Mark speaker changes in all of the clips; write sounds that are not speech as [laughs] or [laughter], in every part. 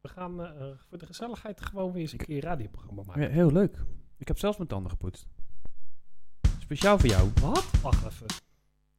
Speaker 1: We gaan eh, voor de gezelligheid gewoon weer eens een keer een radioprogramma maken.
Speaker 2: Ja, heel leuk. Ik heb zelfs mijn tanden gepoetst. Speciaal voor jou.
Speaker 1: Wat? Wacht even.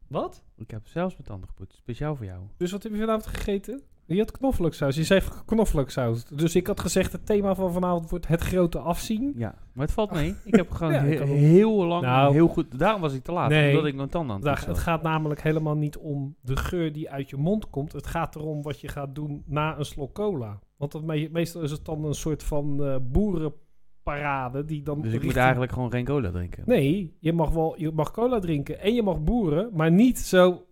Speaker 1: Wat?
Speaker 2: Ik heb zelfs mijn tanden gepoetst. Speciaal voor jou.
Speaker 1: Dus wat heb je vanavond gegeten? Je had knoflooksaus. Je zei knoflooksaus. Dus ik had gezegd, het thema van vanavond wordt het grote afzien.
Speaker 2: Ja, maar het valt mee. Ik heb gewoon
Speaker 1: Hm? [laughs] Ja, ik
Speaker 2: he-
Speaker 1: kan wel-
Speaker 2: heel lang,
Speaker 1: Nou.
Speaker 2: heel goed... Daarom was ik te laat,
Speaker 1: Nee.
Speaker 2: omdat ik mijn tanden aan het
Speaker 1: Daar-
Speaker 2: poetsen
Speaker 1: het gaat namelijk helemaal niet om de geur die uit je mond komt. Het gaat erom wat je gaat doen na een slok cola. Want dat me- meestal is het dan een soort van eh, boerenparade die dan...
Speaker 2: was. Dus ik moet
Speaker 1: richting-
Speaker 2: eigenlijk gewoon geen cola drinken.
Speaker 1: Nee, je mag wel je mag cola drinken en je mag boeren, maar niet zo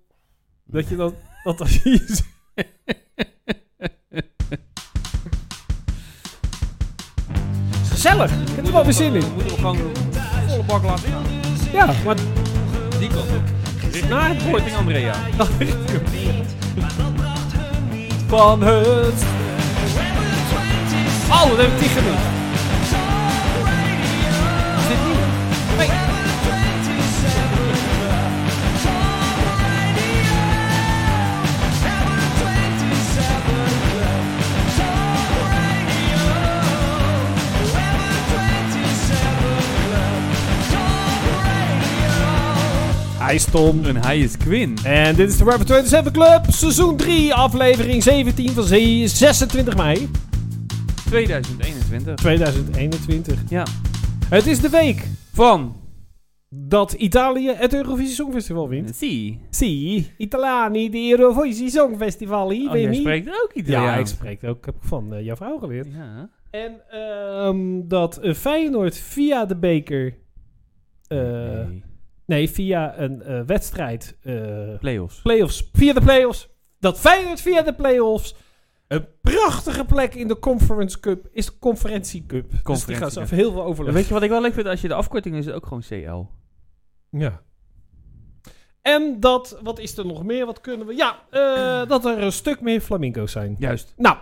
Speaker 1: dat je [laughs] dat... dat als je... Gezellig! Ik heb er wel weer zin in.
Speaker 2: moeten we gewoon volle bak laten gaan.
Speaker 1: Ja, maar
Speaker 2: Die kant op. Na het korting, Andrea.
Speaker 1: van het. Oh, dat heb ik niet gemist. Is dit nieuw? Nee. Hij is Tom.
Speaker 2: En hij is Quinn.
Speaker 1: En dit is de Rapper 27 Club, seizoen 3, aflevering 17 van 26 mei
Speaker 2: 2021.
Speaker 1: 2021.
Speaker 2: Ja.
Speaker 1: Het is de week
Speaker 2: Van.
Speaker 1: dat Italië het Eurovisie Songfestival wint.
Speaker 2: Zie.
Speaker 1: Zie, Italiani, de Eurovisie Songfestival, hier,
Speaker 2: Oh,
Speaker 1: weet je
Speaker 2: jij
Speaker 1: niet?
Speaker 2: spreekt ook Italiaans.
Speaker 1: Ja, ik spreek ook, heb ik van eh, jouw vrouw geleerd.
Speaker 2: Ja.
Speaker 1: En ehm, dat eh, Feyenoord via de beker, eh, nee.
Speaker 2: Nee.
Speaker 1: via een eh, wedstrijd eh,
Speaker 2: Playoffs.
Speaker 1: playoffs, via de playoffs. Dat Feyenoord via de playoffs. Een prachtige plek in de Conference Cup is de Conferentie Cup. dus die
Speaker 2: Conferentie
Speaker 1: gaan ze
Speaker 2: Cup.
Speaker 1: over heel veel
Speaker 2: En
Speaker 1: overleggen.
Speaker 2: weet je wat ik wel leuk vind? Als je de afkorting is, is het ook gewoon CL.
Speaker 1: Ja. En dat, wat is er nog meer? Wat kunnen we? Ja, eh, dat er een stuk meer flamingo's zijn.
Speaker 2: Juist.
Speaker 1: Nou,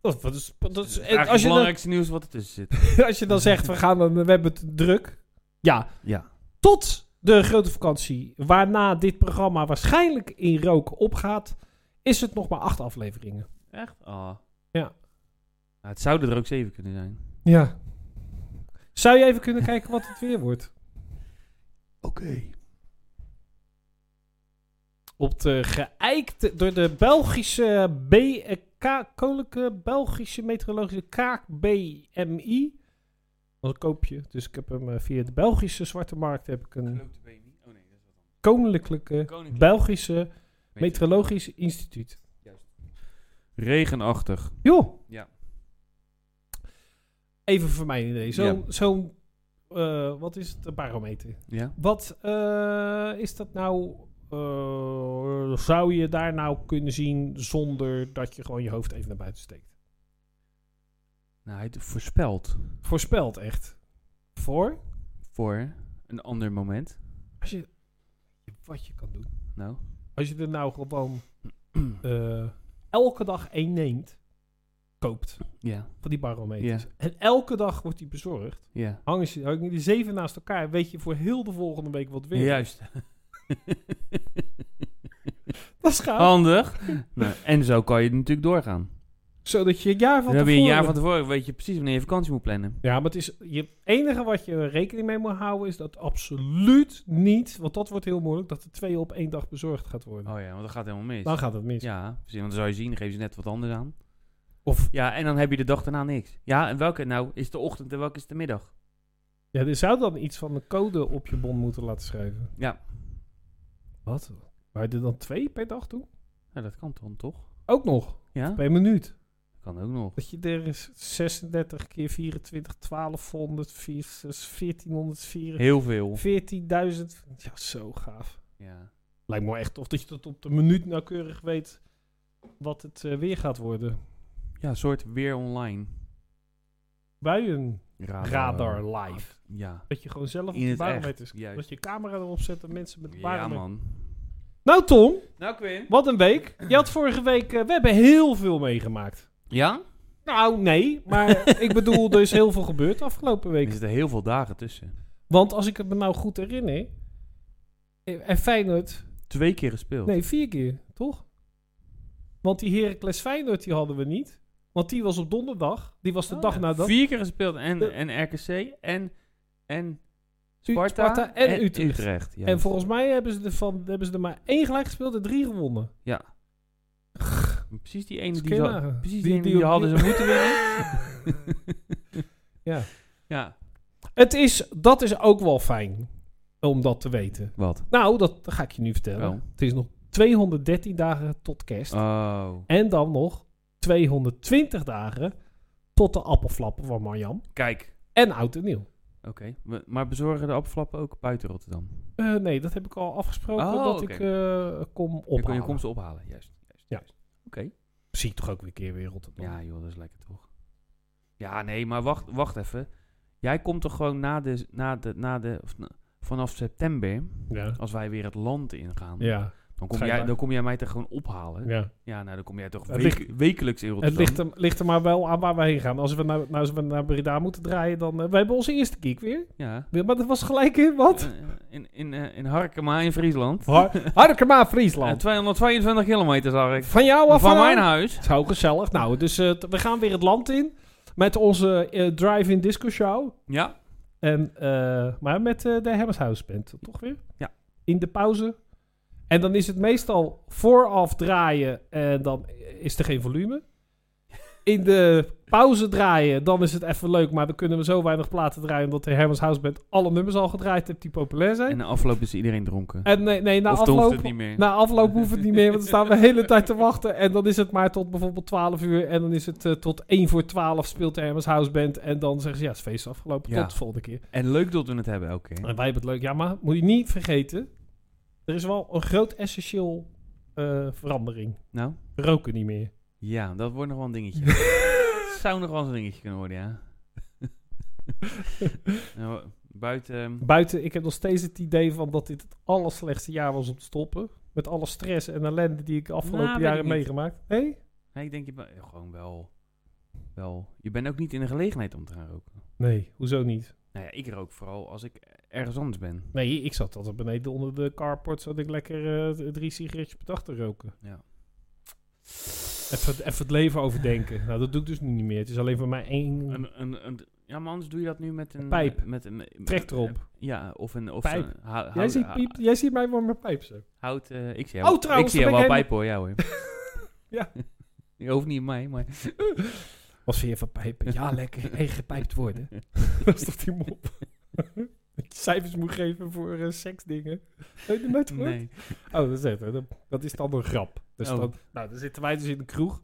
Speaker 1: dat, dat is, dat is,
Speaker 2: Eigenlijk
Speaker 1: als, je
Speaker 2: het
Speaker 1: dan,
Speaker 2: belangrijkste nieuws wat ertussen zit.
Speaker 1: [laughs] als je dan zegt, we, gaan, een- we hebben het druk. Ja,
Speaker 2: Ja.
Speaker 1: tot de grote vakantie, waarna dit programma waarschijnlijk in rook opgaat, is het nog maar acht afleveringen.
Speaker 2: Echt? Ah.
Speaker 1: Ja.
Speaker 2: Nou, het zouden er ook zeven kunnen zijn.
Speaker 1: Ja. Zou je even kunnen kijken wat het weer wordt?
Speaker 2: Oké.
Speaker 1: Op de geëikte, door de Belgische B, eh, K, Koninklijke Belgische Meteorologische KBMI. Dat koop je. Dus ik heb hem eh, via de Belgische Zwarte Markt heb ik een
Speaker 2: Oh nee, dat is wat anders.
Speaker 1: Koninklijke
Speaker 2: Koninklijk.
Speaker 1: Belgische Meteorologisch Instituut.
Speaker 2: Regenachtig.
Speaker 1: Joh.
Speaker 2: Ja.
Speaker 1: Even voor mijn idee. Zo'n,
Speaker 2: Ja.
Speaker 1: zo'n, eh, wat is het, een barometer?
Speaker 2: Ja.
Speaker 1: Wat eh, is dat nou? eh, zou je daar nou kunnen zien zonder dat je gewoon je hoofd even naar buiten steekt?
Speaker 2: Nou, hij voorspelt
Speaker 1: Voorspelt echt. Voor?
Speaker 2: voor een ander moment.
Speaker 1: Als je, wat je kan doen.
Speaker 2: Nou.
Speaker 1: Als je er nou gewoon eh, elke dag één neemt, koopt
Speaker 2: [clears throat] Ja.
Speaker 1: van die barometers.
Speaker 2: Ja.
Speaker 1: En elke dag wordt die bezorgd.
Speaker 2: Ja.
Speaker 1: Hangen ze hangen die zeven naast elkaar. Weet je voor heel de volgende week wat weer.
Speaker 2: Juist.
Speaker 1: [laughs] Dat is
Speaker 2: Oh.
Speaker 1: gaaf.
Speaker 2: Handig. nou, en zo kan je natuurlijk doorgaan.
Speaker 1: Zodat je een jaar van
Speaker 2: Dan heb je een
Speaker 1: tevoren-
Speaker 2: jaar van tevoren, weet je precies wanneer je vakantie moet plannen.
Speaker 1: Ja, maar het is, je enige wat je rekening mee moet houden is dat absoluut niet, want dat wordt heel moeilijk, dat er twee op één dag bezorgd gaat worden.
Speaker 2: Oh ja, want dat gaat helemaal mis.
Speaker 1: Dan gaat het mis.
Speaker 2: Ja, precies, want dan zou je zien, dan geven ze net wat anders aan.
Speaker 1: Of
Speaker 2: Ja, en dan heb je de dag daarna niks. Ja, en welke nou? Is de ochtend en welke is de middag?
Speaker 1: ja, er zou dan iets van een code op je bon moeten laten schrijven.
Speaker 2: Ja.
Speaker 1: Wat? Waar je er dan twee per dag toe?
Speaker 2: Nou, dat kan dan toch?
Speaker 1: Ook nog,
Speaker 2: Ja,
Speaker 1: per minuut.
Speaker 2: kan ook nog.
Speaker 1: Dat je er is 36 keer 24, 1200, 4, 1404,
Speaker 2: Heel veel.
Speaker 1: 14.000. Ja, zo gaaf.
Speaker 2: Ja.
Speaker 1: Lijkt me wel echt tof dat je tot op de minuut nauwkeurig weet wat het eh, weer gaat worden.
Speaker 2: ja, een soort weer online.
Speaker 1: Buien.
Speaker 2: Radar,
Speaker 1: radar live.
Speaker 2: Ja.
Speaker 1: Dat je gewoon zelf op
Speaker 2: eh, In
Speaker 1: de
Speaker 2: het
Speaker 1: barometers...
Speaker 2: echt, juist.
Speaker 1: Dat je camera erop zet en mensen met de
Speaker 2: Ja,
Speaker 1: barometers...
Speaker 2: man.
Speaker 1: nou Tom,
Speaker 2: Nou, Quinn.
Speaker 1: wat een week. Je had vorige week... eh, we hebben heel veel meegemaakt.
Speaker 2: Ja?
Speaker 1: Nou, nee.
Speaker 2: [laughs]
Speaker 1: Maar ik bedoel, er is heel veel gebeurd afgelopen
Speaker 2: Er
Speaker 1: week.
Speaker 2: zitten heel veel dagen tussen.
Speaker 1: Want als ik het me nou goed herinner... eh, En Feyenoord...
Speaker 2: Twee keer gespeeld.
Speaker 1: Nee, vier keer, toch? Want die Heracles Feyenoord, die hadden we niet. Want die was op donderdag. Die was de dag
Speaker 2: Oh, ja.
Speaker 1: nadat.
Speaker 2: Vier keer gespeeld en,
Speaker 1: De-
Speaker 2: en RKC en, en
Speaker 1: U-
Speaker 2: Sparta,
Speaker 1: Sparta en Utrecht.
Speaker 2: ja.
Speaker 1: En volgens mij hebben ze, er van, hebben ze er maar één gelijk gespeeld en drie gewonnen.
Speaker 2: Ja. Precies die ene
Speaker 1: Dus
Speaker 2: die,
Speaker 1: kun je
Speaker 2: ze-
Speaker 1: nagaan.
Speaker 2: precies die,
Speaker 1: Die-
Speaker 2: ene
Speaker 1: die
Speaker 2: die
Speaker 1: op-
Speaker 2: hadden ze
Speaker 1: die-
Speaker 2: moeten winnen.
Speaker 1: [laughs] Ja.
Speaker 2: Ja.
Speaker 1: Het is, dat is ook wel fijn om dat te weten.
Speaker 2: Wat?
Speaker 1: Nou, dat ga ik je nu vertellen.
Speaker 2: Oh.
Speaker 1: Het is nog 213 dagen tot kerst.
Speaker 2: Oh.
Speaker 1: En dan nog 220 dagen tot de appelflappen van Marjan.
Speaker 2: Kijk.
Speaker 1: En oud en nieuw.
Speaker 2: Oké. We- Maar bezorgen de opflappen ook buiten Rotterdam?
Speaker 1: Eh, nee, dat heb ik al afgesproken
Speaker 2: Oh,
Speaker 1: dat
Speaker 2: oké.
Speaker 1: ik eh, kom
Speaker 2: Je kon
Speaker 1: ophalen.
Speaker 2: je komst ophalen, juist. juist,
Speaker 1: Ja.
Speaker 2: juist. Oké.
Speaker 1: Zie ik toch ook weer een keer weer Rotterdam.
Speaker 2: Ja joh, dat is lekker toch? Ja, nee, maar wacht, wacht even. Jij komt toch gewoon na de, na de, na de of na- vanaf september,
Speaker 1: Ja.
Speaker 2: als wij weer het land ingaan,
Speaker 1: Ja.
Speaker 2: dan, kom jij,
Speaker 1: schijnbaar.
Speaker 2: dan kom jij mij toch gewoon ophalen? Ja,
Speaker 1: ja.
Speaker 2: nou dan kom jij toch
Speaker 1: Het
Speaker 2: week- wekelijks in
Speaker 1: Het
Speaker 2: Rotterdam?
Speaker 1: ligt er, ligt er maar wel aan waar we heen gaan. Als we naar, nou, als we naar Breda moeten draaien, dan... eh, we hebben onze eerste kick weer.
Speaker 2: Ja.
Speaker 1: Maar dat was gelijk in, wat?
Speaker 2: Eh, in, in, eh, in Harkema in Friesland.
Speaker 1: Har- Harkema,
Speaker 2: Eh,
Speaker 1: Friesland.
Speaker 2: 222 kilometer zag ik.
Speaker 1: Van jou
Speaker 2: Van,
Speaker 1: af eh. aan?
Speaker 2: mijn huis.
Speaker 1: Zo gezellig. Nou, dus eh, t- we gaan weer het land in. Met onze eh, drive-in disco show.
Speaker 2: Ja.
Speaker 1: En, eh, maar met eh, de Hemmershouse Band, toch weer?
Speaker 2: Ja.
Speaker 1: In de pauze. En dan is het meestal vooraf draaien en dan is er geen volume. In de pauze draaien, dan is het even leuk. Maar dan kunnen we zo weinig platen draaien... omdat de Hemmershouse Band alle nummers al gedraaid heeft die populair zijn.
Speaker 2: En de afloop is iedereen dronken.
Speaker 1: En nee, nee na
Speaker 2: of toen hoeft
Speaker 1: afloop...
Speaker 2: het niet meer.
Speaker 1: Na afloop hoeft het niet meer, want dan staan we de hele tijd te wachten. En dan is het maar tot bijvoorbeeld 12 uur. En dan is het eh, tot 1 voor 12 speelt de Hermes House Band. En dan zeggen ze, ja, het feest is afgelopen.
Speaker 2: Ja.
Speaker 1: Tot de volgende keer.
Speaker 2: En leuk dat we het hebben elke keer.
Speaker 1: En wij hebben het leuk. Ja, maar moet je niet vergeten. Er is wel een groot essentieel eh, verandering.
Speaker 2: Nou,
Speaker 1: We roken niet meer.
Speaker 2: ja, dat wordt nog wel een
Speaker 1: [laughs]
Speaker 2: dingetje. zou nog wel eens een dingetje kunnen worden, ja. nou, buiten... ehm,
Speaker 1: Buiten, ik heb nog steeds het idee van dat dit het allerslechtste jaar was om te stoppen. Met alle stress en ellende die ik de afgelopen
Speaker 2: Nou, weet
Speaker 1: jaren
Speaker 2: ik
Speaker 1: heb
Speaker 2: niet.
Speaker 1: meegemaakt. Nee?
Speaker 2: nee, ik denk je bent gewoon wel, wel... Je bent ook niet in de gelegenheid om te gaan roken.
Speaker 1: Nee, hoezo niet?
Speaker 2: Nou ja, ik rook vooral als ik ergens anders ben.
Speaker 1: Nee, ik zat altijd beneden onder de carport. Zat ik lekker eh, d- drie sigaretjes per dag te roken.
Speaker 2: Ja.
Speaker 1: Even, het- even het leven overdenken. Nou, dat doe ik dus nu niet meer. Het is alleen voor mij één
Speaker 2: Een, een, een, ja, maar anders doe je dat nu met een...
Speaker 1: Pijp.
Speaker 2: Met een, met-
Speaker 1: trek erop.
Speaker 2: Ja, of een... Of
Speaker 1: Pijp.
Speaker 2: een hou-
Speaker 1: Jij
Speaker 2: hout-
Speaker 1: ziet,
Speaker 2: ha-
Speaker 1: piep- jij ziet mij voor mijn pijp zo.
Speaker 2: hout, eh, ik zie
Speaker 1: Oh,
Speaker 2: jou,
Speaker 1: trouwens,
Speaker 2: ik zie jou
Speaker 1: dan
Speaker 2: wel
Speaker 1: ben ik
Speaker 2: pijp hoor, ja hoor.
Speaker 1: [laughs] Ja.
Speaker 2: [laughs] Je hoeft niet mij, maar...
Speaker 1: Wat vind je van pijpen? [laughs] Ja, lekker. Hey, gepijpt worden. [laughs] dat is toch die mop? [laughs] dat je cijfers moet geven voor eh, seksdingen. Heb je dat nooit gehoord?
Speaker 2: Nee.
Speaker 1: [laughs] Oh, dat is, echt, hè. dat, dat is dan een grap. Dus
Speaker 2: Oh.
Speaker 1: dan, nou, dan zitten wij dus in de kroeg.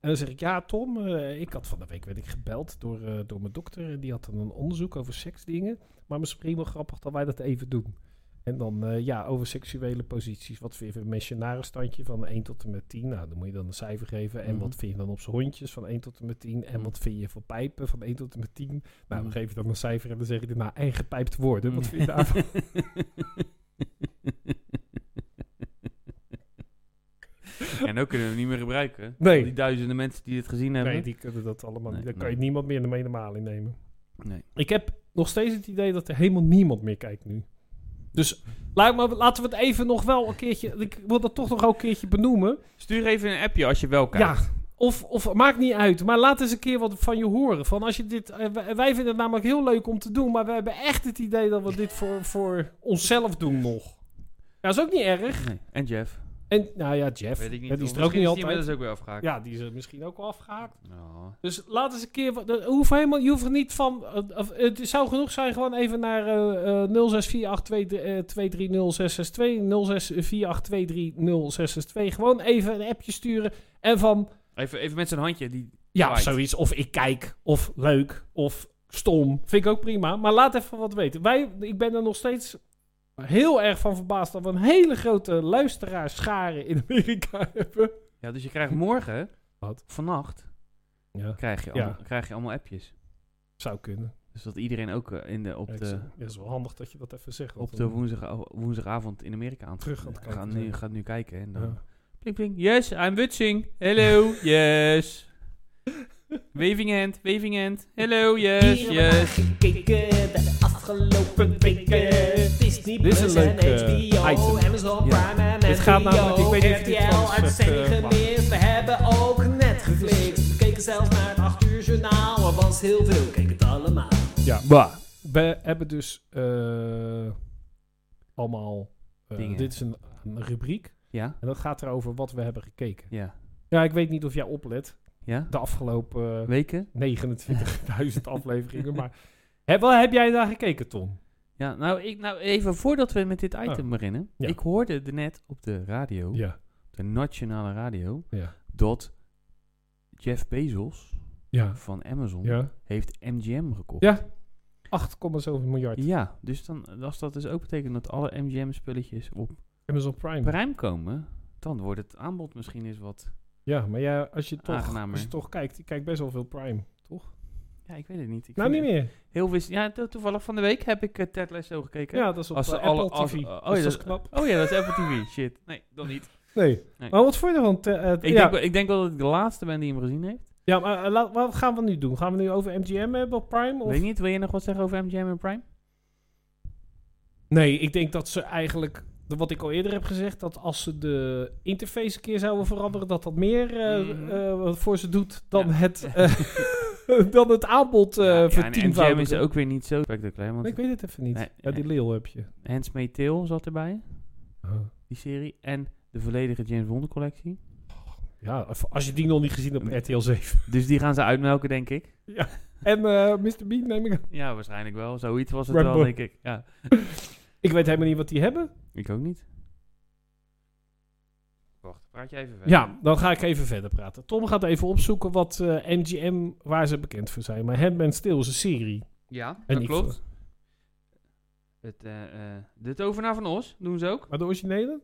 Speaker 1: En dan zeg ik, ja Tom, eh, ik had van de week werd ik gebeld door, eh, door mijn dokter. En die had dan een onderzoek over seksdingen. Maar misschien prima grappig dat wij dat even doen. En dan, eh, ja, over seksuele posities. Wat vind je van een missionarisstandje van 1 tot en met 10? Nou, dan moet je dan een cijfer geven. En
Speaker 2: Mhm.
Speaker 1: wat vind je dan op zijn hondjes van 1 tot en met 10? En
Speaker 2: Mhm.
Speaker 1: wat vind je van pijpen van 1 tot en met 10? Nou, dan
Speaker 2: Mhm.
Speaker 1: geef je dan een cijfer en dan zeg je daarna, en gepijpt worden. Wat vind
Speaker 2: [laughs]
Speaker 1: je daarvan?
Speaker 2: en ook kunnen we hem niet meer gebruiken.
Speaker 1: Nee.
Speaker 2: Al Die duizenden mensen die dit gezien hebben.
Speaker 1: Nee, die kunnen dat allemaal
Speaker 2: Nee,
Speaker 1: niet. Dan kan
Speaker 2: nee.
Speaker 1: je niemand meer in de medemaal innemen.
Speaker 2: Nee.
Speaker 1: Ik heb nog steeds het idee dat er helemaal niemand meer kijkt nu. Dus laat maar, laten we het even nog wel een keertje... Ik wil dat toch nog wel een keertje benoemen.
Speaker 2: Stuur even een appje als je wel kijkt.
Speaker 1: Ja, of, of maakt niet uit. Maar laat eens een keer wat van je horen. Van als je dit, eh, wij- wij vinden het namelijk heel leuk om te doen. Maar we hebben echt het idee dat we dit voor, voor onszelf doen nog. Ja, is ook niet erg.
Speaker 2: Nee. En Jeff.
Speaker 1: En nou ja, Jeff.
Speaker 2: Weet ik niet.
Speaker 1: ja, die
Speaker 2: Of
Speaker 1: is er ook
Speaker 2: misschien
Speaker 1: niet
Speaker 2: die
Speaker 1: altijd.
Speaker 2: inmiddels ook weer afgehaakt.
Speaker 1: Ja, die is er misschien ook al afgehaakt.
Speaker 2: Oh.
Speaker 1: Dus laat eens een keer. wat- dat Hoeft helemaal, je hoeft er niet van. eh, of, Het zou genoeg zijn gewoon even naar eh, eh, 0648230662. 0648230662. Gewoon even een appje sturen. En van.
Speaker 2: Even, even met zijn handje. Die...
Speaker 1: Ja,
Speaker 2: Right.
Speaker 1: zoiets. Of ik kijk. Of leuk. Of stom. Vind ik ook prima. Maar laat even wat weten. Wij, ik ben er nog steeds heel erg van verbaasd dat we een hele grote luisteraarschare in Amerika [laughs] hebben.
Speaker 2: Ja, dus je krijgt morgen,
Speaker 1: [laughs] Wat?
Speaker 2: vannacht,
Speaker 1: Ja,
Speaker 2: krijg je,
Speaker 1: Ja.
Speaker 2: allemaal, krijg je allemaal appjes.
Speaker 1: zou kunnen.
Speaker 2: Dus dat iedereen ook eh, in de, op,
Speaker 1: Ja, ik
Speaker 2: de,
Speaker 1: zeg- ja, dat is wel handig dat je dat even zegt. want
Speaker 2: op de
Speaker 1: dan-
Speaker 2: woensdag, woensdagavond in Amerika aan het
Speaker 1: Terug aan het kijken
Speaker 2: gaat
Speaker 1: zijn.
Speaker 2: nu, gaat nu kijken. En dan,
Speaker 1: Ja.
Speaker 2: Pling, pling. Yes, I'm watching.
Speaker 1: [laughs]
Speaker 2: Hello, yes. waving hand, waving hand. Hello, yes,
Speaker 3: Hier hebben we
Speaker 2: yes.
Speaker 3: gekeken bij de afgelopen weken. Disney
Speaker 1: Dit is een
Speaker 3: Plus en
Speaker 1: leuk, eh,
Speaker 3: HBO,
Speaker 1: item.
Speaker 3: Amazon
Speaker 1: Ja.
Speaker 3: Prime en
Speaker 1: Dit gaat namelijk- ik weet niet of je dit
Speaker 3: RTL
Speaker 1: van het, eh,
Speaker 3: uitzending
Speaker 1: mag.
Speaker 3: gemist. We hebben ook Netflix. We keken keken zelfs naar het 8 uur journaal. Er was heel veel, keek het allemaal.
Speaker 1: Ja,
Speaker 2: Bah.
Speaker 1: we hebben dus eh, allemaal... eh,
Speaker 2: Dingen.
Speaker 1: dit is een, een rubriek.
Speaker 2: Ja?
Speaker 1: En dat gaat erover wat we hebben gekeken.
Speaker 2: Ja?
Speaker 1: Ja, ik weet niet of jij oplet.
Speaker 2: Ja?
Speaker 1: De afgelopen eh,
Speaker 2: Weken?
Speaker 1: 29.000 [laughs] afleveringen. Maar heb, wat heb jij daar gekeken, Tom?
Speaker 2: Ja, nou, ik, nou even voordat we met dit item beginnen.
Speaker 1: Oh. Ja.
Speaker 2: Ik hoorde er net op de radio,
Speaker 1: Ja.
Speaker 2: de nationale radio,
Speaker 1: Ja.
Speaker 2: dat Jeff Bezos
Speaker 1: Ja.
Speaker 2: van Amazon
Speaker 1: Ja.
Speaker 2: heeft MGM gekocht.
Speaker 1: Ja. 8,7 miljard.
Speaker 2: Ja, dus dan, als dat dus ook betekent dat alle MGM-spulletjes op
Speaker 1: Amazon Prime.
Speaker 2: Prime komen, dan wordt het aanbod misschien eens wat...
Speaker 1: Ja, maar ja, als je toch,
Speaker 2: Aangenamer.
Speaker 1: als je toch kijkt, ik kijk best wel veel Prime.
Speaker 2: Ja, ik weet het niet. Ik
Speaker 1: nou,
Speaker 2: vind
Speaker 1: niet
Speaker 2: het
Speaker 1: meer.
Speaker 2: Heel wist, ja, to- toevallig van de week heb ik eh, Ted Lasso gekeken.
Speaker 1: Ja, dat is op
Speaker 2: Als
Speaker 1: eh,
Speaker 2: ze
Speaker 1: Apple
Speaker 2: alle- als-
Speaker 1: TV.
Speaker 2: oh, ja,
Speaker 1: dus dat is
Speaker 2: dat-
Speaker 1: knap.
Speaker 2: Oh ja, dat is Apple TV. Shit. Nee, dat niet.
Speaker 1: [laughs] Nee.
Speaker 2: Nee.
Speaker 1: Maar wat voor je ervan? Te- eh,
Speaker 2: Ik,
Speaker 1: ja,
Speaker 2: denk, wel- ik denk wel dat ik de laatste ben die hem gezien heeft.
Speaker 1: ja, maar eh, laat- wat gaan we nu doen? Gaan we nu over MGM hebben op Prime? Of?
Speaker 2: Weet niet, wil je nog wat zeggen over MGM en Prime?
Speaker 1: Nee, ik denk dat ze eigenlijk... de- Wat ik al eerder heb gezegd, dat als ze de interface een keer zouden veranderen, dat dat meer eh,
Speaker 2: Mhm.
Speaker 1: eh, wat voor ze doet dan,
Speaker 2: Ja.
Speaker 1: het, eh, [laughs] dan het aanbod eh
Speaker 2: ja, en MGM
Speaker 1: vertienvoudigen.
Speaker 2: is ook weer niet zo spectaculair, want
Speaker 1: Nee, ik weet het even niet.
Speaker 2: Nee,
Speaker 1: ja, die
Speaker 2: nee.
Speaker 1: leeuw heb je.
Speaker 2: Hans Tail zat erbij,
Speaker 1: Oh,
Speaker 2: die serie. En de volledige James Bond collectie.
Speaker 1: Ja, als je die nog niet gezien hebt op RTL 7.
Speaker 2: Dus die gaan ze uitmelken, denk ik.
Speaker 1: En eh, Mr. Bean neem ik aan.
Speaker 2: Ja, waarschijnlijk wel. Zoiets was het
Speaker 1: Rambo.
Speaker 2: wel, denk ik. Ja,
Speaker 1: Ik weet helemaal niet wat die hebben.
Speaker 2: ik ook niet. Wacht, praat jij even verder.
Speaker 1: Ja, dan ga ik even verder praten. Tom gaat even opzoeken wat eh, MGM, waar ze bekend voor zijn. Maar Handmaid's Tale is een serie.
Speaker 2: Ja,
Speaker 1: En
Speaker 2: dat
Speaker 1: ik,
Speaker 2: klopt. Het, eh, eh, de tovenaar van Os doen ze ook.
Speaker 1: Maar de originele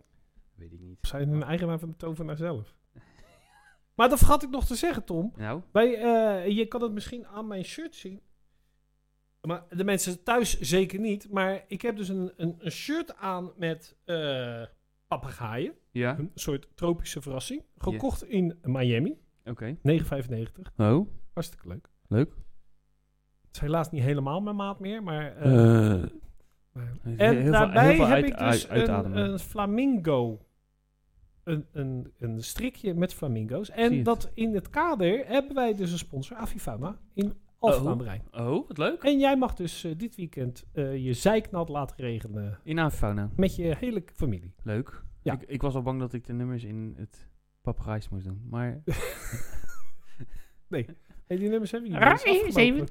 Speaker 2: Weet ik niet.
Speaker 1: zijn een eigenaar van de tovenaar zelf. [laughs] Maar dat vergat ik nog te zeggen, Tom.
Speaker 2: Nou,
Speaker 1: Wij, eh, je kan het misschien aan mijn shirt zien. Maar de mensen thuis zeker niet. Maar ik heb dus een, een, een shirt aan met eh papegaaien.
Speaker 2: ja,
Speaker 1: Een soort tropische verrassing. Gekocht in Miami.
Speaker 2: oké.
Speaker 1: 9,95.
Speaker 2: Oh,
Speaker 1: Hartstikke leuk.
Speaker 2: Leuk.
Speaker 1: Het is helaas niet helemaal mijn maat meer, maar... eh,
Speaker 2: Eh,
Speaker 1: maar-
Speaker 2: heel
Speaker 1: En
Speaker 2: veel- heel
Speaker 1: daarbij
Speaker 2: veel
Speaker 1: heb
Speaker 2: uit-
Speaker 1: ik
Speaker 2: uit-
Speaker 1: dus een,
Speaker 2: uitademen.
Speaker 1: een flamingo. Een, een, een strikje met flamingo's.
Speaker 2: Zie
Speaker 1: En
Speaker 2: het.
Speaker 1: dat in het kader hebben wij dus een sponsor, Avifauna, in Alphen
Speaker 2: Oh.
Speaker 1: aan de Rijn.
Speaker 2: Oh, wat leuk.
Speaker 1: En jij mag dus eh, dit weekend eh, je zeiknat laten regenen
Speaker 2: In aanfauna.
Speaker 1: met je hele familie.
Speaker 2: Leuk.
Speaker 1: Ja.
Speaker 2: Ik, ik was al bang dat ik de nummers in het papagaais moest doen. Maar
Speaker 1: Hey, die nummers hebben jullie. dat is afgelopen.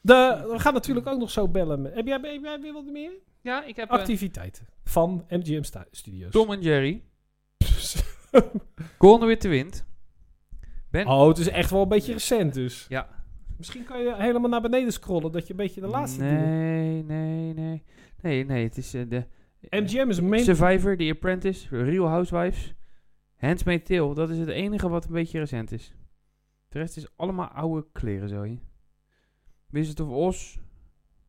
Speaker 1: De, we gaan natuurlijk ook nog zo bellen. met- Heb jij, heb jij weer wat meer?
Speaker 2: ja, ik heb eh,
Speaker 1: Activiteiten van MGM stu- Studios.
Speaker 2: Tom en
Speaker 1: [laughs]
Speaker 2: Jerry. Gone with the Wind. En-
Speaker 1: Oh, het is echt wel een beetje recent dus.
Speaker 2: Ja.
Speaker 1: Misschien kan je helemaal naar beneden scrollen, dat je een beetje de laatste doet.
Speaker 2: Nee, nee, nee. Nee, nee, het is eh, de...
Speaker 1: MGM is een main...
Speaker 2: Survivor, The Apprentice, Real Housewives, Handmaid's Tale. Dat is het enige wat een beetje recent is. De rest is allemaal oude kleren, zo je. Wizard of Oz,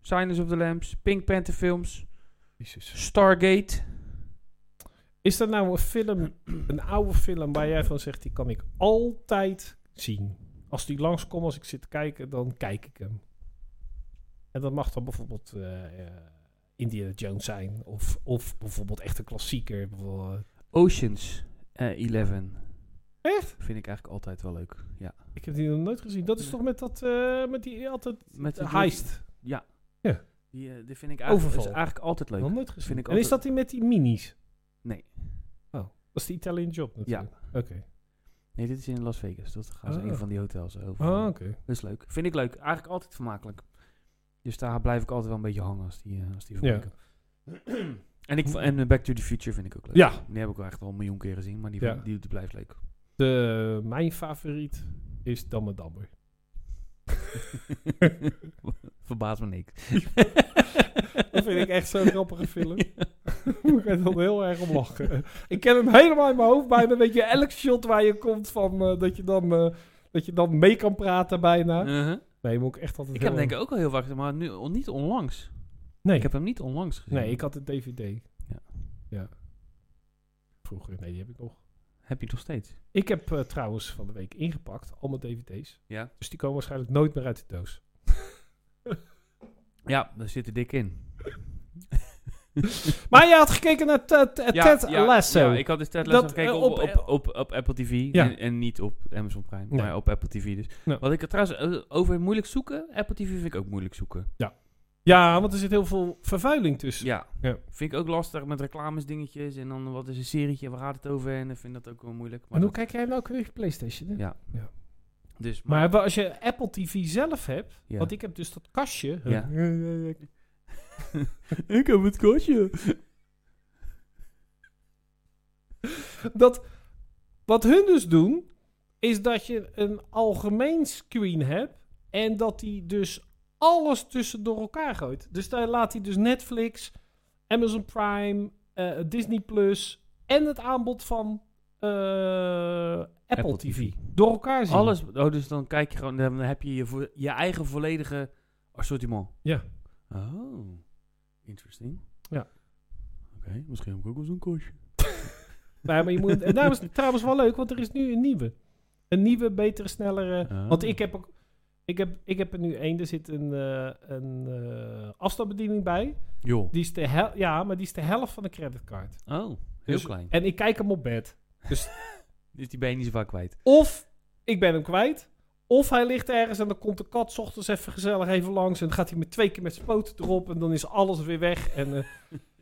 Speaker 2: Silence of the Lambs, Pink Panther films, Stargate.
Speaker 1: Is dat nou een film, [clears throat] een oude film waar jij van zegt, die kan ik altijd zien. Als die langskomt, als ik zit te kijken, dan kijk ik hem. En dat mag dan bijvoorbeeld eh, eh, Indiana Jones zijn. Of, of bijvoorbeeld echt een klassieker. Bijvoorbeeld, eh,
Speaker 2: Oceans eh, 11.
Speaker 1: Echt?
Speaker 2: Vind ik eigenlijk altijd wel leuk. Ja.
Speaker 1: Ik heb die nog nooit gezien. Dat is
Speaker 2: Nee.
Speaker 1: toch met dat, eh, met die altijd
Speaker 2: Met die-
Speaker 1: heist.
Speaker 2: Die, eh, die vind ik eigenlijk,
Speaker 1: Overval.
Speaker 2: is eigenlijk altijd leuk.
Speaker 1: Nog nooit gezien.
Speaker 2: Vind ik
Speaker 1: en is
Speaker 2: altijd-
Speaker 1: dat die met die minis?
Speaker 2: Nee.
Speaker 1: Oh, dat is de Italian Job natuurlijk. Ja. Oké.
Speaker 2: Nee, dit is in Las Vegas. Dat gaan ze
Speaker 1: Ah.
Speaker 2: een van die hotels over.
Speaker 1: Ah, oké.
Speaker 2: Dat is leuk. Vind ik leuk. Eigenlijk altijd vermakelijk. Dus daar blijf ik altijd wel een beetje hangen als die, eh, als die
Speaker 1: Ja. [clears throat]
Speaker 2: vermaken. En, ik, v- en eh, Back to the Future vind ik ook leuk.
Speaker 1: Ja.
Speaker 2: Die heb ik wel echt al een miljoen keer gezien, maar die,
Speaker 1: Ja.
Speaker 2: vind- die, die blijft
Speaker 1: [laughs]
Speaker 2: leuk.
Speaker 1: De, mijn favoriet is Damme
Speaker 2: [laughs]
Speaker 1: Dammer.
Speaker 2: Verbaas me niks.
Speaker 1: [laughs] Dat vind ik echt zo'n grappige film. [laughs] ik ga er dan heel erg om lachen. Ik ken hem helemaal in mijn hoofd bijna. Weet je, elk shot waar je komt van eh, dat, je dan, eh, dat je dan mee kan praten bijna.
Speaker 2: Uh-huh.
Speaker 1: Nee, moet ik echt altijd
Speaker 2: Ik heb
Speaker 1: heel
Speaker 2: hem
Speaker 1: erg-
Speaker 2: denk ik ook al heel vaak gezien, maar nu, on- niet onlangs.
Speaker 1: Nee,
Speaker 2: Ik heb hem niet onlangs gezien.
Speaker 1: nee, ik had het DVD.
Speaker 2: Ja.
Speaker 1: ja. Vroeger, nee, die heb ik nog.
Speaker 2: Heb je nog steeds?
Speaker 1: Ik heb eh, trouwens van de week ingepakt, al mijn DVD's.
Speaker 2: Ja.
Speaker 1: Dus die komen waarschijnlijk nooit meer uit de doos.
Speaker 2: Ja, daar zit er dik in.
Speaker 1: [laughs] Maar je had gekeken naar Ted, eh,
Speaker 2: Ja,
Speaker 1: [laughs] Ted
Speaker 2: ja,
Speaker 1: Lasso.
Speaker 2: Ja, ik had dus Ted Lasso
Speaker 1: Dat,
Speaker 2: gekeken
Speaker 1: eh,
Speaker 2: op,
Speaker 1: op-
Speaker 2: op, op, op Apple TV.
Speaker 1: Ja.
Speaker 2: En, en niet op Amazon Prime,
Speaker 1: Nee.
Speaker 2: maar op Apple TV dus.
Speaker 1: Ja.
Speaker 2: Wat ik er trouwens eh, over moeilijk zoeken, Apple TV vind ik ook moeilijk zoeken.
Speaker 1: Ja, want er zit heel veel vervuiling tussen.
Speaker 2: Ja.
Speaker 1: Ja.
Speaker 2: Vind ik ook lastig met reclames dingetjes en dan wat is een serietje, waar gaat het over? En ik vind dat ook wel moeilijk. Maar
Speaker 1: en hoe
Speaker 2: dat-
Speaker 1: kijk jij nou ook weer PlayStation? hè?
Speaker 2: Ja. dus,
Speaker 1: Maar wel, als je Apple TV zelf hebt,
Speaker 2: ja.
Speaker 1: want ik heb dus dat kastje. [laughs]
Speaker 2: Ja.
Speaker 1: ik heb het kastje. dat, wat hun dus doen, is dat je een algemeen screen hebt en dat hij dus alles tussendoor elkaar gooit. Dus daar laat hij dus Netflix, Amazon Prime, eh, Disney Plus en het aanbod van eh, Apple,
Speaker 2: Apple
Speaker 1: TV.
Speaker 2: TV.
Speaker 1: door elkaar zien.
Speaker 2: Alles, oh, dus dan kijk je gewoon, dan heb je je, vo- je eigen volledige assortiment.
Speaker 1: Ja.
Speaker 2: Oh, interesting.
Speaker 1: Ja.
Speaker 2: Oké, misschien heb ik ook wel zo'n koosje.
Speaker 1: Nee, maar je moet, en daarom is het trouwens wel leuk, want er is nu een nieuwe. Een nieuwe, betere, snellere.
Speaker 2: Ah.
Speaker 1: Want ik heb, ook, ik, heb, ik heb er nu één. Er zit een, eh, een eh, afstandsbediening bij.
Speaker 2: Joh.
Speaker 1: Die is de hel- ja, maar die is de helft van de creditcard.
Speaker 2: Oh, heel
Speaker 1: Dus-
Speaker 2: klein.
Speaker 1: En ik kijk hem op bed.
Speaker 2: Dus die ben je niet zo vaak kwijt.
Speaker 1: Of ik ben hem kwijt. Of hij ligt ergens en dan komt de kat 's ochtends even gezellig even langs. En dan gaat hij met twee keer met zijn poot erop. En dan is alles weer weg. En, eh,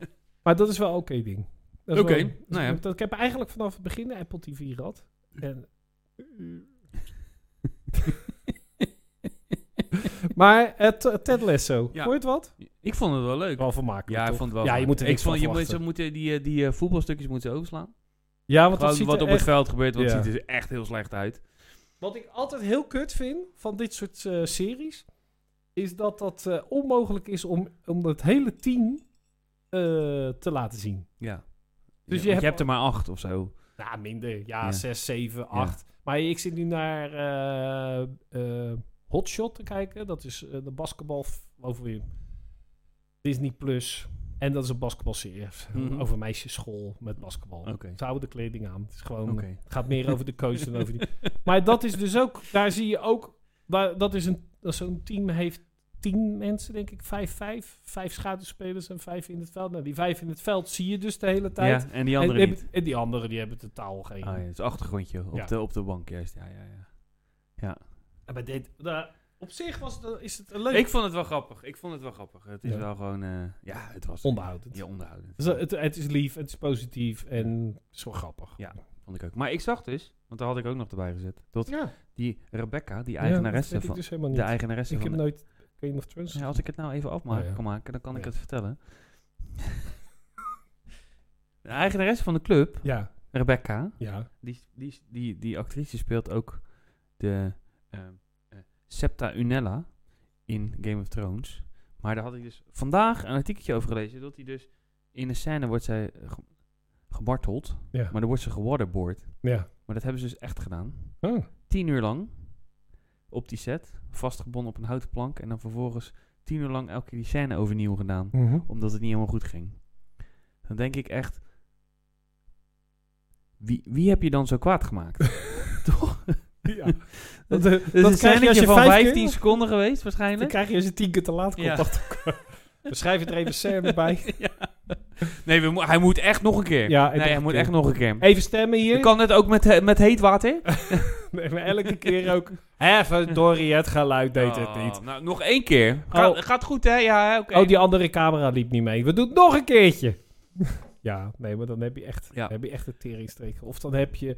Speaker 2: [laughs]
Speaker 1: maar dat is wel een oké ding. Dat is
Speaker 2: Oké,
Speaker 1: wel- dus
Speaker 2: nou ja.
Speaker 1: ik- dat, ik heb eigenlijk vanaf het begin de Apple TV gehad.
Speaker 2: [laughs]
Speaker 1: En, maar eh, het Ted Lasso.
Speaker 2: Ja.
Speaker 1: Vond je het wat?
Speaker 2: Ik vond het wel leuk.
Speaker 1: Wel vermakelijk,
Speaker 2: ja, Oh, ik
Speaker 1: toch?
Speaker 2: vond het wel
Speaker 1: Ja, je
Speaker 2: leuk.
Speaker 1: moet er
Speaker 2: ik
Speaker 1: niks
Speaker 2: vond,
Speaker 1: van
Speaker 2: je moet, ze
Speaker 1: verwachten.
Speaker 2: moeten die, eh, die eh, voetbalstukjes moeten ze overslaan.
Speaker 1: Ja, want dat
Speaker 2: Gewoon
Speaker 1: ziet
Speaker 2: wat
Speaker 1: er
Speaker 2: op
Speaker 1: echt-
Speaker 2: het veld gebeurt, want
Speaker 1: Ja.
Speaker 2: het ziet er echt heel slecht uit.
Speaker 1: Wat ik altijd heel kut vind van dit soort eh, series, is dat dat eh, onmogelijk is om, om het hele team eh, te laten zien.
Speaker 2: Ja.
Speaker 1: Dus je
Speaker 2: Ja, want
Speaker 1: hebt-
Speaker 2: je hebt er maar acht of zo.
Speaker 1: Ja, minder. Ja,
Speaker 2: Ja.
Speaker 1: zes, zeven, acht. Maar ik zit nu naar eh, eh, Hotshot te kijken. Dat is eh, de basketbal f- over weer Disney Plus. En dat is een basketbalserie
Speaker 2: Mhm.
Speaker 1: over meisjesschool met basketbal.
Speaker 2: Oké.
Speaker 1: Ze houden de kleding aan. Het is gewoon
Speaker 2: Oké.
Speaker 1: het gaat meer over de coach dan over die. Maar dat is dus ook, daar zie je ook, daar, dat is een, dat zo'n team heeft tien mensen, denk ik, vijf, vijf, vijf schaduwspelers en vijf in het veld. Nou, die vijf in het veld zie je dus de hele tijd.
Speaker 2: Ja, en die
Speaker 1: En
Speaker 2: andere
Speaker 1: die
Speaker 2: niet.
Speaker 1: hebben- en die anderen, die hebben totaal geen.
Speaker 2: Ah, ja, het is een achtergrondje op,
Speaker 1: Ja.
Speaker 2: de, op de bank juist. Ja, ja, ja.
Speaker 1: En bij dit, daar- op zich was het, is het een leuk
Speaker 2: Ik vond het wel grappig. Ik vond het wel grappig. Het is
Speaker 1: Ja.
Speaker 2: wel gewoon... eh, ja, het was...
Speaker 1: onderhoudend.
Speaker 2: Ja, onderhoudend.
Speaker 1: Dus het, het is lief, het is positief en het is wel grappig.
Speaker 2: Ja. Vond ik ook. Maar ik zag dus, want daar had ik ook nog erbij gezet, dat
Speaker 1: Ja,
Speaker 2: die Rebecca, die
Speaker 1: dat
Speaker 2: eigenaresse
Speaker 1: weet ik
Speaker 2: van...
Speaker 1: dus helemaal niet.
Speaker 2: de eigenaresse
Speaker 1: ik
Speaker 2: van
Speaker 1: heb
Speaker 2: de-
Speaker 1: nooit Game of Thrones.
Speaker 2: Ja, als ik het nou even af mag-
Speaker 1: Oh ja.
Speaker 2: kan maken, dan kan ik
Speaker 1: Ja.
Speaker 2: het vertellen. [laughs] De eigenaresse van de club,
Speaker 1: Ja,
Speaker 2: Rebecca,
Speaker 1: ja.
Speaker 2: die, die, die, die actrice speelt ook de ehm, eh, Septa Unella in Game of Thrones. Maar daar had ik dus vandaag een artikeltje over gelezen, dat hij dus in een scène wordt zij eh, ge- gemarteld,
Speaker 1: Ja.
Speaker 2: maar dan wordt ze gewaterboard.
Speaker 1: ja.
Speaker 2: Maar dat hebben ze dus echt gedaan
Speaker 1: Oh.
Speaker 2: tien uur lang op die set, vastgebonden op een houten plank. En dan vervolgens tien uur lang elke keer die scène overnieuw gedaan,
Speaker 1: Mhm.
Speaker 2: omdat het niet helemaal goed ging. Dan denk ik echt, wie, wie heb je dan zo kwaad [laughs] gemaakt? Toch?
Speaker 1: [laughs] Ja.
Speaker 2: Dat-
Speaker 1: eh,
Speaker 2: Dus een
Speaker 1: krijg je als
Speaker 2: scènetje
Speaker 1: je
Speaker 2: van
Speaker 1: vijf keer-
Speaker 2: 15 seconden geweest
Speaker 1: Dan
Speaker 2: waarschijnlijk.
Speaker 1: krijg je als je tien keer te laat komt.
Speaker 2: Ja.
Speaker 1: dacht ik. [laughs] We schrijven er even Sam bij.
Speaker 2: Nee, we mo- hij moet echt nog een keer.
Speaker 1: Ja,
Speaker 2: nee,
Speaker 1: nog
Speaker 2: hij
Speaker 1: een
Speaker 2: moet
Speaker 1: keer.
Speaker 2: echt nog een keer.
Speaker 1: Even stemmen
Speaker 2: Je
Speaker 1: hier.
Speaker 2: kan het ook met, he- met heet water.
Speaker 1: [laughs] Nee, maar elke keer ook. [laughs] Even, Dory, het geluid deed het
Speaker 2: Oh,
Speaker 1: niet.
Speaker 2: Nou, nog één keer. Ga-
Speaker 1: Oh.
Speaker 2: Gaat goed, hè? Ja, hè, oké.
Speaker 1: Oh, die andere camera liep niet mee. We doen het nog een keertje. [laughs] ja, nee, maar dan heb je echt,
Speaker 2: Ja.
Speaker 1: dan heb je echt een teringstreek. Of dan heb je,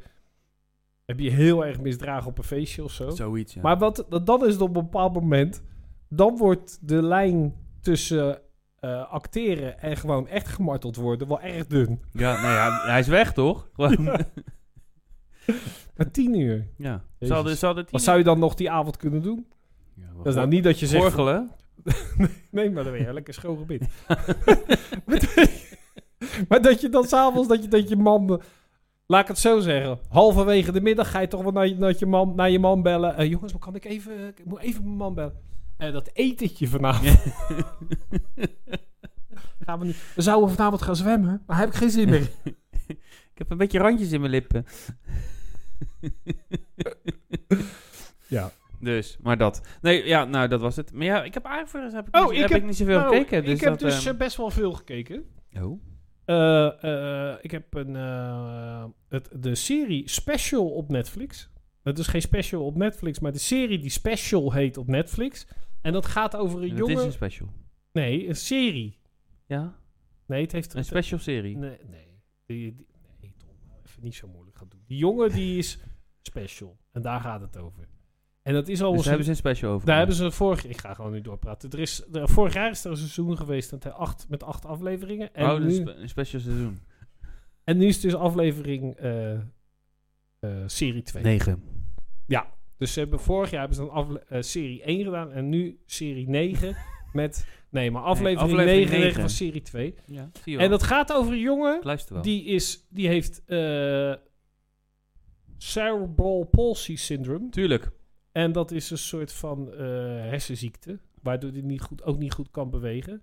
Speaker 1: heb je heel erg misdragen op een feestje of zo.
Speaker 2: Zoiets, ja.
Speaker 1: Maar wat, dan is het op een bepaald moment. Dan wordt de lijn tussen eh, acteren en gewoon echt gemarteld worden wel erg dun.
Speaker 2: Ja, nee, hij, hij is weg, [laughs] toch? Gewoon.
Speaker 1: Na tien uur.
Speaker 2: Ja.
Speaker 1: Jezus.
Speaker 2: Ze hadden, ze hadden tien...
Speaker 1: Wat zou je dan nog die avond kunnen doen?
Speaker 2: Ja,
Speaker 1: Dat is nou niet dat je zegt...
Speaker 2: Gorgelen.
Speaker 1: Nee, maar dan [laughs] ben je lekker schoon gebied. maar dat je dan s'avonds, dat je, dat je man... eh, Laat ik het zo zeggen. Halverwege de middag ga je toch wel naar je, naar je, man, naar je man bellen. Eh, jongens, maar kan ik even... Ik moet even mijn man bellen. Eh, dat etentje vanavond. [laughs] Gaan we, niet. we zouden vanavond gaan zwemmen, maar heb ik geen zin meer.
Speaker 2: Ik heb een beetje randjes in mijn [laughs] lippen.
Speaker 1: Ja.
Speaker 2: Dus, maar dat. Nee, ja, nou, dat was het. Maar ja, ik heb eigenlijk voor de rest heb ik,
Speaker 1: Oh,
Speaker 2: niet,
Speaker 1: ik
Speaker 2: heb
Speaker 1: heb-
Speaker 2: ik niet
Speaker 1: [laughs]
Speaker 2: zoveel
Speaker 1: Nou,
Speaker 2: gekeken. Dus
Speaker 1: ik heb
Speaker 2: dat,
Speaker 1: dus
Speaker 2: ehm,
Speaker 1: eh, best wel veel gekeken.
Speaker 2: Oh.
Speaker 1: Eh, eh, ik heb een, eh, het, de serie Special op Netflix. Het is geen special op Netflix, maar de serie die Special heet op Netflix. En dat gaat over een
Speaker 2: Het
Speaker 1: jongen...
Speaker 2: is een special.
Speaker 1: Nee, een serie.
Speaker 2: Ja,
Speaker 1: Nee, het heeft...
Speaker 2: een special serie. Dus
Speaker 1: Nee, nee. Die, die- nee, Tom, nou even niet zo moeilijk gaan doen. Die jongen die is special. En daar gaat het over. En dat is al
Speaker 2: Dus
Speaker 1: eens
Speaker 2: daar hebben ze een special over.
Speaker 1: Daar
Speaker 2: gemaakt.
Speaker 1: hebben ze vorig... Ik ga gewoon nu doorpraten. Er is, er- vorig jaar is er een seizoen geweest met acht, met acht afleveringen. En
Speaker 2: oh, dus
Speaker 1: nu-
Speaker 2: een spe- een special seizoen.
Speaker 1: En nu is het dus aflevering eh, eh, serie 2.
Speaker 2: 9.
Speaker 1: Dus ze hebben, vorig jaar hebben ze dan afle- eh, serie 1 gedaan en nu serie 9 [laughs] met... Nee, maar aflevering,
Speaker 2: aflevering
Speaker 1: 9,
Speaker 2: 9.
Speaker 1: van serie 2.
Speaker 2: Ja, zie je wel.
Speaker 1: En dat gaat over een jongen
Speaker 2: Ik luister wel.
Speaker 1: die, is, die heeft eh, cerebral palsy syndrome.
Speaker 2: Tuurlijk.
Speaker 1: En dat is een soort van eh, hersenziekte, waardoor hij niet goed, ook niet goed kan bewegen.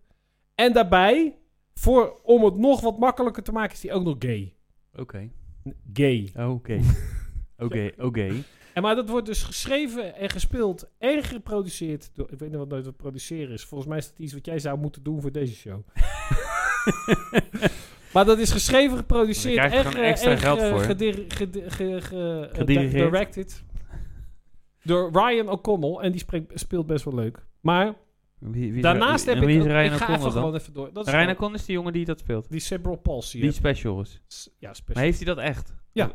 Speaker 1: En daarbij, voor, om het nog wat makkelijker te maken, is hij ook nog gay.
Speaker 2: Oké. Oh,
Speaker 1: Gay.
Speaker 2: [laughs] Oké. Oké, oké.
Speaker 1: En maar dat wordt dus geschreven en gespeeld en geproduceerd door... Ik weet niet wat nooit wat produceren is. Volgens mij is dat iets wat jij zou moeten doen voor deze show. [laughs] maar dat is geschreven, geproduceerd
Speaker 2: Daar krijg je
Speaker 1: en,
Speaker 2: gewoon
Speaker 1: ge-
Speaker 2: extra
Speaker 1: en
Speaker 2: geld
Speaker 1: ge-
Speaker 2: voor.
Speaker 1: gedir- gedi- ge- ge- eh,
Speaker 2: Gedirigeerd.
Speaker 1: directed door Ryan O'Connell. En die spreekt- speelt best wel leuk. Maar
Speaker 2: Wie- wie is
Speaker 1: daarnaast
Speaker 2: Ra-
Speaker 1: heb
Speaker 2: wie
Speaker 1: ik...
Speaker 2: is
Speaker 1: ook-
Speaker 2: Ryan
Speaker 1: ik ga
Speaker 2: O'Connell
Speaker 1: even
Speaker 2: dan?
Speaker 1: gewoon even door. Dat is
Speaker 2: Ryan
Speaker 1: gewoon-
Speaker 2: O'Connell is die jongen die dat speelt.
Speaker 1: die cerebral palsy.
Speaker 2: Die
Speaker 1: heeft.
Speaker 2: special is.
Speaker 1: Ja,
Speaker 2: Maar
Speaker 1: special.
Speaker 2: heeft hij dat echt?
Speaker 1: Ja.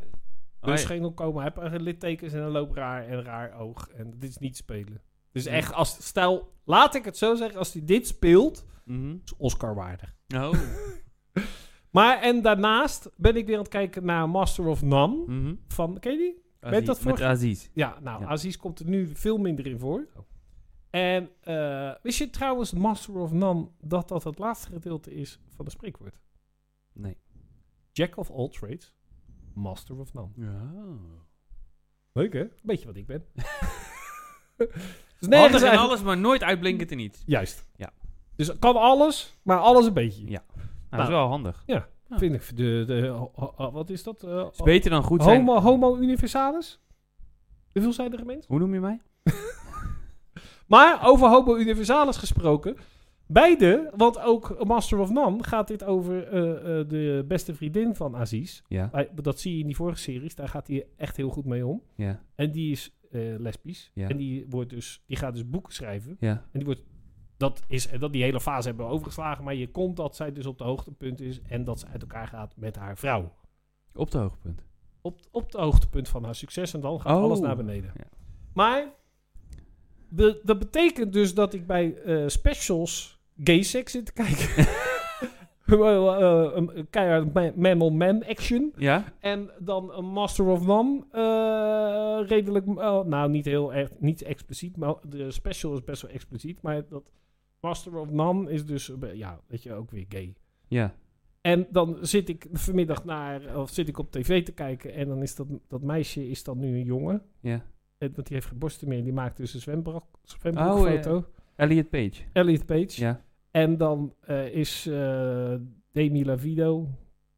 Speaker 2: Oh,
Speaker 1: Dus
Speaker 2: hij-
Speaker 1: geen opkomen. Hij heeft littekens en een loopraar en een raar oog. En dit is niet spelen. Dus echt, als, stel, laat ik het zo zeggen, als hij dit speelt,
Speaker 2: Mhm.
Speaker 1: is Oscar waardig.
Speaker 2: Oh.
Speaker 1: Maar en daarnaast ben ik weer aan het kijken naar Master of None.
Speaker 2: [laughs] Mhm.
Speaker 1: Van, ken je die?
Speaker 2: Aziz.
Speaker 1: dat
Speaker 2: Met
Speaker 1: vorig-
Speaker 2: Aziz.
Speaker 1: Ja, nou,
Speaker 2: Ja.
Speaker 1: Aziz komt er nu veel minder in voor.
Speaker 2: Oh.
Speaker 1: En eh, wist je trouwens, Master of None, dat dat het laatste gedeelte is van de spreekwoord?
Speaker 2: Nee.
Speaker 1: Jack of all trades, Master of None.
Speaker 2: Ja.
Speaker 1: Leuk hè? Beetje wat ik ben. dus
Speaker 2: Nee,
Speaker 1: nergens
Speaker 2: Handig in
Speaker 1: eigenlijk-
Speaker 2: alles, maar nooit uitblinkend in iets.
Speaker 1: Juist.
Speaker 2: Ja.
Speaker 1: Dus kan alles, maar alles een beetje.
Speaker 2: Ja. Nou, dat is wel handig. Ja.
Speaker 1: Vind ik. De, de, ho- ho- ho- wat is dat? Eh,
Speaker 2: is beter dan goed zijn.
Speaker 1: homo, homo universalis? De veelzijdige mens.
Speaker 2: Hoe noem je mij?
Speaker 1: Maar over homo universalis gesproken. Beide, want ook Master of None gaat dit over eh, eh, de beste vriendin van Aziz.
Speaker 2: Ja.
Speaker 1: Hij- Dat zie je in die vorige series. Daar gaat hij echt heel goed mee om.
Speaker 2: Ja.
Speaker 1: En die is eh, lesbisch.
Speaker 2: Ja.
Speaker 1: En die, wordt dus, die gaat dus boeken schrijven.
Speaker 2: Ja.
Speaker 1: En die wordt, dat is, en dat die hele fase hebben we overgeslagen. Maar je komt dat zij dus op de hoogtepunt is. En dat ze uit elkaar gaat met haar vrouw.
Speaker 2: Op de hoogtepunt.
Speaker 1: Op, op het hoogtepunt van haar succes. En dan gaat
Speaker 2: Oh.
Speaker 1: alles naar beneden.
Speaker 2: Ja.
Speaker 1: Maar de, dat betekent dus dat ik bij eh, specials gay seks zit te kijken. [laughs]
Speaker 2: [laughs]
Speaker 1: Wel, eh, een keihard ma- man-on-man action.
Speaker 2: Ja?
Speaker 1: En dan een Master of None. eh, redelijk. eh, nou, niet heel erg. Niet expliciet. Maar de special is best wel expliciet. Maar dat Master of None is dus. een be- Ja, weet je, ook weer gay.
Speaker 2: Ja.
Speaker 1: En dan zit ik vanmiddag naar. Of zit ik op tv te kijken. En dan is dat, dat meisje is dan nu een jongen.
Speaker 2: Ja.
Speaker 1: En- Want die heeft geen borsten meer. Die maakt dus een zwembroek, zwembroekfoto.
Speaker 2: Elliot Page.
Speaker 1: Elliot Page.
Speaker 2: Oh, Ja.
Speaker 1: En dan eh, is eh, Demi Lavido.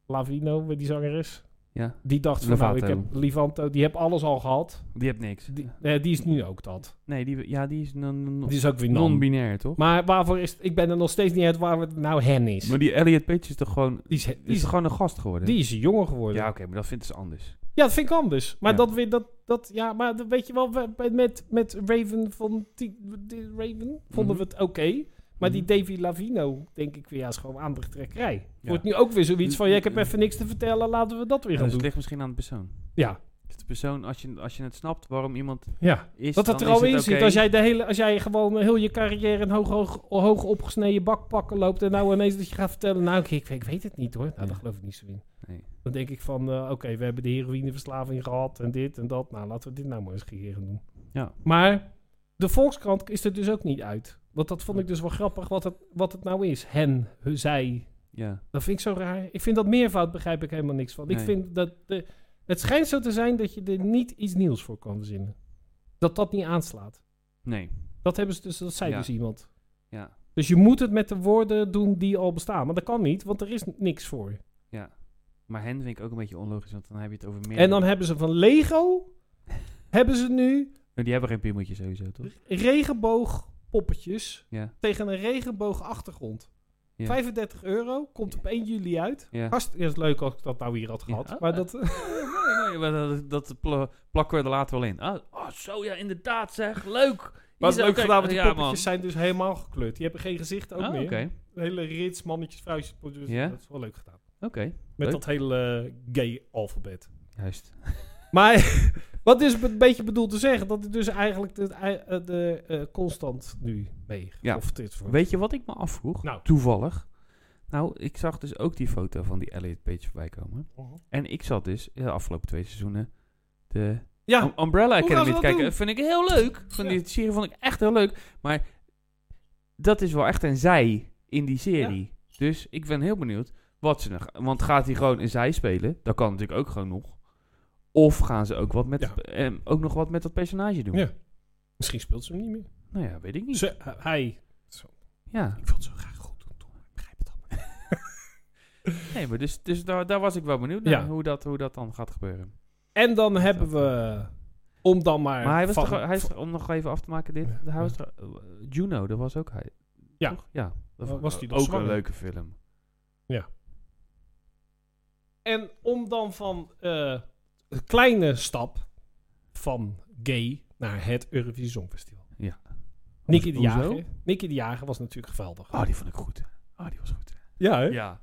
Speaker 1: Lavino, die zangeres.
Speaker 2: Ja.
Speaker 1: Die dacht van, nou, ik
Speaker 2: Lovato.
Speaker 1: heb Livanto, die heb alles al gehad.
Speaker 2: Die hebt niks.
Speaker 1: Die, eh, die is nu ook dat.
Speaker 2: Nee, die, ja, die is non- non-
Speaker 1: Die is ook weer non.
Speaker 2: non-binair, toch?
Speaker 1: Maar waarvoor is... Ik ben er nog steeds niet uit waar het nou hen is.
Speaker 2: Maar die Elliot Page is toch gewoon,
Speaker 1: Die is, die
Speaker 2: is
Speaker 1: is,
Speaker 2: toch gewoon een gast geworden?
Speaker 1: die is jonger geworden.
Speaker 2: Ja,
Speaker 1: Ja.
Speaker 2: oké, maar dat vindt ze anders.
Speaker 1: dat vind ik anders. Maar
Speaker 2: Ja.
Speaker 1: dat weer... Dat, dat, ja, maar dat weet je wel, we- we- met, met Raven van... die- die Raven vonden we het oké. Maar die
Speaker 2: Mhm.
Speaker 1: Davy Lavino, denk ik weer, ja, is gewoon aandachttrekkerij.
Speaker 2: Ja.
Speaker 1: Wordt nu ook weer zoiets van, ja, ik heb even niks te vertellen, laten we dat weer
Speaker 2: Ja,
Speaker 1: gaan
Speaker 2: dus het
Speaker 1: doen.
Speaker 2: ligt misschien aan de persoon.
Speaker 1: Ja,
Speaker 2: Dus de persoon, als je, als je het snapt waarom iemand
Speaker 1: ja.
Speaker 2: is,
Speaker 1: Dat het
Speaker 2: dan
Speaker 1: er al
Speaker 2: is
Speaker 1: in
Speaker 2: het
Speaker 1: zit.
Speaker 2: oké.
Speaker 1: Als jij, de hele, als jij gewoon heel je carrière in hoog, hoog, hoog opgesneden bakpakken loopt. en nou ineens dat je gaat vertellen. Nou, ik, ik, ik weet het niet hoor. Nou,
Speaker 2: Ja.
Speaker 1: dat geloof ik niet zo in.
Speaker 2: Nee.
Speaker 1: Dan denk ik van. eh, Oké, we hebben de heroïneverslaving gehad. en dit en dat. Nou, laten we dit nou maar eens geren doen.
Speaker 2: Ja.
Speaker 1: Maar de Volkskrant is er dus ook niet uit. Want dat vond ik dus wel grappig wat het, wat het nou is. Hen, hun, zij.
Speaker 2: Ja.
Speaker 1: Dat vind ik zo raar. Ik vind dat meervoud begrijp ik helemaal niks van. Ik
Speaker 2: Nee.
Speaker 1: vind dat. De, het schijnt zo te zijn dat je er niet iets nieuws voor kan verzinnen. Dat dat niet aanslaat.
Speaker 2: Nee.
Speaker 1: Dat hebben ze dus, dat zei
Speaker 2: Ja.
Speaker 1: dus iemand.
Speaker 2: Ja.
Speaker 1: Dus je moet het met de woorden doen die al bestaan. Maar dat kan niet, want er is n- niks voor.
Speaker 2: Ja. Maar hen vind ik ook een beetje onlogisch, want dan heb je het over meer.
Speaker 1: En dan hebben ze van Lego, hebben ze nu
Speaker 2: Oh, die hebben geen piemeltje sowieso, toch?
Speaker 1: regenboogpoppetjes
Speaker 2: Ja.
Speaker 1: tegen een regenboogachtergrond.
Speaker 2: Ja.
Speaker 1: 35 euro, komt op 1 juli uit.
Speaker 2: Ja.
Speaker 1: Hartst- ja, dat is leuk als ik dat nou hier had
Speaker 2: Ja.
Speaker 1: gehad.
Speaker 2: Oh,
Speaker 1: maar
Speaker 2: eh. [laughs]
Speaker 1: dat, [laughs]
Speaker 2: Mooi, mooi. Dat, dat pla- plakken we er later wel in. Ah, oh, zo ja, inderdaad zeg.
Speaker 1: maar
Speaker 2: Leuk. Is-
Speaker 1: het is leuk
Speaker 2: oké,
Speaker 1: gedaan, want die
Speaker 2: ja,
Speaker 1: poppetjes
Speaker 2: man.
Speaker 1: zijn dus helemaal gekleurd. Die hebben geen gezicht ook
Speaker 2: Ah,
Speaker 1: meer.
Speaker 2: Oké, oké.
Speaker 1: Een hele rits, mannetjes, vrouwtjes. Dus
Speaker 2: Ja.
Speaker 1: Dat is wel leuk gedaan. Met
Speaker 2: Leuk.
Speaker 1: dat hele eh, gay alfabet.
Speaker 2: Juist.
Speaker 1: Maar [laughs] wat is een beetje bedoeld te zeggen? Dat het dus eigenlijk de, eh, de eh, constant nu mee
Speaker 2: Ja.
Speaker 1: geconfronteerd wordt.
Speaker 2: Weet je wat ik me afvroeg?
Speaker 1: Nou.
Speaker 2: Toevallig. Nou, ik zag dus ook die foto van die Elliot Page voorbij komen. En ik zat dus de afgelopen twee seizoenen de
Speaker 1: Ja,
Speaker 2: Um- Umbrella
Speaker 1: Ah, Hoe gaan ze
Speaker 2: Academy
Speaker 1: dat
Speaker 2: te kijken.
Speaker 1: doen?
Speaker 2: Vind ik heel leuk. Van
Speaker 1: Ja.
Speaker 2: die serie vond ik echt heel leuk. Maar dat is wel echt een zij in die serie. Dus ik ben heel benieuwd wat ze nog... Want gaat hij gewoon een zij spelen? Dat kan natuurlijk ook gewoon nog. Of gaan ze ook, wat met,
Speaker 1: Ja.
Speaker 2: eh, ook nog wat met dat personage doen?
Speaker 1: Ja. misschien speelt ze hem niet meer.
Speaker 2: Nou ja, weet ik niet.
Speaker 1: Ze, eh, hij.
Speaker 2: ja.
Speaker 1: Ik wil het zo graag goed doen, Tom. Ik begrijp het allemaal.
Speaker 2: Nee, maar dus, dus daar, daar was ik wel benieuwd naar.
Speaker 1: Ja.
Speaker 2: Hoe, dat, hoe dat dan gaat gebeuren.
Speaker 1: En dan hebben we, om dan maar...
Speaker 2: Maar hij was
Speaker 1: van-
Speaker 2: toch, hij is, om nog even af te maken dit,
Speaker 1: Ja.
Speaker 2: hij was toch- eh, Juno, dat was ook hij.
Speaker 1: Ja.
Speaker 2: toch? ja.
Speaker 1: Wa-
Speaker 2: Dat vond
Speaker 1: was
Speaker 2: ik
Speaker 1: die nog
Speaker 2: ook een
Speaker 1: zwanger?
Speaker 2: leuke film.
Speaker 1: En om dan van eh, een kleine stap van gay naar het Eurovisie Songfestival.
Speaker 2: Ja.
Speaker 1: Nicky de
Speaker 2: Hoezo?
Speaker 1: Jager. Nicky de Jager was natuurlijk geweldig.
Speaker 2: Oh, die vond ik goed. Oh, die was goed.
Speaker 1: Ja, hè?
Speaker 2: Ja.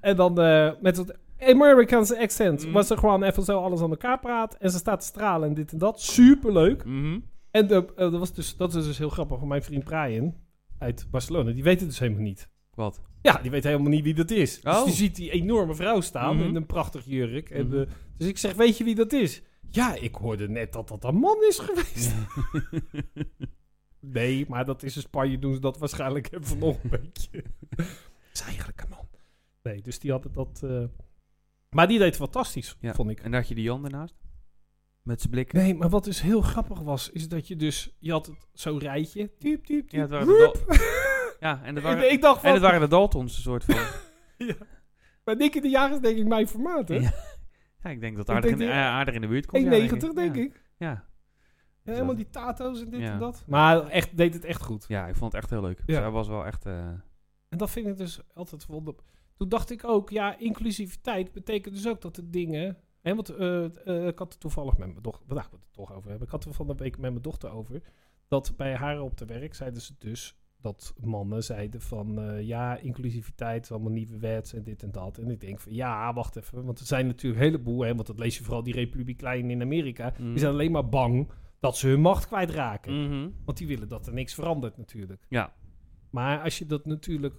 Speaker 1: En dan eh, met dat Amerikaanse accent
Speaker 2: Mm.
Speaker 1: was ze gewoon even zo alles aan elkaar praat. En ze staat te stralen en dit en dat. Superleuk.
Speaker 2: Mhm.
Speaker 1: En eh, eh, dat, was dus, dat is dus heel grappig van mijn vriend Brian uit Barcelona. Die weet het dus helemaal niet.
Speaker 2: Wat?
Speaker 1: Ja, die weet helemaal niet wie dat is. Dus
Speaker 2: Oh.
Speaker 1: die ziet die enorme vrouw staan
Speaker 2: Mhm.
Speaker 1: in een prachtig jurk. En,
Speaker 2: Mhm.
Speaker 1: eh, dus ik zeg, weet je wie dat is? Ja, ik hoorde net dat dat een man is geweest. [laughs] nee, maar dat is in Spanje doen ze dat waarschijnlijk [laughs] even nog een
Speaker 2: [laughs]
Speaker 1: beetje. Dat is eigenlijk een man. Nee, dus die hadden dat... eh, Maar die deed fantastisch,
Speaker 2: Ja.
Speaker 1: vond ik.
Speaker 2: En daar had je die Jan ernaast? Met zijn blik.
Speaker 1: Nee, maar wat dus heel grappig was, is dat je dus... Je had het- zo'n rijtje. Tuup, tuup,
Speaker 2: Ja,
Speaker 1: tuup.
Speaker 2: het waren de
Speaker 1: Woep. [laughs]
Speaker 2: Ja, en dat waren,
Speaker 1: ik dacht
Speaker 2: en
Speaker 1: van...
Speaker 2: dat waren de Daltons, een
Speaker 1: [laughs]
Speaker 2: soort van.
Speaker 1: Maar Nicky de Jager is denk ik mijn formaat, hè?
Speaker 2: Ja, ja, ik denk dat
Speaker 1: Ik
Speaker 2: aardig,
Speaker 1: denk
Speaker 2: in,
Speaker 1: die-
Speaker 2: eh, aardig in de buurt komt. ja,
Speaker 1: 1,90 denk
Speaker 2: Ja.
Speaker 1: ik.
Speaker 2: Ja.
Speaker 1: Ja, helemaal die tato's en dit
Speaker 2: Ja.
Speaker 1: en dat. Maar echt, deed het echt goed.
Speaker 2: ja, ik vond het echt heel leuk.
Speaker 1: Ja.
Speaker 2: Zij was wel echt... eh,
Speaker 1: En dat vind ik dus altijd wonder. Toen dacht ik ook, ja, inclusiviteit betekent dus ook dat de dingen... Hè, want eh, eh, ik had het toevallig met mijn dochter... Vandaag moet ik het toch over hebben. Ik had er van de week met mijn dochter over. Dat bij haar op de werk zeiden ze dus... Dat mannen zeiden van eh, ja, inclusiviteit, allemaal nieuwe wet en dit en dat. En ik denk van ja, wacht even. Want er zijn natuurlijk een heleboel, hè, want dat lees je vooral die Republiek Klein in Amerika.
Speaker 2: mm.
Speaker 1: Die zijn alleen maar bang dat ze hun macht kwijtraken.
Speaker 2: Mhm.
Speaker 1: Want die willen dat er niks verandert natuurlijk.
Speaker 2: Ja.
Speaker 1: Maar als je dat natuurlijk...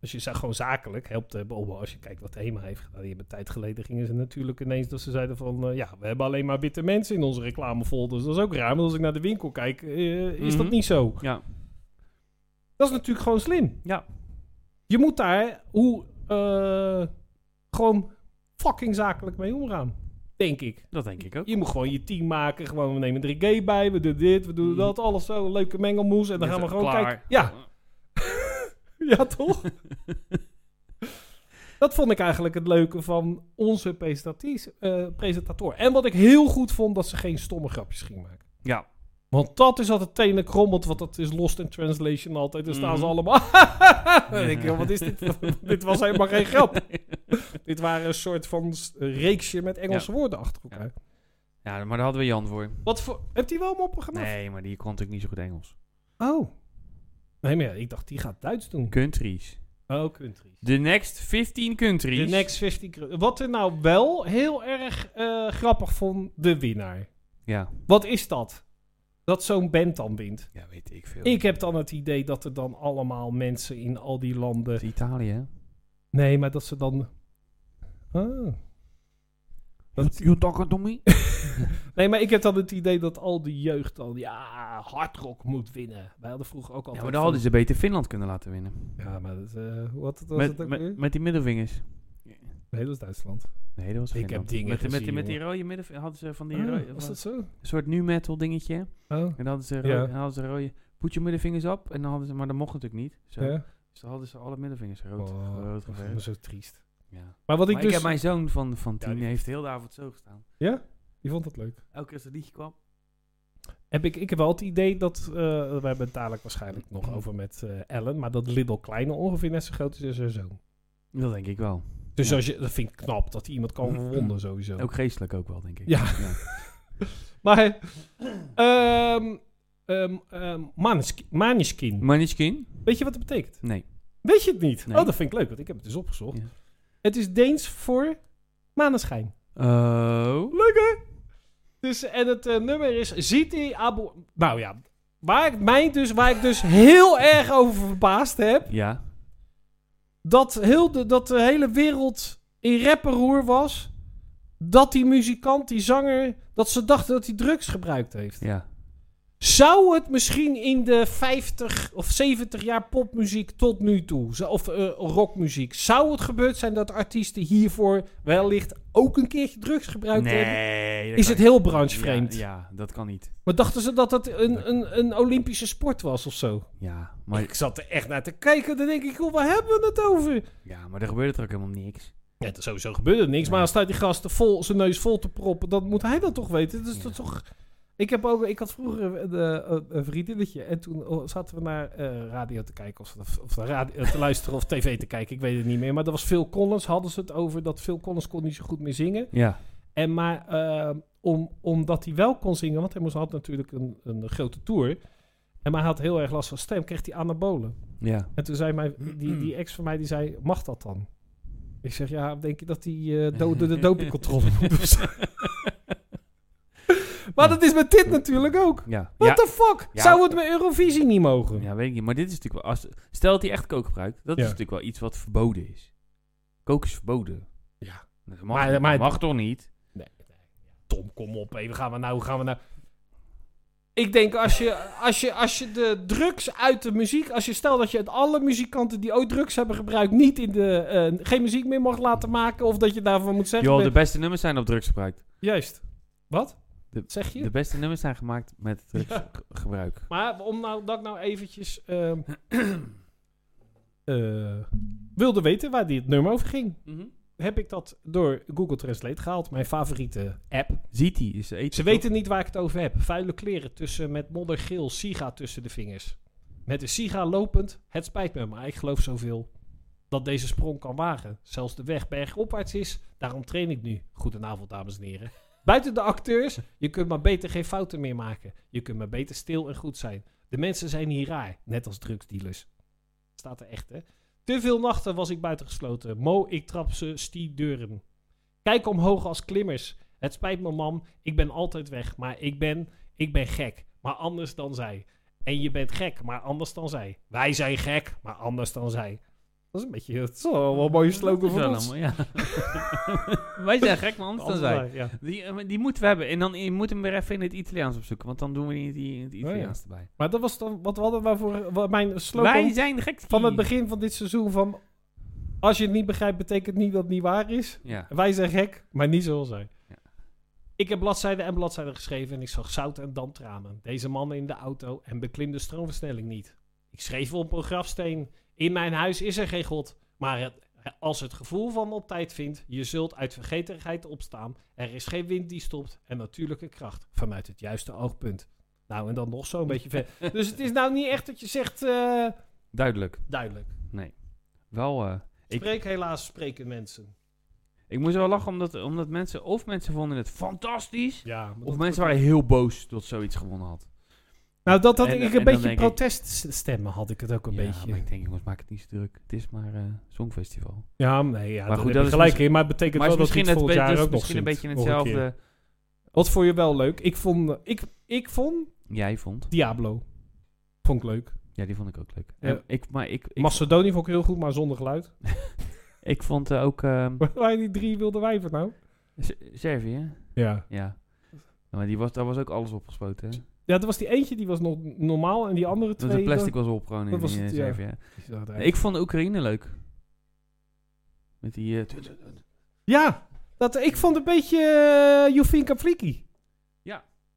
Speaker 1: Als je za- gewoon zakelijk helpt hebben... oh, als je kijkt wat HEMA heeft gedaan... die hebben een tijd geleden gingen ze natuurlijk ineens... dat ze zeiden van... eh, ja, we hebben alleen maar witte mensen in onze reclamefolders. Dat is ook raar. Maar als ik naar de winkel kijk... eh, is dat
Speaker 2: Mhm.
Speaker 1: niet zo.
Speaker 2: Ja.
Speaker 1: Dat is natuurlijk gewoon slim.
Speaker 2: Ja.
Speaker 1: Je moet daar hoe... eh, gewoon fucking zakelijk mee omgaan. Denk ik.
Speaker 2: Dat denk ik ook.
Speaker 1: Je moet gewoon je team maken. Gewoon, we nemen 3G bij, we doen dit, we doen
Speaker 2: Mhm.
Speaker 1: dat, alles zo. Een leuke mengelmoes. En dan
Speaker 2: Net
Speaker 1: gaan we
Speaker 2: zo,
Speaker 1: gewoon
Speaker 2: klaar.
Speaker 1: kijken. Ja, [laughs] ja
Speaker 2: [laughs]
Speaker 1: toch? dat vond ik eigenlijk het leuke van onze presentaties- eh, presentator. En wat ik heel goed vond, dat ze geen stomme grapjes ging maken.
Speaker 2: Ja.
Speaker 1: Want dat is altijd tenen krommelt, want dat is lost in translation altijd. Dan staan ze
Speaker 2: Mhm.
Speaker 1: allemaal... [laughs] Dan denk ik, joh, wat is
Speaker 2: [laughs]
Speaker 1: dit? [laughs] voor- dit was helemaal geen grap. dit waren een soort van s- reeksje met Engelse woorden achter elkaar.
Speaker 2: Ja, maar daar hadden we Jan voor.
Speaker 1: Wat voor... Hebt hij wel moppen gemaakt?
Speaker 2: Nee, maar die kon natuurlijk niet zo goed Engels.
Speaker 1: Oh. Nee, maar ja, ik dacht, die gaat Duits doen.
Speaker 2: Countries.
Speaker 1: Oh, countries.
Speaker 2: The next 15 countries.
Speaker 1: De next 50 cru- Wat er nou wel heel erg eh, grappig vond, de winnaar.
Speaker 2: Ja.
Speaker 1: Wat is dat? Dat zo'n band dan wint.
Speaker 2: Ja, weet ik veel.
Speaker 1: Ik heb dan het idee dat er dan allemaal mensen in al die landen...
Speaker 2: Dat is Italië, hè?
Speaker 1: Nee, maar dat ze dan... Ah. Dat-
Speaker 2: You talking to me?
Speaker 1: Nee, maar ik heb dan het idee dat al die jeugd dan... Ja, hardrock moet winnen. Wij hadden vroeger ook altijd...
Speaker 2: Ja, maar dan hadden ze beter Finland kunnen laten winnen.
Speaker 1: Ja, maar dat... eh, hoe had het, was
Speaker 2: Met,
Speaker 1: het ook
Speaker 2: met,
Speaker 1: weer?
Speaker 2: met die middelvingers.
Speaker 1: Nee, dat is Duitsland.
Speaker 2: Nee, dat was
Speaker 1: Ik heb
Speaker 2: Finland.
Speaker 1: dingen
Speaker 2: met, de- met, die-
Speaker 1: gezien,
Speaker 2: met die rode midden hadden ze van die
Speaker 1: Ah,
Speaker 2: rode,
Speaker 1: was dat zo?
Speaker 2: een soort nu metal dingetje. En
Speaker 1: Oh,
Speaker 2: dan hadden ze, rode,
Speaker 1: Ja.
Speaker 2: en dan hadden ze rode, put your middelvingers op. En dan hadden ze, maar dat mocht natuurlijk niet. Zo.
Speaker 1: ja.
Speaker 2: Dus dan hadden ze alle middelvingers rood,
Speaker 1: Oh,
Speaker 2: rood
Speaker 1: dat
Speaker 2: geverfd.
Speaker 1: is zo triest.
Speaker 2: Ja.
Speaker 1: Maar wat ik
Speaker 2: Maar ik
Speaker 1: dus...
Speaker 2: heb mijn zoon van, van
Speaker 1: Ja,
Speaker 2: tien
Speaker 1: die-
Speaker 2: heeft heel de avond zo gestaan.
Speaker 1: Je vond dat leuk.
Speaker 2: Elke keer als dat liedje kwam.
Speaker 1: Heb ik, ik heb wel het idee dat, eh, we hebben het dadelijk waarschijnlijk nog over met eh, Ellen, maar dat Lidl Kleine ongeveer net zo groot is als haar zoon.
Speaker 2: Dat denk ik wel.
Speaker 1: Dus
Speaker 2: Ja.
Speaker 1: als je, dat vind ik knap, dat hij iemand kan verwonden sowieso.
Speaker 2: Ook geestelijk ook wel, denk ik.
Speaker 1: Ja. Maar, ehm ehm ehm, Maneski- Maneskin.
Speaker 2: Maniskin?
Speaker 1: Weet je wat dat betekent?
Speaker 2: Nee.
Speaker 1: Weet je het niet?
Speaker 2: Nee.
Speaker 1: Oh, dat vind ik leuk, want ik heb het dus opgezocht.
Speaker 2: Ja.
Speaker 1: Het is Deens voor maneschijn.
Speaker 2: Oh.
Speaker 1: Leuk hè? Dus, en het eh, nummer is Ziti Abu... Nou ja, waar ik, mij dus, waar ik dus heel erg over verbaasd heb...
Speaker 2: Ja.
Speaker 1: dat, heel de, dat de hele wereld in rapperoer was... dat die muzikant, die zanger... dat ze dachten dat hij drugs gebruikt heeft.
Speaker 2: Ja.
Speaker 1: Zou het misschien in de 50 of 70 jaar popmuziek tot nu toe, zo- of eh, rockmuziek, zou het gebeurd zijn dat artiesten hiervoor wellicht ook een keertje drugs gebruikt hebben?
Speaker 2: Nee. dat
Speaker 1: Nou, Is
Speaker 2: kan
Speaker 1: het heel
Speaker 2: niet.
Speaker 1: branchevreemd?
Speaker 2: Ja, ja, dat kan niet.
Speaker 1: Maar dachten ze dat dat een, een, een Olympische sport was of zo?
Speaker 2: Ja, maar,
Speaker 1: Ik zat er echt naar te kijken, dan denk ik, joh, waar hebben we het over?
Speaker 2: ja, maar er gebeurde er ook helemaal niks.
Speaker 1: Ja, sowieso gebeurde niks, maar als staat die gast vol, zijn neus vol te proppen, dan moet hij dat toch weten. Dus
Speaker 2: Ja.
Speaker 1: dat is toch... Ik, heb ook, ik had vroeger een, eh, een- een vriendinnetje en toen oh, zaten we naar eh, radio te kijken of, of, of radio, eh, te luisteren of tv te kijken, ik weet het niet meer. Maar dat was Phil Collins, hadden ze het over dat Phil Collins kon niet zo goed meer zingen.
Speaker 2: Ja.
Speaker 1: En maar eh, om, omdat hij wel kon zingen, want hij moest, had natuurlijk een, een grote tour. En maar hij had heel erg last van stem, kreeg hij anabolen.
Speaker 2: Ja.
Speaker 1: En toen zei mijn, die, die ex van mij, die zei, mag dat dan? Ik zeg, ja, denk je dat die eh, do- door de dopingcontrole moet of zo? [laughs] Maar dat is met dit natuurlijk ook.
Speaker 2: Ja.
Speaker 1: What
Speaker 2: Ja.
Speaker 1: the fuck?
Speaker 2: Ja.
Speaker 1: Zou het met Eurovisie niet mogen?
Speaker 2: ja, weet ik niet. Maar dit is natuurlijk wel... Als, stel dat hij echt kook gebruikt. Dat
Speaker 1: Ja.
Speaker 2: is natuurlijk wel iets wat verboden is. Kook is verboden.
Speaker 1: Ja.
Speaker 2: Dat mag,
Speaker 1: Maar-
Speaker 2: niet.
Speaker 1: maar-
Speaker 2: dat mag toch niet?
Speaker 1: Tom, kom op. Even gaan we nou, hoe gaan we nou... Ik denk, als je, als, je, als je de drugs uit de muziek... Als je stel dat je het alle muzikanten die ooit drugs hebben gebruikt... niet in de, eh, geen muziek meer mag laten maken... of dat je daarvan moet zeggen...
Speaker 2: Joh,
Speaker 1: ben-
Speaker 2: de beste nummers zijn op drugs gebruikt.
Speaker 1: Juist. Wat?
Speaker 2: De-
Speaker 1: zeg je?
Speaker 2: De beste nummers zijn gemaakt met
Speaker 1: Ja.
Speaker 2: drugsgebruik.
Speaker 1: Maar om nou, dat ik nou eventjes...
Speaker 2: [clears throat]
Speaker 1: ehm, eh, wilde weten waar dit nummer over ging... heb ik dat door Google Translate gehaald. Mijn favoriete app.
Speaker 2: Ziet hij? Is eten,
Speaker 1: Ze weten niet waar ik het over heb. Vuile kleren tussen met moddergeel siga tussen de vingers. Met de siga lopend, het spijt me, maar ik geloof zoveel. Dat deze sprong kan wagen. Zelfs de weg bergopwaarts is, daarom train ik nu. Goedenavond, dames en heren. Buiten de acteurs, je kunt maar beter geen fouten meer maken. Je kunt maar beter stil en goed zijn. De mensen zijn hier raar, net als drugsdealers. Staat er echt, hè? Te veel nachten was ik buitengesloten. Mo, ik trap ze stie deuren. Kijk omhoog als klimmers. Het spijt me, mam. Ik ben altijd weg. Maar ik ben, ik ben gek. Maar anders dan zij. En je bent gek, maar anders dan zij. Wij zijn gek, maar anders dan zij. Dat is een beetje... Het is wel een mooie slogan
Speaker 2: Zo
Speaker 1: voor
Speaker 2: dan,
Speaker 1: ons.
Speaker 2: ja. [laughs] Wij zijn gek, man. Anders dan zij.
Speaker 1: Ja.
Speaker 2: Die, eh, maar die moeten we hebben. En dan je moet hem weer even in het Italiaans opzoeken. Want dan doen we die in die- in
Speaker 1: Oh
Speaker 2: het Italiaans erbij.
Speaker 1: Maar dat was dan wat we hadden waarvoor wat mijn slogan
Speaker 2: Wij zijn gek.
Speaker 1: van het begin van dit seizoen van als je het niet begrijpt betekent niet dat het niet waar is.
Speaker 2: Ja.
Speaker 1: Wij zijn gek, maar niet zoals zij.
Speaker 2: Ja.
Speaker 1: Ik heb bladzijden en bladzijden geschreven en ik zag zout en damp tranen. Deze mannen in de auto en beklim de stroomversnelling niet. Ik schreef op een grafsteen. In mijn huis is er geen God. Maar het, als het gevoel van op tijd vindt, je zult uit vergetenheid opstaan. Er is geen wind die stopt en natuurlijke kracht vanuit het juiste oogpunt. Nou, en dan nog
Speaker 2: [laughs]
Speaker 1: zo'n beetje ver. Dus het is nou niet echt dat je zegt eh,
Speaker 2: Duidelijk.
Speaker 1: duidelijk.
Speaker 2: Wel, eh, ik,
Speaker 1: Spreek helaas spreken mensen.
Speaker 2: ik moest wel lachen omdat, omdat mensen... Of mensen vonden het fantastisch.
Speaker 1: Ja, maar
Speaker 2: Of
Speaker 1: dat-
Speaker 2: mensen waren heel boos dat zoiets gewonnen had.
Speaker 1: Nou, dat had
Speaker 2: En-
Speaker 1: ik
Speaker 2: en
Speaker 1: een
Speaker 2: dan
Speaker 1: beetje
Speaker 2: denk ik-
Speaker 1: proteststemmen, had ik het ook een
Speaker 2: ja,
Speaker 1: beetje.
Speaker 2: maar ik denk, jongens, maak het niet zo druk. Het is maar eh Songfestival.
Speaker 1: Ja, nee, ja,
Speaker 2: Maar
Speaker 1: maar
Speaker 2: goed,
Speaker 1: goed, dat
Speaker 2: dat is
Speaker 1: is gelijk
Speaker 2: misschien-
Speaker 1: in, maar het betekent
Speaker 2: maar
Speaker 1: wel
Speaker 2: het is
Speaker 1: dat je
Speaker 2: misschien,
Speaker 1: het
Speaker 2: het
Speaker 1: volgend
Speaker 2: be-
Speaker 1: jaar
Speaker 2: dat
Speaker 1: ook
Speaker 2: is
Speaker 1: nog
Speaker 2: misschien
Speaker 1: ziet,
Speaker 2: een beetje
Speaker 1: nog keer.
Speaker 2: hetzelfde...
Speaker 1: Wat vond je wel leuk? Ik vond, eh, ik, ik vond
Speaker 2: Jij vond.
Speaker 1: Diablo. Vond ik leuk.
Speaker 2: Ja, die vond ik ook leuk.
Speaker 1: Ja.
Speaker 2: En Ik, maar ik, ik,
Speaker 1: Macedonië vond ik heel goed, maar zonder geluid.
Speaker 2: ik vond eh, ook ehm,
Speaker 1: [laughs] Waar die drie wilde wijven nou?
Speaker 2: S- Servië.
Speaker 1: Ja.
Speaker 2: Ja. Ja, Maar die was, daar was ook alles opgespoten. Hè?
Speaker 1: Ja, er was die eentje, die was nog normaal, en die andere
Speaker 2: Dat
Speaker 1: twee...
Speaker 2: de plastic was op gewoon in
Speaker 1: dat was
Speaker 2: die, eh,
Speaker 1: het, ja.
Speaker 2: Servië.
Speaker 1: dat-
Speaker 2: Nee, ik vond Oekraïne leuk. Met die... eh, tut- tut- tut.
Speaker 1: Ja, dat, ik vond een beetje eh, Jovinka Fliki.
Speaker 2: Ja.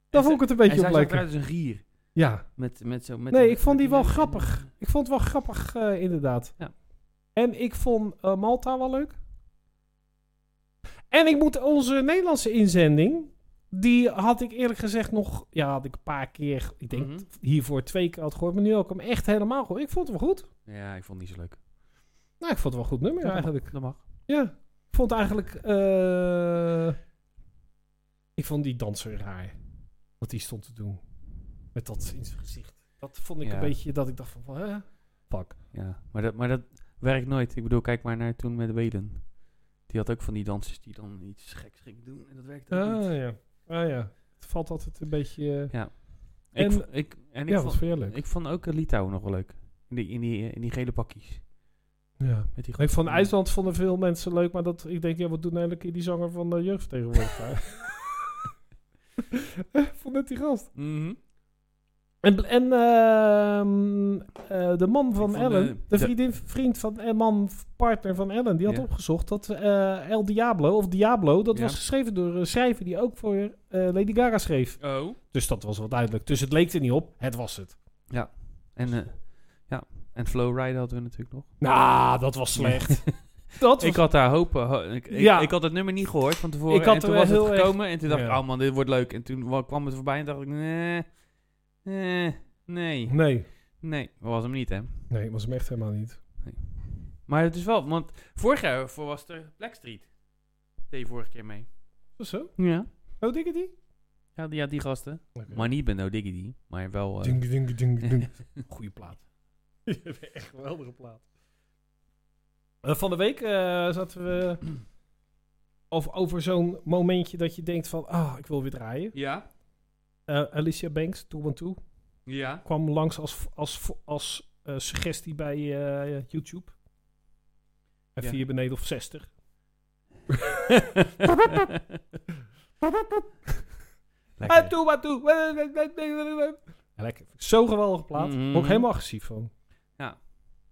Speaker 1: Daar vond
Speaker 2: En ze-
Speaker 1: ik het een
Speaker 2: en
Speaker 1: beetje op
Speaker 2: zij zag
Speaker 1: lijken.
Speaker 2: eruit als een gier.
Speaker 1: Ja.
Speaker 2: Met, met zo, met
Speaker 1: Nee,
Speaker 2: met-
Speaker 1: ik vond die
Speaker 2: met Mhm.
Speaker 1: wel grappig. Ik vond het wel grappig, eh, inderdaad.
Speaker 2: Ja.
Speaker 1: En ik vond eh, Malta wel leuk. En ik moet onze Nederlandse inzending. Die had ik eerlijk gezegd nog... Ja, had ik een paar keer... Ik denk
Speaker 2: Mhm.
Speaker 1: hiervoor twee keer had gehoord. Maar nu had ik hem echt helemaal gehoord. Ik vond het wel goed.
Speaker 2: Ja, ik vond het niet zo leuk.
Speaker 1: Nou, ik vond het wel een goed nummer
Speaker 2: Dat mag,
Speaker 1: eigenlijk.
Speaker 2: Dat mag.
Speaker 1: Ja. Ik vond eigenlijk... eh, ik vond die danser raar. Wat die stond te doen. Met dat in zijn gezicht. Dat vond ik
Speaker 2: Ja.
Speaker 1: een beetje... Dat ik dacht van... Hè? Fuck.
Speaker 2: Ja, maar dat, maar dat werkt nooit. Ik bedoel, kijk maar naar toen met Weden. Die had ook van die dansers die dan iets geks gingen doen. En dat werkte ook niet.
Speaker 1: Ah ja. Ah ja. Het valt altijd een beetje... eh,
Speaker 2: Ik,
Speaker 1: En-
Speaker 2: vo- ik, en ik,
Speaker 1: ja, wat
Speaker 2: vond,
Speaker 1: vind jij leuk?
Speaker 2: ik vond ook eh, Litouwen nog wel leuk. In die, in die, eh, in die gele pakjes.
Speaker 1: ja.
Speaker 2: Met die
Speaker 1: Ik van
Speaker 2: grote-
Speaker 1: IJsland vonden veel mensen leuk, maar dat, ik denk, ja, wat doen eigenlijk die zanger van eh, de jeugd tegenwoordig [laughs] daar? Vond net die gast.
Speaker 2: Mhm.
Speaker 1: En, en ehm, eh, de man van
Speaker 2: vond,
Speaker 1: Ellen,
Speaker 2: eh,
Speaker 1: de
Speaker 2: de-
Speaker 1: vriendin, vriend van en man, partner van Ellen, die had
Speaker 2: Ja.
Speaker 1: opgezocht dat eh, El Diablo, of Diablo, dat
Speaker 2: Ja.
Speaker 1: was geschreven door een schrijver die ook voor eh, Lady Gaga schreef.
Speaker 2: Oh.
Speaker 1: Dus dat was wel duidelijk. Dus het leek er niet op, het was het.
Speaker 2: En, eh, ja. en Flowrider hadden we natuurlijk nog.
Speaker 1: Nou, dat was
Speaker 2: [laughs]
Speaker 1: slecht. dat was
Speaker 2: Ik had daar hopen. ho- ik, ik,
Speaker 1: Ja.
Speaker 2: ik had het nummer niet gehoord van tevoren.
Speaker 1: Ik had
Speaker 2: en toen
Speaker 1: er
Speaker 2: was
Speaker 1: heel
Speaker 2: het
Speaker 1: erg-
Speaker 2: gekomen. En toen dacht ik,
Speaker 1: Ja.
Speaker 2: oh man, dit wordt leuk. En toen wa- kwam het voorbij en dacht ik, nee. Nee. Nee.
Speaker 1: Nee,
Speaker 2: Nee. Dat was hem niet, hè.
Speaker 1: nee, was hem echt helemaal niet.
Speaker 2: Maar het is wel, want vorig jaar voor was er Blackstreet. Deed je vorige keer mee.
Speaker 1: Was zo?
Speaker 2: Ja.
Speaker 1: Oh, diggity?
Speaker 2: Ja, die, ja, die gasten.
Speaker 1: Oké.
Speaker 2: Maar niet met No Diggity. Maar wel... eh,
Speaker 1: Ding, ding, ding,
Speaker 2: [laughs]
Speaker 1: ding. Goeie [laughs] plaat. Echt geweldige plaat. Eh, van de week eh, zaten we... Of over zo'n momentje dat je denkt van... Ah, ik wil weer draaien.
Speaker 2: ja.
Speaker 1: Eh, Alicia Banks, Toe Want Toe,
Speaker 2: Ja.
Speaker 1: kwam langs als, als, vo- als eh, suggestie bij eh, YouTube. En
Speaker 2: Ja.
Speaker 1: vier beneden of
Speaker 2: [laughs]
Speaker 1: 60.
Speaker 2: Lekker.
Speaker 1: Toe Want Toe. Ja, Lekker. Zo geweldige plaat.
Speaker 2: Mhm.
Speaker 1: Word ik helemaal agressief van.
Speaker 2: Ja.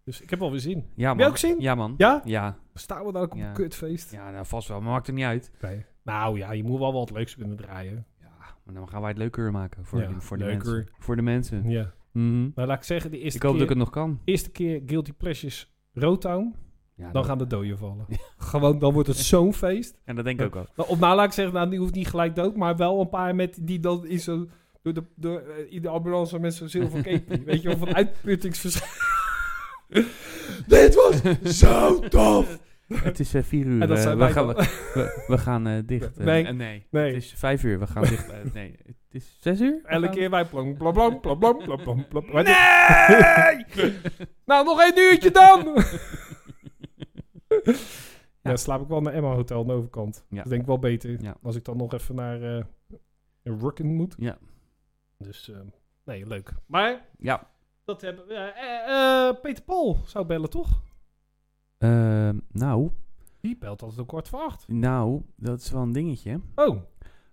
Speaker 1: Dus ik heb wel weer zin.
Speaker 2: Ja, man.
Speaker 1: Heb je ook zin?
Speaker 2: Ja, man.
Speaker 1: Ja?
Speaker 2: Ja.
Speaker 1: Staan we dan ook op
Speaker 2: Ja.
Speaker 1: een kutfeest?
Speaker 2: Ja, nou, vast wel. Maar maakt het niet uit.
Speaker 1: Nee. Nou ja, je moet wel wat leuks kunnen draaien.
Speaker 2: Ja, maar dan gaan wij het leuker maken voor,
Speaker 1: Ja,
Speaker 2: de, voor de
Speaker 1: leuker.
Speaker 2: mensen. Voor de mensen.
Speaker 1: Ja.
Speaker 2: Mhm.
Speaker 1: Maar laat ik zeggen, de eerste,
Speaker 2: Ik hoop dat
Speaker 1: keer,
Speaker 2: ik het nog kan.
Speaker 1: eerste keer Guilty Pleasures Rotown,
Speaker 2: Ja,
Speaker 1: dan
Speaker 2: dat-
Speaker 1: gaan de doden vallen. Gewoon, dan wordt het zo'n feest.
Speaker 2: En dat denk ik ook wel.
Speaker 1: Nou, Of nou laat ik zeggen, nou die hoeft niet gelijk dood, maar wel een paar met die dan in zo'n... Door de, door, eh, in de ambulance met zo'n zilver cape. weet je wel, van uitputtingsverschil. [laughs] Dit was zo tof!
Speaker 2: [laughs] Het is eh, vier uur.
Speaker 1: En dat
Speaker 2: eh,
Speaker 1: zijn
Speaker 2: we,
Speaker 1: wij
Speaker 2: gaan,
Speaker 1: dan.
Speaker 2: we, we- we gaan eh, dicht.
Speaker 1: [laughs]
Speaker 2: Eh,
Speaker 1: Nee.
Speaker 2: eh, nee.
Speaker 1: Nee.
Speaker 2: Het is vijf uur. We gaan dicht. Eh, [laughs] nee. Het is zes uur? We
Speaker 1: Elke
Speaker 2: gaan-
Speaker 1: keer wij plong, plom, plom, plom, plom, plom, plom, plom.
Speaker 2: [laughs]
Speaker 1: Nee! nou, nog één uurtje dan! ja, dan slaap ik wel naar Emma Hotel aan de overkant.
Speaker 2: Ja.
Speaker 1: Dat denk ik wel beter.
Speaker 2: Ja.
Speaker 1: Als ik dan nog even naar eh Rukken moet.
Speaker 2: Ja.
Speaker 1: Dus, eh, nee, leuk. Maar,
Speaker 2: Ja.
Speaker 1: dat hebben we... eh, eh, eh, Peter Paul zou bellen, toch?
Speaker 2: Ehm, nou,
Speaker 1: Die belt altijd om kwart voor acht.
Speaker 2: nou, dat is wel een dingetje.
Speaker 1: Oh.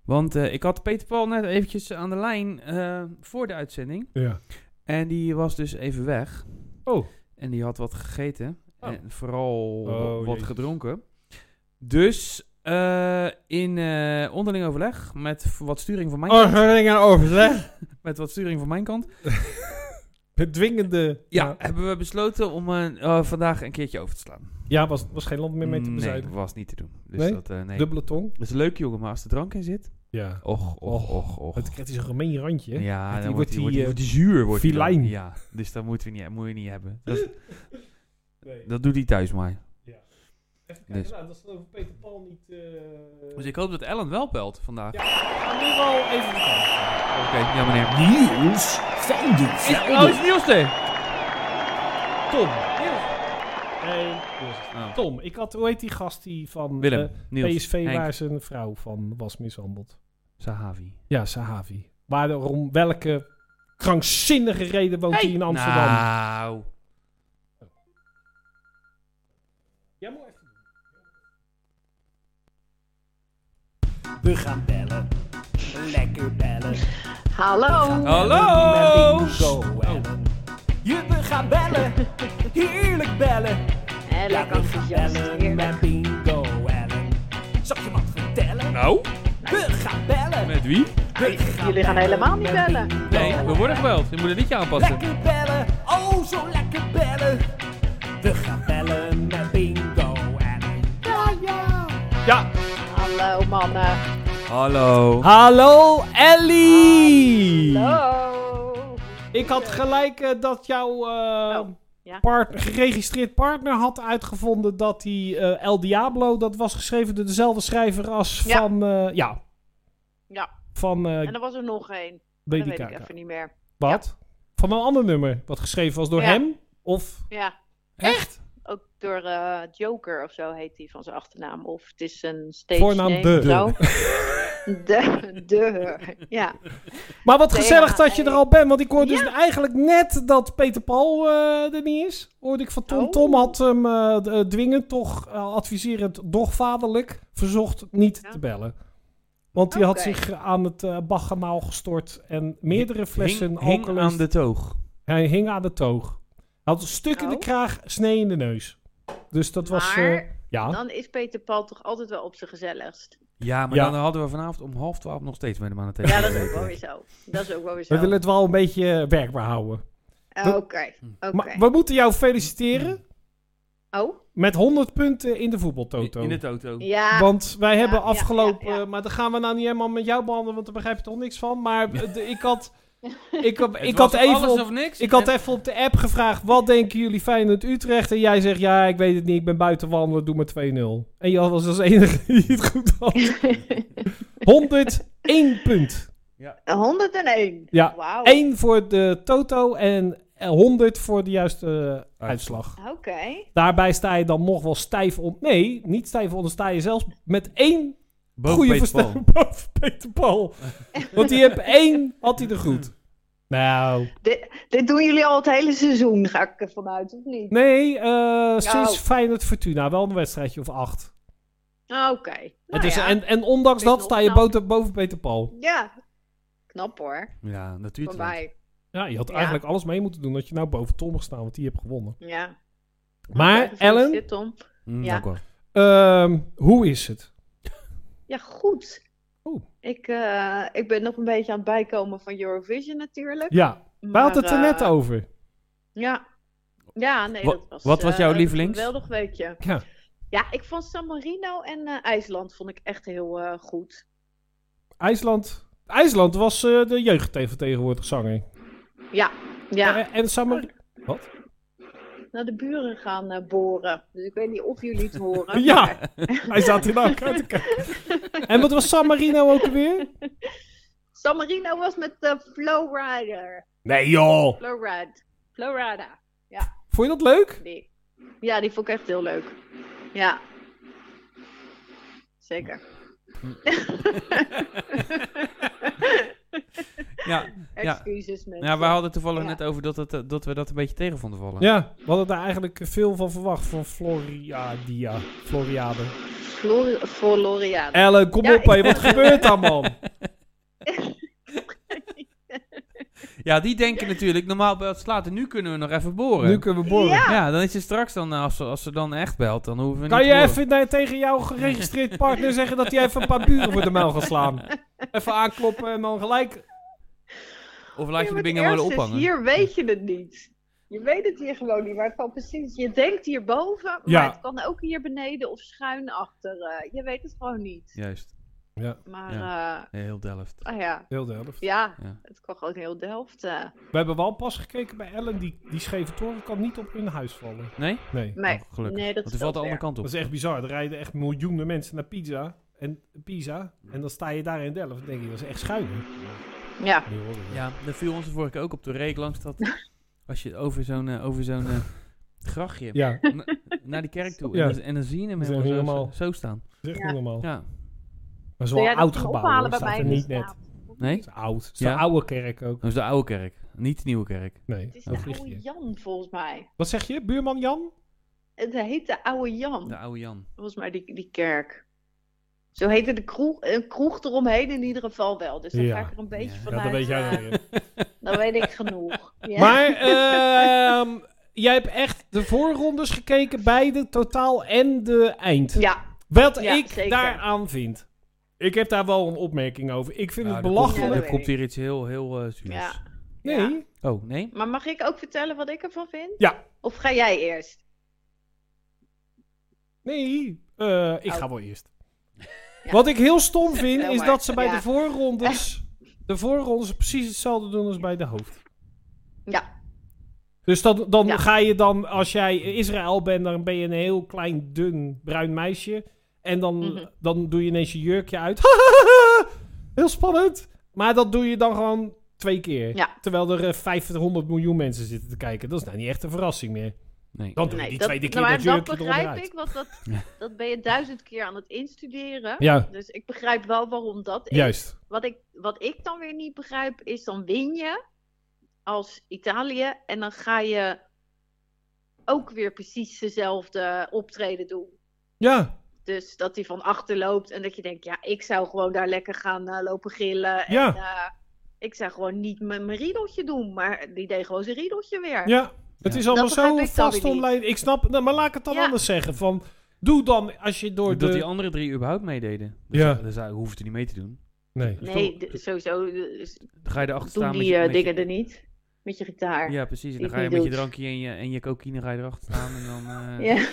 Speaker 2: Want eh, ik had Peter Paul net eventjes aan de lijn eh, voor de uitzending.
Speaker 1: Ja.
Speaker 2: En die was dus even weg.
Speaker 1: Oh.
Speaker 2: En die had wat gegeten.
Speaker 1: Oh.
Speaker 2: En vooral
Speaker 1: Oh,
Speaker 2: wat
Speaker 1: jezus.
Speaker 2: gedronken. Dus eh, in eh, onderling overleg met v- wat sturing van mijn
Speaker 1: Oh.
Speaker 2: kant.
Speaker 1: Orgeringen overleg.
Speaker 2: Met wat sturing van mijn kant.
Speaker 1: Bedwingende...
Speaker 2: Ja, hebben we besloten om eh, eh, vandaag een keertje over te slaan.
Speaker 1: Ja, was, was geen land meer mee te
Speaker 2: Mm, nee,
Speaker 1: bezuinigen.
Speaker 2: dat was niet te doen. Dus
Speaker 1: Nee?
Speaker 2: dat, eh, nee.
Speaker 1: Dubbele tong.
Speaker 2: dat is leuk jongen, maar als er drank in zit.
Speaker 1: Ja.
Speaker 2: Och, och,
Speaker 1: Och,
Speaker 2: och, och.
Speaker 1: Het krijgt hij zo'n gemeen randje. hè?
Speaker 2: Ja,
Speaker 1: Die
Speaker 2: dan
Speaker 1: wordt
Speaker 2: wordt hij
Speaker 1: die,
Speaker 2: wordt die,
Speaker 1: eh,
Speaker 2: wordt die zuur. Wordt die dan.
Speaker 1: filijn.
Speaker 2: Ja, dus dat moeten we niet, moet je niet hebben. Dat, dat doet hij thuis maar.
Speaker 1: Even kijken,
Speaker 2: dus.
Speaker 1: nou, dat is over Peter Paul niet... eh,
Speaker 2: Dus ik hoop dat Ellen wel belt vandaag.
Speaker 1: Ja, maar nu wel even de kant.
Speaker 2: Oké, ja meneer.
Speaker 3: Nieuws van de
Speaker 2: Oh, is
Speaker 3: velden.
Speaker 2: het Niels er?
Speaker 1: Tom. Hey, Niels.
Speaker 2: Oh.
Speaker 1: Tom, ik had, hoe heet die gast die van
Speaker 2: Willem,
Speaker 1: eh,
Speaker 2: Niels,
Speaker 1: PSV
Speaker 2: Henk.
Speaker 1: waar zijn vrouw van was mishandeld?
Speaker 2: Sahavi.
Speaker 1: Ja, Sahavi. Waarom, welke krankzinnige reden woont hij in Amsterdam?
Speaker 2: Nou.
Speaker 1: Ja, moet even.
Speaker 3: We gaan bellen. Lekker bellen.
Speaker 4: Hallo.
Speaker 2: Hallo.
Speaker 3: Go
Speaker 1: Oh.
Speaker 3: Ellen. Je, we gaan bellen. Heerlijk bellen. Ja,
Speaker 4: En lekker
Speaker 3: we gaan
Speaker 4: enthousiast.
Speaker 3: bellen
Speaker 4: Heerlijk.
Speaker 3: met Bingo Ellen. Zal ik je wat vertellen?
Speaker 2: Nou,
Speaker 3: We gaan bellen.
Speaker 2: met wie?
Speaker 3: We
Speaker 4: Jullie gaan helemaal niet
Speaker 3: met
Speaker 4: bellen.
Speaker 3: Bingo
Speaker 2: Nee, we worden gebeld. Je moet het liedje aanpassen.
Speaker 3: Lekker bellen, oh zo lekker bellen. We gaan bellen met Bingo en...
Speaker 4: Hallo mannen.
Speaker 2: Hallo.
Speaker 1: Hallo Ellie!
Speaker 4: Hallo.
Speaker 1: Ik had gelijk eh, dat jouw eh,
Speaker 4: Oh, ja.
Speaker 1: part- geregistreerd partner had uitgevonden dat die eh, El Diablo, dat was geschreven door dezelfde schrijver als
Speaker 4: Ja.
Speaker 1: van, eh, ja,
Speaker 4: Ja,
Speaker 1: van eh,
Speaker 4: en er was er nog één. Dat
Speaker 1: Lady
Speaker 4: weet ik
Speaker 1: Gaga.
Speaker 4: even niet meer.
Speaker 1: Wat? Van een ander nummer, wat geschreven was door
Speaker 4: Ja.
Speaker 1: hem? Of,
Speaker 4: Ja,
Speaker 2: Echt?
Speaker 4: ook door eh, Joker of zo heet hij van zijn achternaam. Of het is een stage
Speaker 1: Voornaam
Speaker 4: name
Speaker 1: de.
Speaker 4: of zo. [laughs] De. De. Ja.
Speaker 1: maar wat
Speaker 4: Nee,
Speaker 1: gezellig
Speaker 4: ja,
Speaker 1: dat je
Speaker 4: hij-
Speaker 1: er al bent, want ik hoorde
Speaker 4: Ja.
Speaker 1: dus eigenlijk net dat Peter Paul eh, er niet is. Hoorde ik van Tom.
Speaker 4: Oh.
Speaker 1: Tom had hem eh, d- eh, dwingend, toch eh, adviserend, doch vaderlijk, verzocht niet
Speaker 4: Ja.
Speaker 1: te bellen. Want die had
Speaker 4: Oké.
Speaker 1: zich aan het eh baggemaal gestort en meerdere flessen
Speaker 2: hing, hing
Speaker 1: alcohol.
Speaker 2: aan de toog.
Speaker 1: Hij hing aan de toog. Hij had een stuk in de
Speaker 4: Oh.
Speaker 1: kraag, snee in de neus. Dus dat was... eh,
Speaker 4: Maar
Speaker 1: ja.
Speaker 4: dan is Peter Paul toch altijd wel op zijn gezelligst.
Speaker 2: Ja, maar
Speaker 1: Ja.
Speaker 2: dan hadden we vanavond om half twaalf nog steeds met hem aan de telefoon.
Speaker 4: Ja, dat is ook
Speaker 2: gezeten.
Speaker 4: wel weer zo. Dat is ook wel weer zo.
Speaker 1: We willen
Speaker 4: Oké,
Speaker 1: het wel een beetje eh, werkbaar houden.
Speaker 4: oké.
Speaker 1: Maar we moeten jou
Speaker 2: Hmm.
Speaker 1: feliciteren
Speaker 4: Oh,
Speaker 1: met 100 punten in de voetbaltoto.
Speaker 2: In de toto.
Speaker 4: ja.
Speaker 1: Want wij hebben
Speaker 4: Ah, ja,
Speaker 1: afgelopen...
Speaker 4: ja, ja.
Speaker 1: Maar dan gaan we nou niet helemaal met jou behandelen, want daar begrijp je toch niks van. Maar eh, de- ik
Speaker 4: [laughs]
Speaker 1: had... Ik, had-
Speaker 2: Het
Speaker 1: ik
Speaker 2: was
Speaker 1: had even
Speaker 2: alles
Speaker 1: op,
Speaker 2: of niks.
Speaker 1: ik had
Speaker 2: en-
Speaker 1: even op de app gevraagd, wat denken jullie Feyenoord Utrecht? En jij zegt, ja, ik weet het niet, ik ben buiten wandelen, doe maar 2-0. En Jan was als enige die het goed
Speaker 4: [laughs]
Speaker 1: had. 101 punt.
Speaker 4: 101.
Speaker 1: Ja,
Speaker 4: Wauw.
Speaker 1: 1 voor de Toto en eh, 100 voor de juiste eh, uitslag.
Speaker 4: Oké.
Speaker 1: Daarbij sta je dan nog wel stijf onder. Nee, niet stijf onder. Sta je zelfs met één
Speaker 2: Boven
Speaker 1: goede
Speaker 2: Peter Paul.
Speaker 1: verstand [laughs] boven Peter Paul. Want die heeft één, had hij er goed. Nou,
Speaker 4: Dit, dit doen jullie al het hele seizoen, ga ik ervan uit, of niet?
Speaker 1: nee, eh, sinds
Speaker 4: Nou.
Speaker 1: Feyenoord Fortuna wel een wedstrijdje of acht.
Speaker 4: Oké. Nou
Speaker 1: het is,
Speaker 4: ja.
Speaker 1: en, en ondanks
Speaker 4: Is
Speaker 1: dat
Speaker 4: nog
Speaker 1: sta je
Speaker 4: knap.
Speaker 1: boven, boven Peter Paul.
Speaker 4: ja, knap hoor.
Speaker 2: Ja,
Speaker 4: Van
Speaker 2: natuurlijk.
Speaker 4: mij.
Speaker 1: Ja, je had
Speaker 4: Ja.
Speaker 1: eigenlijk alles mee moeten doen dat je nou boven Tom mag staan, want die heeft gewonnen.
Speaker 4: Ja.
Speaker 1: Maar,
Speaker 4: Oké, gefeliciteerd,
Speaker 1: Ellen?
Speaker 4: Tom.
Speaker 2: Mm,
Speaker 4: Ja.
Speaker 2: dank wel.
Speaker 1: Ehm, hoe is het?
Speaker 4: Ja, goed.
Speaker 1: Oeh.
Speaker 4: Ik, eh, ik ben nog een beetje aan het bijkomen van Eurovision natuurlijk.
Speaker 1: Ja, we
Speaker 4: maar,
Speaker 1: hadden het er net
Speaker 4: eh,
Speaker 1: over.
Speaker 4: Ja. Ja, nee,
Speaker 2: Wa-
Speaker 4: dat was...
Speaker 2: wat was
Speaker 4: eh,
Speaker 2: jouw
Speaker 4: een
Speaker 2: lievelings?
Speaker 4: Geweldig weekje.
Speaker 1: Ja.
Speaker 4: Ja, ik vond San Marino en eh, IJsland vond ik echt heel eh, goed.
Speaker 1: IJsland. IJsland was eh, de jeugdvertegenwoordiger zanger.
Speaker 4: Ja, ja.
Speaker 1: En, en Samar-
Speaker 4: Naar de buren gaan eh, boren. Dus ik weet niet of jullie het horen. [laughs]
Speaker 1: [laughs]
Speaker 4: maar-
Speaker 1: Ja, hij zat hier naar elkaar te kijken. En wat was San Marino ook alweer?
Speaker 4: San Marino was met de Flowrider.
Speaker 1: Nee joh.
Speaker 4: Flowride. Flowrada.
Speaker 1: Vond je dat leuk?
Speaker 4: Die. Ja, die vond ik echt heel leuk. Ja.
Speaker 2: [laughs]
Speaker 4: Zeker.
Speaker 2: Ja, ja.
Speaker 4: Excuses mensen.
Speaker 2: ja, we hadden toevallig
Speaker 4: Ja.
Speaker 2: net over dat, het, eh, dat we dat een beetje tegen vonden vallen.
Speaker 1: Ja, we hadden daar eigenlijk veel van verwacht. Van Floriadia. Floriade.
Speaker 4: Flor- Floriade.
Speaker 1: Ellen, kom
Speaker 4: Ja,
Speaker 1: op hé. Wat gebeurt daar
Speaker 4: [laughs]
Speaker 1: man?
Speaker 2: Ja, die denken natuurlijk, normaal belt Slater, nu kunnen we nog even boren.
Speaker 1: Nu kunnen we boren.
Speaker 4: Ja.
Speaker 2: Ja, dan is ze straks dan, eh, als ze, als ze dan echt belt, dan hoeven we
Speaker 1: Kan
Speaker 2: niet
Speaker 1: je
Speaker 2: te boren.
Speaker 1: even naar- tegen jouw geregistreerd partner zeggen dat hij even een paar buren voor de muil gaat slaan? Even aankloppen en dan gelijk...
Speaker 2: Of laat je de
Speaker 4: Ja, maar het
Speaker 2: bingen worden
Speaker 4: ergste is,
Speaker 2: ophangen.
Speaker 4: Hier weet je het niet. Je weet het hier gewoon niet. Maar het kan precies. Je denkt hierboven, maar
Speaker 1: Ja.
Speaker 4: het kan ook hier beneden of schuin achter. eh, je weet het gewoon niet.
Speaker 2: Juist,
Speaker 4: Maar eh,
Speaker 2: Ja, heel Delft.
Speaker 4: ah ja.
Speaker 1: Heel de helft.
Speaker 4: ja,
Speaker 2: Ja.
Speaker 4: het kan gewoon heel Delft. eh.
Speaker 1: We hebben wel pas gekeken bij Ellen. Die, die scheve toren kan niet op hun huis vallen.
Speaker 2: Nee?
Speaker 1: Nee.
Speaker 4: nee,
Speaker 2: Oh, gelukkig.
Speaker 4: nee, dat
Speaker 2: Want die valt de
Speaker 4: is wel
Speaker 2: andere
Speaker 4: ver.
Speaker 2: kant op.
Speaker 1: Dat is echt bizar. Er rijden echt miljoenen mensen naar Pisa. En Pisa. En dan sta je daar in Delft. Dan denk je, dat is echt schuin. hè?
Speaker 4: Ja,
Speaker 1: Nee, hoor, hoor.
Speaker 2: Ja, dat viel ons de vorige keer ook op de reek langs dat...
Speaker 4: [laughs]
Speaker 2: Als je over zo'n eh, over zo'n eh, grachtje
Speaker 1: Ja,
Speaker 2: na- naar die kerk toe...
Speaker 1: Ja.
Speaker 2: En, dan, en dan zie je hem
Speaker 1: Dat is
Speaker 2: helemaal, zo-
Speaker 1: helemaal- Oh.
Speaker 2: zo, staan.
Speaker 1: dat is echt
Speaker 4: Ja.
Speaker 1: niet normaal.
Speaker 2: Ja.
Speaker 1: Maar zo'n
Speaker 4: Wil jij dat
Speaker 1: oud
Speaker 4: gaan
Speaker 1: gebouw. hoor.
Speaker 4: ophalen
Speaker 1: Het
Speaker 4: bij
Speaker 1: staat
Speaker 4: mij Nou,
Speaker 1: er
Speaker 4: in
Speaker 1: niet
Speaker 4: de
Speaker 1: net. Het
Speaker 4: straat?
Speaker 2: Nee?
Speaker 1: is oud. Het is
Speaker 2: Ja?
Speaker 1: de oude kerk ook.
Speaker 2: Dat is de oude kerk, niet de nieuwe kerk.
Speaker 1: Nee,
Speaker 4: Het is
Speaker 1: dat
Speaker 4: de
Speaker 1: vlieg
Speaker 4: oude
Speaker 1: je.
Speaker 4: Jan volgens mij.
Speaker 1: Wat zeg je? Buurman Jan?
Speaker 4: Het heet de oude Jan.
Speaker 2: De oude Jan.
Speaker 4: Volgens mij die, die kerk. Zo heette de kroeg, een kroeg eromheen in ieder geval wel. Dus daar
Speaker 1: Ja.
Speaker 4: ga ik er een beetje
Speaker 2: Ja,
Speaker 4: van
Speaker 1: Ja, dat
Speaker 4: uit,
Speaker 1: weet jij
Speaker 4: eh,
Speaker 1: wel. Jan.
Speaker 4: Dan weet ik
Speaker 1: [laughs]
Speaker 4: genoeg. Ja.
Speaker 1: Maar ehm, [laughs] jij hebt echt de voorrondes gekeken. Beide totaal en de eind.
Speaker 4: Ja,
Speaker 1: Wat
Speaker 4: Ja,
Speaker 1: ik
Speaker 4: zeker.
Speaker 1: daaraan vind. Ik heb daar wel een opmerking over. Ik vind het
Speaker 2: Nou, er komt-
Speaker 1: belachelijk.
Speaker 4: Ja,
Speaker 2: Er komt hier iets heel, heel eh, zuurs.
Speaker 4: ja.
Speaker 1: Nee.
Speaker 2: Oh, nee?
Speaker 4: Maar mag ik ook vertellen wat ik ervan vind?
Speaker 1: Ja.
Speaker 4: Of ga jij eerst?
Speaker 1: Nee. Eh, ik
Speaker 4: Oh.
Speaker 1: ga wel eerst.
Speaker 4: Ja.
Speaker 1: Wat ik heel stom
Speaker 4: [laughs]
Speaker 1: vind,
Speaker 4: Heel
Speaker 1: is
Speaker 4: maar,
Speaker 1: dat ze bij
Speaker 4: ja.
Speaker 1: de voorrondes... De voorrondes precies hetzelfde doen als bij de hoofd.
Speaker 4: Ja,
Speaker 1: Dus dat, dan
Speaker 4: Ja.
Speaker 1: ga je dan, als jij Israël bent, dan ben je een heel klein, dun, bruin meisje. En dan,
Speaker 4: Mhm.
Speaker 1: dan doe je ineens je jurkje uit. [laughs] heel spannend. Maar dat doe je dan gewoon twee keer.
Speaker 4: Ja.
Speaker 1: Terwijl er eh, 500 miljoen mensen zitten te kijken. Dat is nou niet echt een verrassing meer.
Speaker 2: Nee.
Speaker 1: Dan doe je
Speaker 4: nee,
Speaker 1: die
Speaker 4: dat, nou,
Speaker 1: tweede keer
Speaker 4: maar
Speaker 1: dat
Speaker 4: dat
Speaker 1: jurkje eronder
Speaker 4: begrijp
Speaker 1: uit.
Speaker 4: ik, want dat,
Speaker 2: [laughs] Ja.
Speaker 4: dat ben je duizend keer aan het instuderen.
Speaker 1: Ja,
Speaker 4: Dus ik begrijp wel waarom dat is.
Speaker 1: juist.
Speaker 4: Wat ik, wat ik dan weer niet begrijp, is dan win je als Italië en dan ga je ook weer precies dezelfde optreden doen.
Speaker 1: Ja,
Speaker 4: Dus dat hij van achter loopt en dat je denkt, ja, ik zou gewoon daar lekker gaan eh, lopen gillen. En,
Speaker 1: Ja.
Speaker 4: eh, ik zou gewoon niet mijn mijn riedeltje doen, maar die deed gewoon zijn riedeltje weer.
Speaker 1: Ja, het
Speaker 2: Ja.
Speaker 1: is allemaal
Speaker 4: Dat begrijp
Speaker 1: zo
Speaker 4: ik dan
Speaker 1: vast
Speaker 4: weer niet.
Speaker 1: online. Ik snap, nou, maar laat ik het dan
Speaker 4: Ja.
Speaker 1: anders zeggen. Van, doe dan als je door
Speaker 2: Dat die
Speaker 1: de...
Speaker 2: andere drie überhaupt meededen. Dus
Speaker 1: Ja.
Speaker 2: ja. Dus daar hoeven ze niet mee te doen.
Speaker 1: Nee.
Speaker 4: Nee, d- sowieso eh, s-
Speaker 2: Dan ga je erachter
Speaker 4: doen
Speaker 2: staan met
Speaker 4: die
Speaker 2: je,
Speaker 4: eh,
Speaker 2: met je-
Speaker 4: dingen er niet. Met je gitaar.
Speaker 2: Ja, precies. En
Speaker 4: die
Speaker 2: dan
Speaker 4: het
Speaker 2: ga je
Speaker 4: niet
Speaker 2: met je
Speaker 4: doet.
Speaker 2: drankje en je, en je cocaïne ga je erachter staan. En dan, eh,
Speaker 4: [laughs] Ja.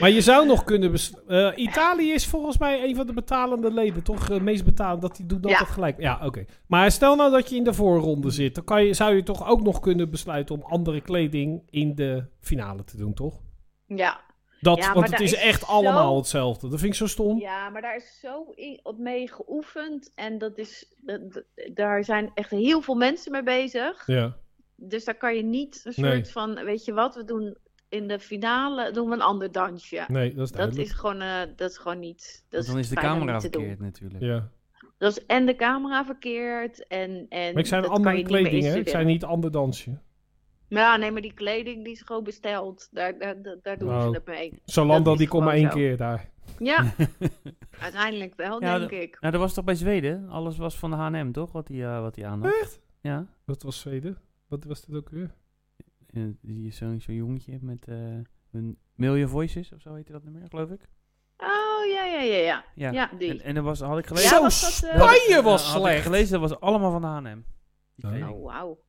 Speaker 1: Maar je zou nog kunnen... bes- eh, Italië is volgens mij een van de betalende leden, toch? Eh, meest betalend, dat die doet dat
Speaker 4: Ja. Mm.
Speaker 1: gelijk. Ja, oké. Maar stel nou dat je in de voorronde zit. Dan kan je, zou je toch ook nog kunnen besluiten om andere kleding in de finale te doen, toch?
Speaker 4: ja.
Speaker 1: Dat,
Speaker 4: Ja, maar
Speaker 1: want het
Speaker 4: daar
Speaker 1: is
Speaker 4: is
Speaker 1: echt
Speaker 4: zo-
Speaker 1: allemaal hetzelfde. Dat vind ik zo stom.
Speaker 4: Ja, maar daar is zo in, op mee geoefend. En dat is, dat- dat- daar zijn echt heel veel mensen mee bezig.
Speaker 1: Ja.
Speaker 4: Dus daar kan je niet een soort
Speaker 1: Nee.
Speaker 4: van, weet je wat, we doen in de finale doen we een ander dansje.
Speaker 1: Nee, dat is
Speaker 4: dat,
Speaker 1: duidelijk.
Speaker 4: is gewoon, eh, dat is gewoon niet. Dat
Speaker 2: want dan is de
Speaker 4: bijna
Speaker 2: camera
Speaker 4: niet te doen.
Speaker 2: verkeerd natuurlijk.
Speaker 1: Ja.
Speaker 4: Dat is en de camera verkeerd. En, en
Speaker 1: Maar ik zei een
Speaker 4: dat
Speaker 1: andere
Speaker 4: kan je niet meer
Speaker 1: kleding, hè? Ik
Speaker 4: instuderen.
Speaker 1: zei niet ander dansje.
Speaker 4: Ja, nee, maar die kleding die is gewoon besteld. Daar, daar, daar, daar doen
Speaker 1: Oh.
Speaker 4: ze het mee.
Speaker 1: Zalando,
Speaker 4: Dat is
Speaker 1: die komt maar één
Speaker 4: gewoon zo.
Speaker 1: keer daar.
Speaker 2: [laughs]
Speaker 4: Ja, uiteindelijk wel,
Speaker 2: Ja,
Speaker 4: denk
Speaker 2: dat-
Speaker 4: ik.
Speaker 2: Nou, dat was toch bij Zweden? Alles was van de H&M, toch? Wat die, eh, wat die aan had.
Speaker 1: Echt?
Speaker 2: Ja.
Speaker 1: Dat was Zweden. Wat was dat ook weer?
Speaker 2: Eh, die is zo'n zo'n jongetje met eh, een Million Voices of zo heette dat nummer, geloof ik.
Speaker 4: Oh, ja, ja, ja, ja.
Speaker 2: Ja.
Speaker 4: Ja, die.
Speaker 2: En, en dat was, had ik
Speaker 4: Ja,
Speaker 2: gelezen.
Speaker 1: Zo,
Speaker 4: was dat, eh,
Speaker 1: Spanje was
Speaker 2: had ik
Speaker 1: slecht.
Speaker 2: gelezen, dat was allemaal van de H&M. Die
Speaker 1: Oh.
Speaker 2: kleding.
Speaker 4: Oh, wauw.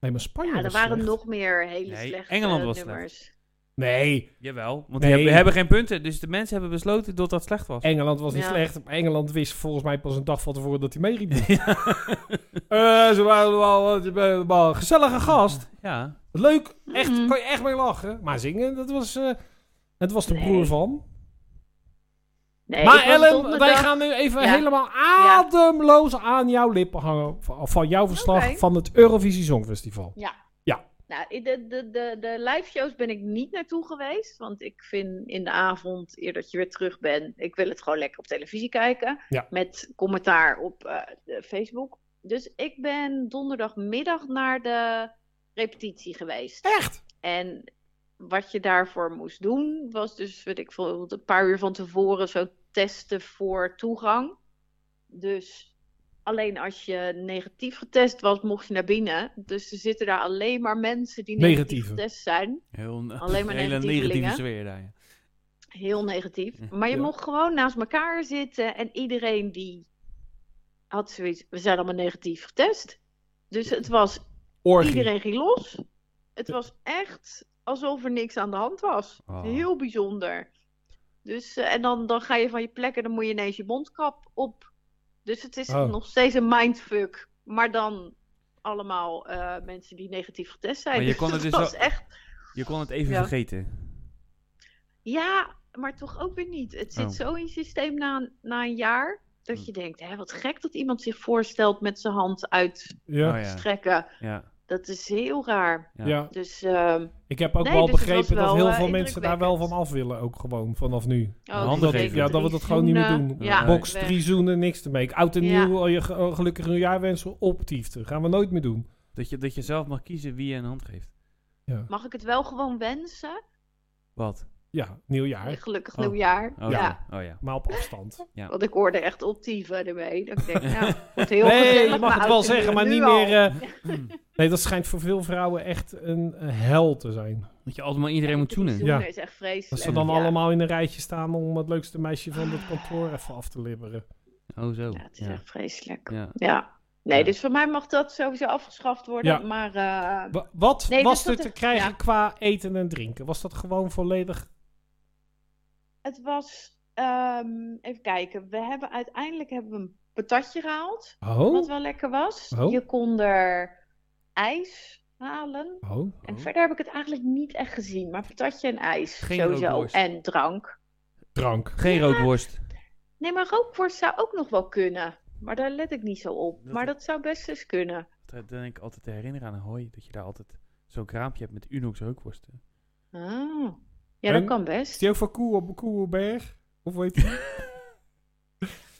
Speaker 1: Nee, maar Spanje
Speaker 4: Ja, er
Speaker 1: was
Speaker 4: waren
Speaker 1: slecht.
Speaker 4: nog meer hele
Speaker 2: Nee,
Speaker 4: slechte
Speaker 2: Engeland
Speaker 4: eh,
Speaker 2: was
Speaker 4: nummers.
Speaker 1: Nee,
Speaker 2: Jawel, want die
Speaker 1: Nee.
Speaker 2: hebben- we hebben geen punten. Dus de mensen hebben besloten dat dat slecht was.
Speaker 1: Engeland was niet
Speaker 4: Ja.
Speaker 1: slecht. Maar Engeland wist volgens mij pas een dag van tevoren dat hij meeriep.
Speaker 2: [laughs] ja.
Speaker 1: Eh, ze waren wel, eh, wel- wel een
Speaker 2: Mm.
Speaker 1: gezellige gast.
Speaker 2: ja.
Speaker 1: Leuk. Echt,
Speaker 4: Mhm.
Speaker 1: kan je echt mee lachen. Maar zingen, dat was... eh, het was de
Speaker 4: Nee.
Speaker 1: broer van.
Speaker 4: Nee,
Speaker 1: maar
Speaker 4: ik was
Speaker 1: Ellen, wij
Speaker 4: donderdag-
Speaker 1: gaan nu even
Speaker 4: Ja.
Speaker 1: helemaal ademloos aan jouw lippen hangen. Van, van jouw verslag
Speaker 4: Oké.
Speaker 1: van het Eurovisie Songfestival.
Speaker 4: Nou, in de, de, de, de live shows ben ik niet naartoe geweest. Want ik vind in de avond, eer dat je weer terug bent, ik wil het gewoon lekker op televisie kijken.
Speaker 1: Ja.
Speaker 4: Met commentaar op eh, de Facebook. Dus ik ben donderdagmiddag naar de repetitie geweest.
Speaker 1: Echt?
Speaker 4: En wat je daarvoor moest doen, was dus, weet ik veel, een paar uur van tevoren zo testen voor toegang. Dus alleen als je negatief getest was, mocht je naar binnen. Dus er zitten daar alleen maar mensen die negatief
Speaker 1: Negatieve.
Speaker 4: getest
Speaker 1: [laughs]
Speaker 4: zijn.
Speaker 2: Heel,
Speaker 4: Alleen maar
Speaker 2: hele
Speaker 4: negatieve
Speaker 2: negatieve
Speaker 4: dingen.
Speaker 2: sfeer daar. ja.
Speaker 4: Heel negatief. Maar je
Speaker 1: Ja.
Speaker 4: mocht gewoon naast elkaar zitten en iedereen die had zoiets, we zijn allemaal negatief getest. Dus het was,
Speaker 1: Orgie.
Speaker 4: iedereen ging los. Het was echt alsof er niks aan de hand was.
Speaker 2: Oh.
Speaker 4: Heel bijzonder. Dus, eh, en dan, dan ga je van je plek en dan moet je ineens je mondkap op. Dus het is
Speaker 1: Oh.
Speaker 4: nog steeds een mindfuck. Maar dan allemaal eh, mensen die negatief getest zijn.
Speaker 2: Maar je
Speaker 4: [laughs]
Speaker 2: kon
Speaker 4: dat
Speaker 2: het dus
Speaker 4: was
Speaker 2: wel-
Speaker 4: echt...
Speaker 2: Je kon het even
Speaker 4: Ja.
Speaker 2: vergeten.
Speaker 4: Ja, maar toch ook weer niet. Het zit
Speaker 2: Oh. Hm.
Speaker 4: zo in je systeem na, een- na een jaar... dat je denkt, hè, wat gek dat iemand zich voorstelt met zijn hand uitstrekken.
Speaker 1: Ja.
Speaker 2: Oh, ja. Ja.
Speaker 4: Dat is heel raar.
Speaker 2: Ja.
Speaker 1: ja.
Speaker 4: Dus, ehm,
Speaker 1: Ik heb ook
Speaker 4: Nee,
Speaker 1: wel
Speaker 4: dus het
Speaker 1: begrepen
Speaker 4: was
Speaker 1: dat
Speaker 4: wel,
Speaker 1: heel
Speaker 4: eh,
Speaker 1: veel mensen daar wel van
Speaker 4: indrukwekkend.
Speaker 1: af willen, ook gewoon vanaf nu.
Speaker 4: oh,
Speaker 2: Handen
Speaker 4: dus
Speaker 1: dat,
Speaker 2: geven.
Speaker 4: zeker
Speaker 1: ja, dat we
Speaker 4: drie
Speaker 1: dat gewoon niet meer
Speaker 4: zoenen.
Speaker 1: doen.
Speaker 4: Ja,
Speaker 1: Box
Speaker 4: weg.
Speaker 1: drie zoenen, niks te maken. Oud en
Speaker 4: Ja.
Speaker 1: nieuw, al je ge- eh, gelukkig nieuwjaar wensen, optiefte. Gaan we nooit meer doen.
Speaker 2: Dat, je, dat je zelf mag kiezen wie je een hand geeft.
Speaker 4: Mag ik het wel gewoon wensen?
Speaker 2: Wat?
Speaker 1: Ja, nieuwjaar.
Speaker 4: Gelukkig
Speaker 2: Oh.
Speaker 4: nieuwjaar.
Speaker 2: Oh
Speaker 4: ja.
Speaker 2: ja. Oh, ja.
Speaker 1: Maar op
Speaker 4: [laughs]
Speaker 1: afstand.
Speaker 4: Want ik hoorde echt optieven ermee. Dat ik denk, nou, het wordt heel
Speaker 1: Nee,
Speaker 4: gezellig,
Speaker 1: je mag
Speaker 4: maar
Speaker 1: het
Speaker 4: uit
Speaker 1: wel
Speaker 4: de
Speaker 1: zeggen,
Speaker 4: muur
Speaker 1: maar
Speaker 4: nu
Speaker 1: niet
Speaker 4: al.
Speaker 1: meer...
Speaker 4: [laughs]
Speaker 1: eh, nee, dat schijnt voor veel vrouwen echt een eh, hel te zijn.
Speaker 2: Dat je altijd maar iedereen moet
Speaker 4: Die
Speaker 2: zoenen.
Speaker 1: Ja.
Speaker 4: is echt vreselijk.
Speaker 1: Dat ze dan
Speaker 4: ja.
Speaker 1: allemaal in een rijtje staan om het leukste meisje van het kantoor even af te libberen.
Speaker 2: Oh zo.
Speaker 4: Ja, het is
Speaker 2: Ja.
Speaker 4: echt vreselijk. Ja.
Speaker 2: Ja.
Speaker 4: Nee,
Speaker 2: Ja.
Speaker 4: dus voor mij mag dat sowieso afgeschaft worden.
Speaker 1: Ja.
Speaker 4: Maar eh,
Speaker 1: Wa- Wat
Speaker 4: Nee,
Speaker 1: was
Speaker 4: dus dat
Speaker 1: er te
Speaker 4: er-
Speaker 1: krijgen
Speaker 4: ja.
Speaker 1: qua eten en drinken? Was dat gewoon volledig...
Speaker 4: het was... eh, Ehm, even kijken. We hebben uiteindelijk hebben we een patatje gehaald. Wat
Speaker 1: Oh,
Speaker 4: wel lekker was.
Speaker 1: Oh.
Speaker 4: Je kon er ijs halen.
Speaker 1: oh.
Speaker 4: En
Speaker 2: Oh.
Speaker 4: verder heb ik het eigenlijk niet echt gezien. Maar patatje en ijs.
Speaker 2: Geen
Speaker 4: sowieso.
Speaker 2: rookworst.
Speaker 4: En drank.
Speaker 1: drank.
Speaker 2: Geen roodworst.
Speaker 4: Nee, maar rookworst zou ook nog wel kunnen. Maar daar let ik niet zo op.
Speaker 2: Dat-
Speaker 4: Maar dat zou best eens kunnen.
Speaker 2: Dan denk ik altijd te herinneren aan Hoi. Dat je daar altijd zo'n kraampje hebt met Unox rookworsten.
Speaker 4: Ah. Ja, dat
Speaker 1: En-
Speaker 4: kan
Speaker 1: Is
Speaker 4: best.
Speaker 1: die ook van Koe op Koelberg? Of weet
Speaker 4: [laughs]
Speaker 1: je?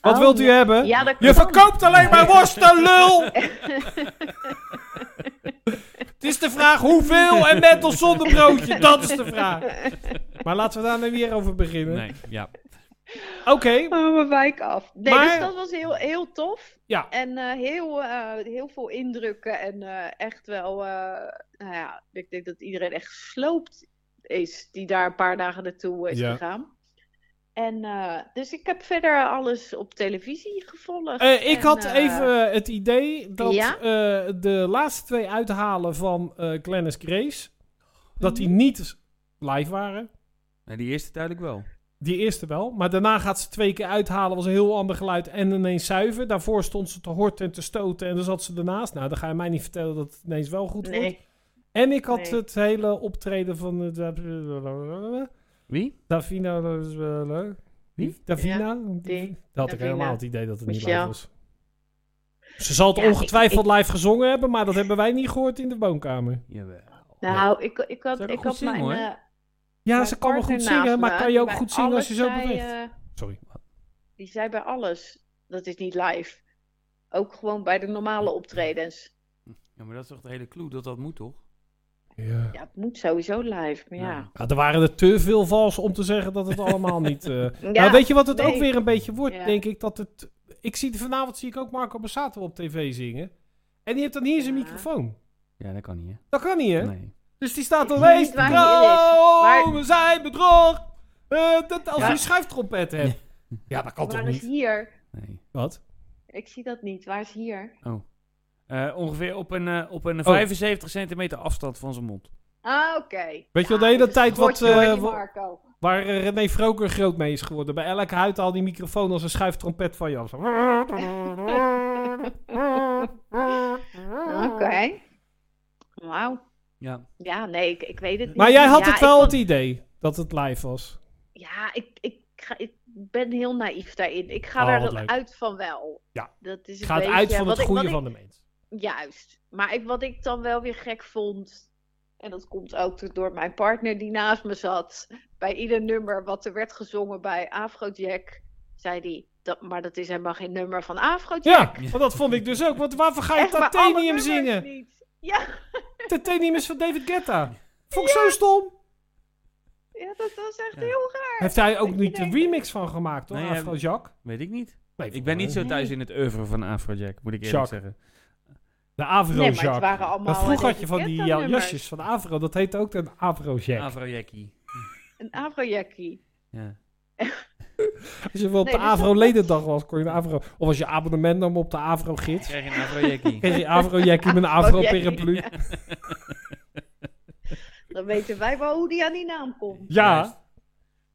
Speaker 1: Wat
Speaker 4: Oh,
Speaker 1: wilt u
Speaker 4: ja.
Speaker 1: hebben?
Speaker 4: Ja, dat
Speaker 1: Je
Speaker 4: kan.
Speaker 1: verkoopt alleen maar worsten, lul! Het is de vraag hoeveel en met of zonder broodje. Dat is de vraag.
Speaker 4: Eh,
Speaker 1: Maar laten we daar nu weer over beginnen.
Speaker 2: Nee, ja.
Speaker 1: Oké,
Speaker 4: Oh, we wijken af. Nee,
Speaker 1: Maar-
Speaker 4: dus dat was heel, heel tof.
Speaker 1: Ja.
Speaker 4: En eh, heel, eh, heel veel indrukken. En eh, echt wel, eh, nou ja, ik denk dat iedereen echt gesloopt is die daar een paar dagen naartoe is
Speaker 1: Ja.
Speaker 4: gegaan. En eh, dus ik heb verder alles op televisie gevolgd.
Speaker 1: Eh, ik
Speaker 4: En,
Speaker 1: had
Speaker 4: eh,
Speaker 1: even eh, het idee dat
Speaker 4: ja?
Speaker 1: eh, de laatste twee uithalen van eh Glennis Grace, dat
Speaker 4: Mhm.
Speaker 1: die niet live waren.
Speaker 2: Nou, die eerste duidelijk wel.
Speaker 1: Die eerste wel, maar daarna gaat ze twee keer uithalen, was een heel ander geluid en ineens zuiver. Daarvoor stond ze te horten en te stoten en dan zat ze ernaast. Nou, dan ga je mij niet vertellen dat het ineens wel goed wordt.
Speaker 4: Nee,
Speaker 1: En ik had
Speaker 4: Nee.
Speaker 1: het hele optreden van eh,
Speaker 2: Wie?
Speaker 1: Davina. eh,
Speaker 2: Wie?
Speaker 1: Davina?
Speaker 4: Hm? die.
Speaker 1: Dat had ik
Speaker 4: Davina.
Speaker 1: helemaal het idee dat het niet live
Speaker 4: Michelle.
Speaker 1: was. Ze zal het
Speaker 4: Ja, ik-
Speaker 1: ongetwijfeld live gezongen hebben, maar dat hebben wij niet gehoord in de woonkamer.
Speaker 2: Jawel.
Speaker 4: Nou, ik, ik had,
Speaker 2: Ze kan
Speaker 4: ik
Speaker 2: goed
Speaker 4: had
Speaker 2: zingen,
Speaker 4: mijn...
Speaker 2: hoor.
Speaker 4: eh,
Speaker 1: Ja,
Speaker 4: mijn
Speaker 1: ze kan wel goed
Speaker 4: partner naast
Speaker 1: zingen, maar
Speaker 4: me,
Speaker 1: kan
Speaker 4: die
Speaker 1: je ook
Speaker 4: bij
Speaker 1: goed zingen als je zo
Speaker 4: alles zei,
Speaker 1: beweegt?
Speaker 4: eh,
Speaker 1: Sorry.
Speaker 4: Die zei bij alles, dat is niet live. Ook gewoon bij de normale optredens.
Speaker 2: Ja, maar dat is toch de hele clue dat dat moet, toch?
Speaker 1: Ja.
Speaker 4: Ja, het moet sowieso live, maar ja.
Speaker 1: Ja, er waren er te veel vals om te zeggen dat het allemaal niet... eh
Speaker 4: [laughs] Ja,
Speaker 1: nou, weet je wat het
Speaker 4: nee.
Speaker 1: ook weer een beetje wordt,
Speaker 4: Ja.
Speaker 1: denk ik? Dat het... Ik zie, vanavond zie ik ook Marco Bassato op tv zingen. En die heeft dan niet eens een
Speaker 4: Ja.
Speaker 1: microfoon.
Speaker 2: Ja, dat kan niet, hè?
Speaker 1: Dat kan niet, hè?
Speaker 2: Nee.
Speaker 1: Dus die staat dan
Speaker 4: Ik weet
Speaker 1: wees
Speaker 4: waar hij is,
Speaker 1: dromen zijn bedrog. Eh, dat, als je
Speaker 4: Ja.
Speaker 1: een schuiftrompet hebt. Ja, dat kan toch
Speaker 4: Waar is
Speaker 1: niet?
Speaker 4: hier?
Speaker 2: nee.
Speaker 1: Wat?
Speaker 4: Ik zie dat niet. Waar is hier?
Speaker 2: Oh. Eh, ongeveer op een, eh, op een
Speaker 1: Oh.
Speaker 2: 75 centimeter afstand van zijn mond.
Speaker 4: Ah, oké.
Speaker 1: Weet je wel,
Speaker 4: Ja,
Speaker 1: de hele
Speaker 4: dat is
Speaker 1: tijd
Speaker 4: een
Speaker 1: wat,
Speaker 4: grotje, hoor,
Speaker 1: eh,
Speaker 4: die
Speaker 1: wat-
Speaker 4: Marco.
Speaker 1: Waar eh, René Vroker groot mee is geworden. Bij elke huid al die microfoon als een schuiftrompet van je af.
Speaker 4: Oké. Wauw.
Speaker 2: Ja.
Speaker 4: Ja, nee, ik, ik weet het niet.
Speaker 1: Maar jij had
Speaker 4: Ja,
Speaker 1: het
Speaker 4: ik
Speaker 1: wel
Speaker 4: vond-
Speaker 1: het idee dat het live was.
Speaker 4: Ja, ik, ik, ga, ik ben heel naïef daarin. Ik ga
Speaker 1: Oh,
Speaker 4: daar
Speaker 1: wat
Speaker 4: dan
Speaker 1: leuk.
Speaker 4: uit van wel.
Speaker 1: Ja.
Speaker 4: Dat is een
Speaker 1: Het gaat
Speaker 4: beetje
Speaker 1: uit van
Speaker 4: wat
Speaker 1: het
Speaker 4: ik- wat
Speaker 1: goede
Speaker 4: ik-
Speaker 1: van de mens.
Speaker 4: Juist. Maar ik, wat ik dan wel weer gek vond, en dat komt ook door- door mijn partner die naast me zat, bij ieder nummer wat er werd gezongen bij Afrojack, zei hij, dat, maar dat is helemaal geen nummer van Afrojack.
Speaker 1: Ja, want dat vond ik dus ook. Want waarvoor ga je
Speaker 4: Echt, maar alle
Speaker 1: Titanium
Speaker 4: nummers
Speaker 1: zingen?
Speaker 4: niet. Ja,
Speaker 1: Titanium is van David Guetta. Vond ik zo stom.
Speaker 4: ja, dat was echt
Speaker 2: Ja.
Speaker 4: heel raar.
Speaker 1: Heeft hij ook
Speaker 4: Ik
Speaker 1: niet een
Speaker 4: denk-
Speaker 1: remix van gemaakt, hoor,
Speaker 2: Nee, hij-
Speaker 1: Afrojack?
Speaker 2: Weet ik niet.
Speaker 1: Nee,
Speaker 2: Ik ben niet zo
Speaker 4: Nee.
Speaker 2: thuis in het oeuvre van Afrojack, moet ik eerlijk
Speaker 1: Jacques.
Speaker 2: zeggen.
Speaker 1: De
Speaker 4: Nee, maar het
Speaker 1: Afrojack.
Speaker 4: waren allemaal...
Speaker 1: maar vroeger
Speaker 4: eh,
Speaker 1: had je van die
Speaker 4: David Guetta
Speaker 1: ja, jasjes van Avro, dat heette ook een Afrojack.
Speaker 2: Afrojackie.
Speaker 4: nummers. Een Afrojackie.
Speaker 2: Ja.
Speaker 1: Als je wel op
Speaker 4: Nee,
Speaker 1: de
Speaker 4: dus dat
Speaker 1: Avro-ledendag was, kon je een Avro... Of als je abonnement nam op de Avro-gids,
Speaker 2: Krijg je een [laughs] Afrojackie.
Speaker 1: kreeg je Afrojackie
Speaker 4: [laughs]
Speaker 1: met een Avro-paraplu. Ja,
Speaker 4: Dan weten wij wel hoe die aan die naam komt.
Speaker 2: Juist.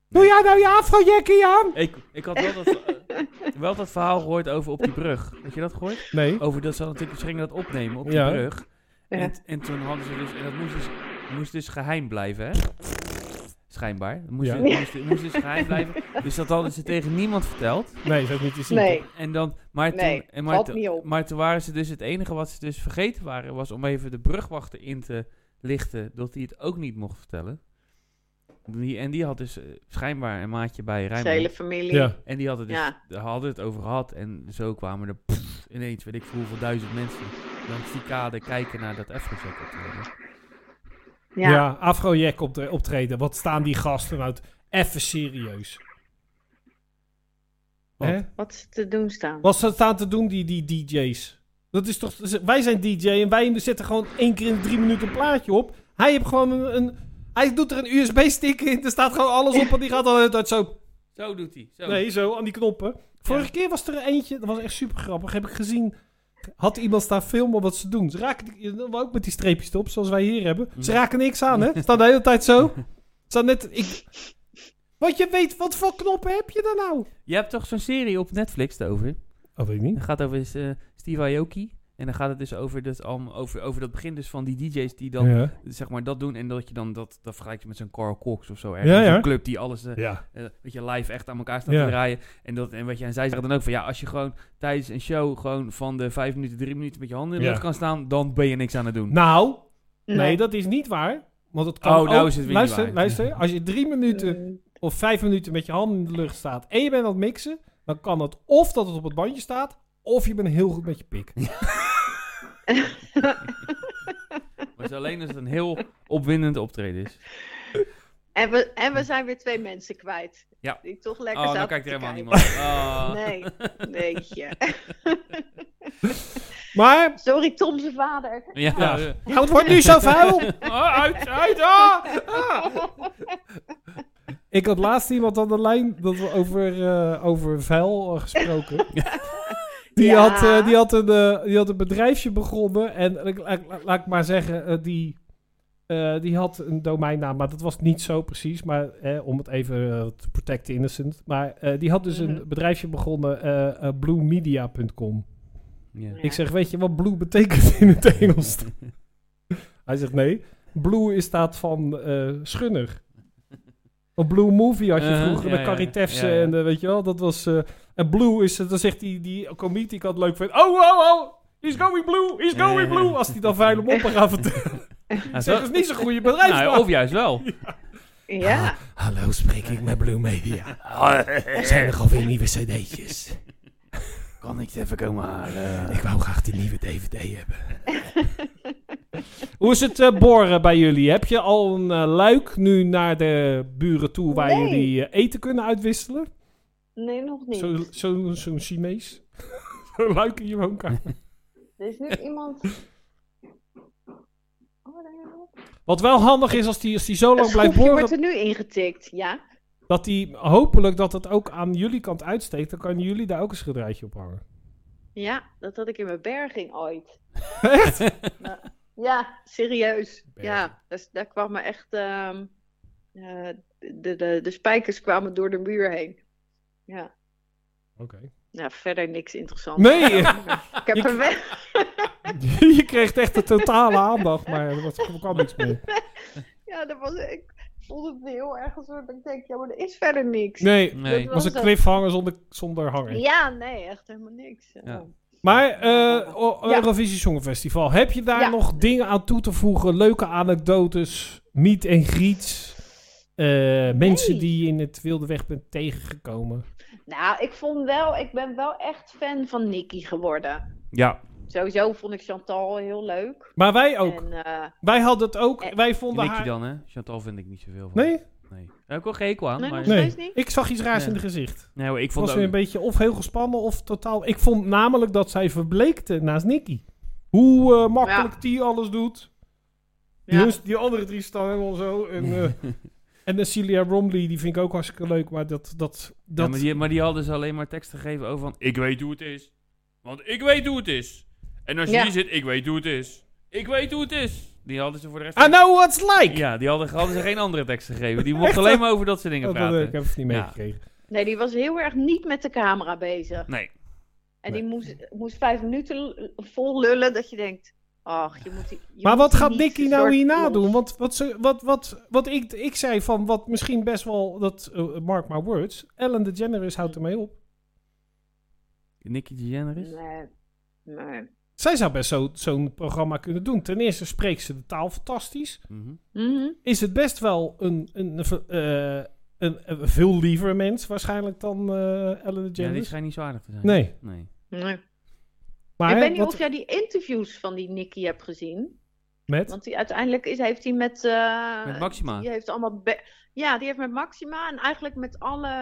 Speaker 1: Doe jij nou je Afrojackie aan?
Speaker 2: Ik, ik had wel dat, eh, wel dat verhaal gehoord over op die brug. Had je dat gehoord?
Speaker 1: Nee.
Speaker 2: Over dat ze natuurlijk ze gingen dat opnemen op die
Speaker 1: Ja.
Speaker 2: brug.
Speaker 4: Ja.
Speaker 2: En, en toen hadden ze dus, en dat moest dus, moest dus geheim blijven, hè? Schijnbaar. Dat Moest,
Speaker 1: Ja.
Speaker 2: dus- moest, moest dus geheim blijven. Dus dat hadden ze tegen niemand verteld.
Speaker 1: Nee, is ook niet te zien.
Speaker 4: Nee.
Speaker 2: En dan, maar toen,
Speaker 4: Nee,
Speaker 2: en maar,
Speaker 4: valt
Speaker 2: toen-
Speaker 4: niet op.
Speaker 2: maar toen waren ze dus, het enige wat ze dus vergeten waren, was om even de brugwachter in te lichten, dat hij het ook niet mocht vertellen. Die, en die had dus eh, schijnbaar een maatje bij
Speaker 4: Zijn hele
Speaker 2: Rijnmond.
Speaker 4: familie.
Speaker 1: Ja.
Speaker 2: En die hadden, dus,
Speaker 4: Ja.
Speaker 2: daar hadden het over gehad. En zo kwamen er pff, ineens, weet ik veel hoeveel duizend mensen langs die kade kijken naar dat Afrojack optreden.
Speaker 1: Ja,
Speaker 4: Ja.
Speaker 1: Afrojack optre- optreden. Wat staan die gasten nou? Even serieus.
Speaker 2: Wat?
Speaker 1: Hè?
Speaker 4: Wat ze te doen staan.
Speaker 1: Wat ze staan te doen, die, die DJ's. Dat is toch, ze- wij zijn DJ en wij zetten gewoon één keer in de drie minuten een plaatje op. Hij heeft gewoon een, een hij doet er een USB-stick in, er staat gewoon alles op en die gaat dan de hele tijd zo,
Speaker 2: Zo doet hij. Zo.
Speaker 1: nee, zo aan die knoppen. Vorige keer was er eentje, dat was echt super grappig, heb ik gezien. Had iemand staan filmen wat ze doen. Ze raken, die- ook met die streepjes erop, zoals wij hier hebben. Ze raken niks aan, hè? Ze staan de hele tijd zo. Ze Staan net, ik, Want je weet, wat voor knoppen heb je daar nou?
Speaker 2: Je hebt toch zo'n serie op Netflix daarover?
Speaker 1: Dat Oh, weet ik niet.
Speaker 2: Het gaat over eh, Steve Aoki. En dan gaat het dus over dat, om over, over dat begin dus van die DJ's die dan
Speaker 1: ja.
Speaker 2: zeg maar dat doen. En dat je dan dat, dat vergelijkt je met zo'n Carl Cox of zo.
Speaker 1: Ja,
Speaker 2: Ergens.
Speaker 1: ja.
Speaker 2: Een club die alles eh,
Speaker 1: ja.
Speaker 2: eh, weet je, live echt aan elkaar staan
Speaker 1: Ja.
Speaker 2: te draaien. En, dat, en, wat je, en zij zeggen dan ook van ja, als je gewoon tijdens een show gewoon van de vijf minuten, drie minuten met je handen in de
Speaker 1: Ja.
Speaker 2: lucht kan staan, dan ben je niks aan het doen.
Speaker 1: Nou, nee, dat is niet waar. Want het kan
Speaker 2: Oh, nou
Speaker 1: ook-
Speaker 2: is het weer niet
Speaker 1: luister,
Speaker 2: waar.
Speaker 1: Luister, als je drie minuten
Speaker 4: Mm.
Speaker 1: of vijf minuten met je handen in de lucht staat en je bent aan het mixen, dan kan het of dat het op het bandje staat, of je bent heel goed met je pik.
Speaker 4: [laughs]
Speaker 2: Maar het is alleen als het een heel opwindend optreden is.
Speaker 4: En, we, en we zijn weer twee mensen kwijt.
Speaker 2: Hm. Ja.
Speaker 4: Die toch lekker
Speaker 2: Oh, dan
Speaker 4: zaten
Speaker 2: kijkt er
Speaker 4: te
Speaker 2: helemaal
Speaker 4: kijken.
Speaker 2: niemand. Ah.
Speaker 4: Nee,
Speaker 2: [laughs]
Speaker 4: nee.
Speaker 1: Maar,
Speaker 4: Sorry, Tom zijn vader.
Speaker 2: Ja.
Speaker 1: Ja. Oh,
Speaker 2: eh,
Speaker 1: ja, het wordt nu
Speaker 2: [laughs]
Speaker 1: zo vuil!
Speaker 2: ah, uit, uit, ah!
Speaker 1: Ik had laatst iemand aan de lijn dat we over, eh, over vuil eh,
Speaker 4: [laughs]
Speaker 1: gesproken. Die,
Speaker 4: Ja.
Speaker 1: had, eh, die, had een, eh, die had een bedrijfje begonnen. En ik- la- la- laat ik maar zeggen, eh, die, eh, die had een domeinnaam. Maar dat was niet zo precies. Maar eh, om het even eh, te protect the innocent. Maar eh, die had dus
Speaker 4: Mhm.
Speaker 1: een bedrijfje begonnen, eh, eh, bluemedia.com.
Speaker 2: Ja.
Speaker 1: Ik zeg, weet je wat blue betekent in
Speaker 2: [laughs]
Speaker 1: het Engels? Hij zegt, nee. Blue is staat van eh, schunner. Op Blue Movie had je
Speaker 2: Eh,
Speaker 1: vroeger
Speaker 2: ja,
Speaker 1: de
Speaker 2: ja.
Speaker 1: Carrie Tefse
Speaker 2: Ja, ja.
Speaker 1: en eh, weet je wel, dat was... eh, en Blue is, eh, dan zegt die, die komiek die ik had leuk vind. Oh, oh, oh, he's going blue, he's going
Speaker 2: Eh.
Speaker 1: blue. Als die dan vuile moppen gaat
Speaker 2: [laughs]
Speaker 1: vertellen.
Speaker 2: Nou,
Speaker 1: zeg,
Speaker 2: zo-
Speaker 1: dat is niet zo'n goede bedrijf.
Speaker 2: nou, of juist wel.
Speaker 1: [laughs]
Speaker 2: Ah.
Speaker 4: Ja.
Speaker 1: Hallo, spreek ik met Blue Media. Zijn er alweer nieuwe cd'tjes?
Speaker 2: Kan ik even komen halen?
Speaker 1: Ik wou graag die nieuwe DVD hebben. Hoe is het eh, boren bij jullie? Heb je al een eh, luik nu naar de buren toe waar
Speaker 4: Nee.
Speaker 1: jullie eh, eten kunnen uitwisselen?
Speaker 4: Nee, nog niet.
Speaker 1: Zo'n zo, zo'n Chinees? [laughs] Zo'n luik in je woonkamer?
Speaker 4: Er is nu
Speaker 2: [laughs]
Speaker 4: iemand... Oh, daar hebben we-
Speaker 1: Wat wel handig is als die, als die zo
Speaker 4: Een
Speaker 1: lang blijft
Speaker 4: schroefje wordt
Speaker 1: boren,
Speaker 4: er nu ingetikt, ja.
Speaker 1: dat die hopelijk dat het ook aan jullie kant uitsteekt. Dan kunnen jullie daar ook een schilderijtje op hangen.
Speaker 4: Ja, dat had ik in mijn berging
Speaker 2: [laughs]
Speaker 4: ooit.
Speaker 1: Echt?
Speaker 4: Ja, serieus.
Speaker 1: Berging.
Speaker 4: Ja, dus daar kwamen echt... ehm, eh, de, de, de spijkers kwamen door de muur heen. Ja,
Speaker 1: Oké.
Speaker 4: nou, verder niks interessants.
Speaker 1: Nee,
Speaker 4: Ik heb
Speaker 1: Je-
Speaker 4: er wel-
Speaker 1: [laughs] je kreeg echt de totale aandacht, maar er was- er kwam niks meer.
Speaker 4: [laughs] Ja, dat was, ik voelde het heel erg als dat ik denk, ja, maar er is verder niks.
Speaker 1: Nee,
Speaker 2: Nee.
Speaker 1: het was een
Speaker 4: het.
Speaker 1: cliffhanger zonder, zonder hanger.
Speaker 4: Ja, nee, echt helemaal niks. Ja.
Speaker 2: Ja.
Speaker 1: Maar eh O-
Speaker 4: Ja.
Speaker 1: Eurovisie Songfestival, heb je daar
Speaker 4: Ja.
Speaker 1: nog dingen aan toe te voegen? Leuke anekdotes, meet en greets, eh, mensen
Speaker 4: Nee.
Speaker 1: die je in het wilde weg bent tegengekomen.
Speaker 4: Nou, ik vond wel, ik ben wel echt fan van Nicky geworden.
Speaker 2: Ja.
Speaker 4: Sowieso vond ik Chantal heel leuk.
Speaker 1: Maar wij ook.
Speaker 4: En, eh,
Speaker 1: Wij hadden het ook.
Speaker 4: Eh,
Speaker 1: Wij vonden
Speaker 2: Nicky
Speaker 1: haar...
Speaker 2: dan, hè? Chantal vind ik niet zoveel van.
Speaker 1: Nee?
Speaker 2: Nee. Daar heb ik wel geen hekel aan,
Speaker 4: nee,
Speaker 2: maar...
Speaker 4: nog
Speaker 1: Nee.
Speaker 4: steeds niet?
Speaker 1: Ik zag iets raars
Speaker 2: Nee.
Speaker 1: in het gezicht.
Speaker 2: Nee, hoor, ik
Speaker 1: Ik
Speaker 2: vond
Speaker 1: was
Speaker 2: het
Speaker 1: weer
Speaker 2: ook-
Speaker 1: een beetje of heel gespannen of totaal... Ik vond namelijk dat zij verbleekte naast Nicky. Hoe eh, makkelijk die alles doet. Die,
Speaker 4: Ja.
Speaker 1: jongens- die andere drie staan helemaal zo. En,
Speaker 2: [laughs]
Speaker 1: eh, en de Celia Romley, die vind ik ook hartstikke leuk. Maar dat... dat,
Speaker 2: Ja,
Speaker 1: dat
Speaker 2: maar, die, maar die hadden ze alleen maar tekst gegeven over van... Ik weet hoe het is. Want ik weet hoe het is. En als je
Speaker 4: Ja.
Speaker 2: hier zit, ik weet hoe het is. Ik weet hoe het is. Die hadden ze voor de rest...
Speaker 1: I know what's like!
Speaker 2: Ja, die hadden, hadden ze geen andere tekst gegeven. Die mochten
Speaker 1: [laughs] Echt?
Speaker 2: alleen maar over dat soort dingen
Speaker 1: dat, dat, ik
Speaker 2: praten.
Speaker 1: heb het niet
Speaker 2: Ja.
Speaker 1: meegekregen.
Speaker 4: Nee, die was heel erg niet met de camera bezig.
Speaker 2: Nee.
Speaker 4: En die moest, moest vijf minuten l- vol lullen dat je denkt, ach, je moet... die- je
Speaker 1: Maar
Speaker 4: moet
Speaker 1: wat
Speaker 4: die
Speaker 1: gaat
Speaker 4: niet
Speaker 1: Nicky
Speaker 4: een
Speaker 1: nou
Speaker 4: soort
Speaker 1: hierna
Speaker 4: los-
Speaker 1: doen? Want wat, ze, wat, wat, wat ik, ik zei van wat misschien best wel, dat eh, mark my words, Ellen DeGeneres houdt ermee op.
Speaker 2: Nicky DeGeneres?
Speaker 4: Nee, nee.
Speaker 1: Zij zou best zo- zo'n programma kunnen doen. Ten eerste spreekt ze de taal fantastisch.
Speaker 2: Mhm.
Speaker 4: Mhm.
Speaker 1: Is het best wel een, een, eh, een, een veel liever mens waarschijnlijk dan eh, Ellen
Speaker 2: Ja, die
Speaker 1: DeGeneres?
Speaker 2: schijnt niet zo aardig te zijn.
Speaker 1: Nee.
Speaker 2: Nee.
Speaker 4: nee.
Speaker 1: maar
Speaker 4: ik weet niet
Speaker 1: wat
Speaker 4: of jij die interviews van die Nicky hebt gezien.
Speaker 1: met?
Speaker 4: Want die, uiteindelijk is, heeft hij met... eh,
Speaker 2: Met Maxima.
Speaker 4: Die heeft allemaal... be- Ja, die heeft met Maxima en eigenlijk met alle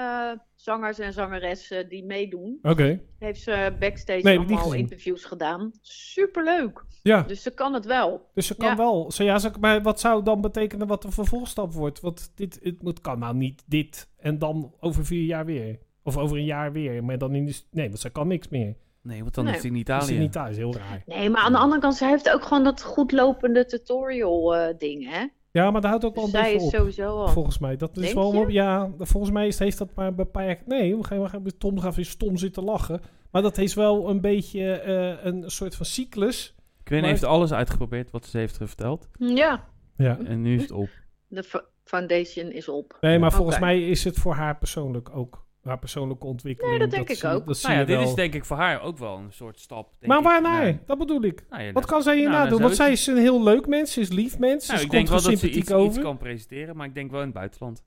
Speaker 4: zangers en zangeressen die meedoen...
Speaker 1: Oké,
Speaker 4: heeft ze backstage
Speaker 1: Nee, heb ik niet
Speaker 4: allemaal
Speaker 1: gezien.
Speaker 4: interviews gedaan. Superleuk.
Speaker 1: ja.
Speaker 4: Dus ze kan het wel.
Speaker 1: Dus ze kan
Speaker 4: Ja.
Speaker 1: wel. Zo, ja, ze- maar wat zou dan betekenen wat de vervolgstap wordt? Want dit, het, moet- kan nou niet dit en dan over vier jaar weer. Of over een jaar weer. Maar dan in de. st- Nee, want zij kan niks meer.
Speaker 2: Nee, want dan
Speaker 4: Nee.
Speaker 2: is hij in
Speaker 1: Ze
Speaker 2: Italië.
Speaker 1: zit niet thuis, heel raar.
Speaker 4: Nee, maar aan de andere kant, ze heeft ook gewoon dat goedlopende tutorial eh, ding, hè?
Speaker 1: Ja, maar daar houdt ook wel
Speaker 4: Dus
Speaker 1: een
Speaker 4: zij
Speaker 1: beetje
Speaker 4: is
Speaker 1: op.
Speaker 4: sowieso al.
Speaker 1: Volgens mij. Dat is
Speaker 4: Oh. Denk
Speaker 1: wel,
Speaker 4: je?
Speaker 1: Ja, volgens mij is, heeft dat maar beperkt. Nee, we gaan, we gaan, Tom gaat weer stom zitten lachen. Maar dat heeft wel een beetje eh, een soort van cyclus.
Speaker 2: Quinn
Speaker 1: Maar-
Speaker 2: heeft alles uitgeprobeerd wat ze heeft verteld.
Speaker 4: Ja,
Speaker 1: Ja.
Speaker 4: Hm.
Speaker 2: En nu is het
Speaker 1: [laughs]
Speaker 2: op.
Speaker 4: de fo- foundation is op.
Speaker 1: Nee, maar
Speaker 4: Oké.
Speaker 1: volgens mij is het voor haar persoonlijk ook. Haar persoonlijke ontwikkeling.
Speaker 4: Nee, dat denk ik
Speaker 1: zie-
Speaker 4: ook.
Speaker 1: Dat zie
Speaker 2: Nou ja,
Speaker 1: je
Speaker 2: dit
Speaker 1: wel.
Speaker 2: is denk ik voor haar ook wel een soort stap. Denk
Speaker 1: maar
Speaker 2: ik,
Speaker 1: waarnaar?
Speaker 2: naar-
Speaker 1: Dat bedoel ik.
Speaker 2: Nou, ja,
Speaker 1: Wat kan zij hierna
Speaker 2: nou,
Speaker 1: doen?
Speaker 2: zo
Speaker 1: Want
Speaker 2: is
Speaker 1: zij
Speaker 2: het.
Speaker 1: is een heel leuk mens. Ze is lief mens.
Speaker 2: Nou,
Speaker 1: ze
Speaker 2: ik denk
Speaker 1: komt wel
Speaker 2: wel dat ze
Speaker 1: sympathiek
Speaker 2: iets,
Speaker 1: over.
Speaker 2: iets kan presenteren, maar ik denk wel in het buitenland.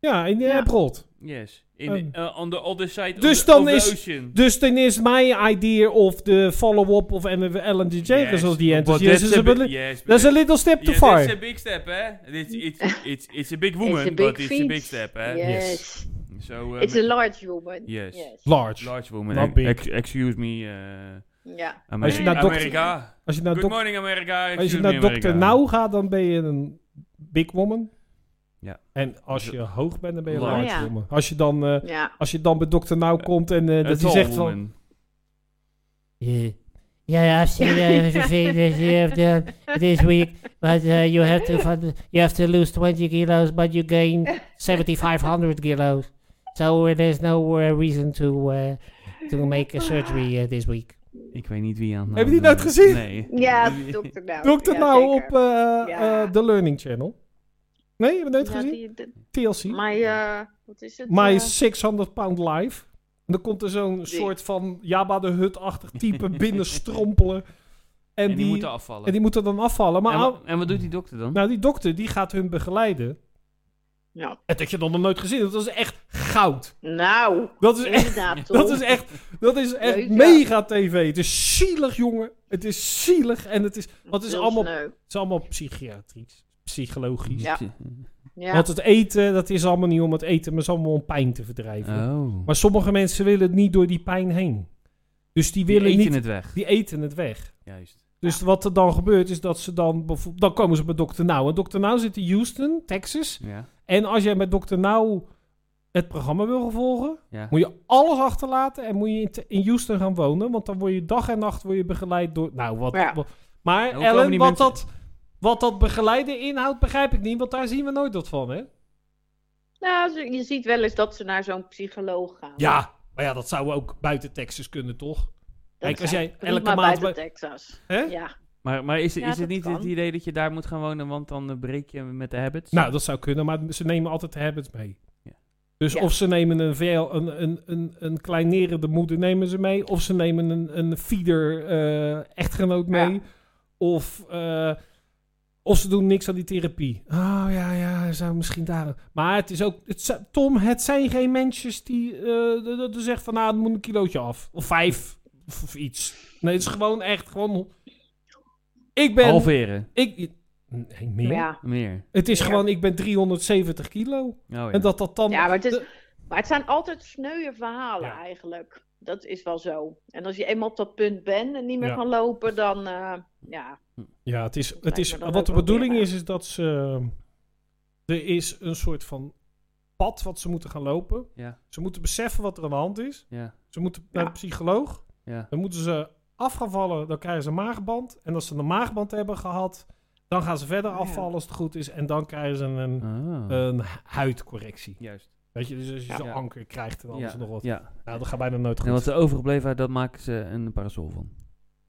Speaker 1: Ja, in
Speaker 4: Ja.
Speaker 1: Ebrod.
Speaker 2: Yes. In,
Speaker 1: Oh.
Speaker 2: eh, on the other side of
Speaker 1: Dus
Speaker 2: the-
Speaker 1: dan
Speaker 2: of the
Speaker 1: is-
Speaker 2: ocean.
Speaker 1: Dus dan is mijn idea of the follow-up of Ellen DeGeneres als die
Speaker 2: But
Speaker 1: enthousiast is.
Speaker 2: that's a
Speaker 1: a
Speaker 2: bi-
Speaker 1: bit-
Speaker 2: yes, but
Speaker 1: That's a little step too
Speaker 2: Yeah,
Speaker 1: far.
Speaker 2: that's a big step, hè? It's, it's, it's, it's a big
Speaker 4: It's
Speaker 2: woman,
Speaker 4: a big
Speaker 2: but it's a
Speaker 4: feat.
Speaker 2: big step, hè?
Speaker 4: Yes.
Speaker 2: So, um,
Speaker 4: It's a large woman.
Speaker 2: Yes.
Speaker 1: Large.
Speaker 2: large woman.
Speaker 1: Not
Speaker 2: Ex-
Speaker 1: big.
Speaker 2: ex- excuse me, eh
Speaker 4: Ja.
Speaker 1: Als je
Speaker 2: Ameri-
Speaker 1: naar dokter-
Speaker 2: Amerika.
Speaker 1: Als je naar,
Speaker 2: Good
Speaker 1: dok
Speaker 2: morning, Amerika.
Speaker 1: als je
Speaker 2: Excuse
Speaker 1: naar
Speaker 2: me,
Speaker 1: dokter
Speaker 2: Amerika.
Speaker 1: Nauw gaat, dan ben je een big woman.
Speaker 2: Ja. Dus
Speaker 1: En als je hoog bent, dan ben je een
Speaker 2: Large.
Speaker 1: large
Speaker 4: Oh Ja.
Speaker 1: woman. Als je dan, eh,
Speaker 4: Ja.
Speaker 1: als je dan bij dokter Nauw komt en eh,
Speaker 2: A
Speaker 1: dat hij
Speaker 2: tall
Speaker 1: zegt van...
Speaker 2: woman.
Speaker 5: Yeah. Yeah, I've seen
Speaker 3: [laughs]
Speaker 5: uh, the figures you have done this week, but uh, you have to fund, you have to lose 20 kilos, but you gain 7,500 kilos. So uh, there's no uh, reason to uh, to make a surgery uh, this week.
Speaker 2: Ik weet niet wie aan. eh,
Speaker 1: Heb je die nooit gezien?
Speaker 2: Nee. [laughs]
Speaker 4: Ja, dokter nou.
Speaker 1: Dokter
Speaker 4: ja,
Speaker 1: Nauw
Speaker 4: zeker.
Speaker 1: op eh,
Speaker 4: Ja.
Speaker 1: eh, de Learning Channel. Nee, je hebt het nooit
Speaker 4: Ja,
Speaker 1: gezien?
Speaker 4: die- de-
Speaker 1: TLC.
Speaker 4: Maar, eh, wat is het?
Speaker 1: My
Speaker 4: eh,
Speaker 1: 600 pound life. En dan komt er zo'n soort van Jabba de Hut-achtig
Speaker 2: [laughs]
Speaker 1: type binnenstrompelen. En,
Speaker 2: En die moeten
Speaker 1: en
Speaker 2: afvallen.
Speaker 1: die moeten dan afvallen. Maar
Speaker 2: En
Speaker 1: al-
Speaker 2: wa- en wat doet die dokter dan?
Speaker 1: nou, die dokter die gaat hun begeleiden.
Speaker 4: nou,
Speaker 1: En dat je dan nog nooit gezien hebt. Dat is echt goud.
Speaker 4: nou,
Speaker 1: Dat is
Speaker 4: [laughs]
Speaker 1: echt,
Speaker 4: inderdaad
Speaker 1: [laughs]
Speaker 4: toch?
Speaker 1: dat is echt, dat is echt
Speaker 4: Leuk, ja.
Speaker 1: mega tv. Het is zielig, jongen. Het is zielig. En het is, want het is,
Speaker 4: Heel
Speaker 1: allemaal, het
Speaker 4: sneu.
Speaker 1: is allemaal psychiatrisch. Psychologisch.
Speaker 4: Ja. Ja.
Speaker 1: Want het eten, dat is allemaal niet om het eten, maar het is allemaal om pijn te verdrijven.
Speaker 2: Oh.
Speaker 1: Maar sommige mensen willen het niet door die pijn heen. Dus die willen
Speaker 2: die eten
Speaker 1: niet.
Speaker 2: het weg.
Speaker 1: Die eten het weg.
Speaker 2: Juist.
Speaker 1: Dus wat er dan gebeurt is dat ze dan. bijvo- Dan komen ze bij Dr. Now. En Dr. Now zit in Houston, Texas.
Speaker 2: Ja.
Speaker 1: En als jij met Dr. Now het programma wil volgen.
Speaker 2: Ja.
Speaker 1: moet je alles achterlaten. En moet je in, te- in Houston gaan wonen. Want dan word je dag en nacht word je begeleid door. Nou, wat.
Speaker 4: Ja.
Speaker 1: wat- maar
Speaker 2: En hoe komen
Speaker 1: Ellen,
Speaker 2: die
Speaker 1: wat,
Speaker 2: mensen-
Speaker 1: dat, wat dat begeleiden inhoudt, begrijp ik niet. Want daar zien we nooit wat van, hè?
Speaker 4: Nou, ze- je ziet wel eens dat ze naar zo'n psycholoog gaan.
Speaker 1: Ja, maar ja, dat zou ook buiten Texas kunnen, toch?
Speaker 4: Dat
Speaker 1: Kijk, als
Speaker 4: zijn-
Speaker 1: jij
Speaker 4: Doe
Speaker 1: elke
Speaker 4: maar
Speaker 1: maand.
Speaker 4: buiten
Speaker 1: bij-
Speaker 4: Texas.
Speaker 1: Hè?
Speaker 4: Ja.
Speaker 2: Maar, maar is, het-
Speaker 4: Ja,
Speaker 2: is het
Speaker 4: dat
Speaker 2: niet het
Speaker 4: kan.
Speaker 2: idee dat je daar moet gaan wonen, want dan eh, breek je met de habits?
Speaker 1: Nou, dat zou kunnen, maar ze nemen altijd de habits mee.
Speaker 2: Ja.
Speaker 1: Dus
Speaker 4: Ja.
Speaker 1: of ze nemen een, veel, een, een, een, een kleinerende moeder nemen ze mee. Of ze nemen een, een feeder eh, echtgenoot mee.
Speaker 4: Ja.
Speaker 1: Of, eh, of ze doen niks aan die therapie. Oh ja, ja, zou misschien daar... Maar het is ook... Het, zi- Tom, het zijn geen mensen die eh, dat- dat- dat zeggen van... Nou, het moet een kilootje af. Of vijf. Of, of iets. Nee, het is gewoon echt gewoon... Ik ben...
Speaker 2: Halveren.
Speaker 1: Ik, nee, meer.
Speaker 4: Ja.
Speaker 2: Meer.
Speaker 1: Het is
Speaker 4: Ja.
Speaker 1: gewoon, ik ben 370 kilo.
Speaker 2: Oh, ja.
Speaker 1: En dat dat dan...
Speaker 4: Ja, maar het is-
Speaker 1: de-
Speaker 4: Maar het zijn altijd sneuwe verhalen
Speaker 1: Ja.
Speaker 4: eigenlijk. Dat is wel zo. En als je eenmaal op dat punt bent en niet meer
Speaker 1: Ja.
Speaker 4: kan lopen, dan eh, ja.
Speaker 1: ja, het is... Het
Speaker 4: Lijkt
Speaker 1: is
Speaker 4: me dan
Speaker 1: wat de
Speaker 4: ook wel
Speaker 1: bedoeling
Speaker 4: weer,
Speaker 1: is, is dat ze... Er is een soort van pad wat ze moeten gaan lopen.
Speaker 2: Ja.
Speaker 1: Ze moeten beseffen wat er aan de hand is.
Speaker 2: Ja.
Speaker 1: Ze moeten naar
Speaker 4: Ja.
Speaker 1: de psycholoog.
Speaker 2: Ja.
Speaker 1: Dan moeten ze afgevallen, dan krijgen ze een maagband. En als ze een maagband hebben gehad, dan gaan ze verder
Speaker 4: Ja.
Speaker 1: afvallen als het goed is. En dan krijgen ze een,
Speaker 2: Ah.
Speaker 1: een huidcorrectie.
Speaker 2: Juist.
Speaker 1: Weet je, dus als je
Speaker 2: Ja.
Speaker 1: zo'n
Speaker 2: Ja.
Speaker 1: anker krijgt en alles
Speaker 2: ja.
Speaker 1: nog wat.
Speaker 2: Ja.
Speaker 1: Nou, dat gaat bijna nooit goed.
Speaker 2: En wat ze overgebleven had, dat maken ze een parasol van.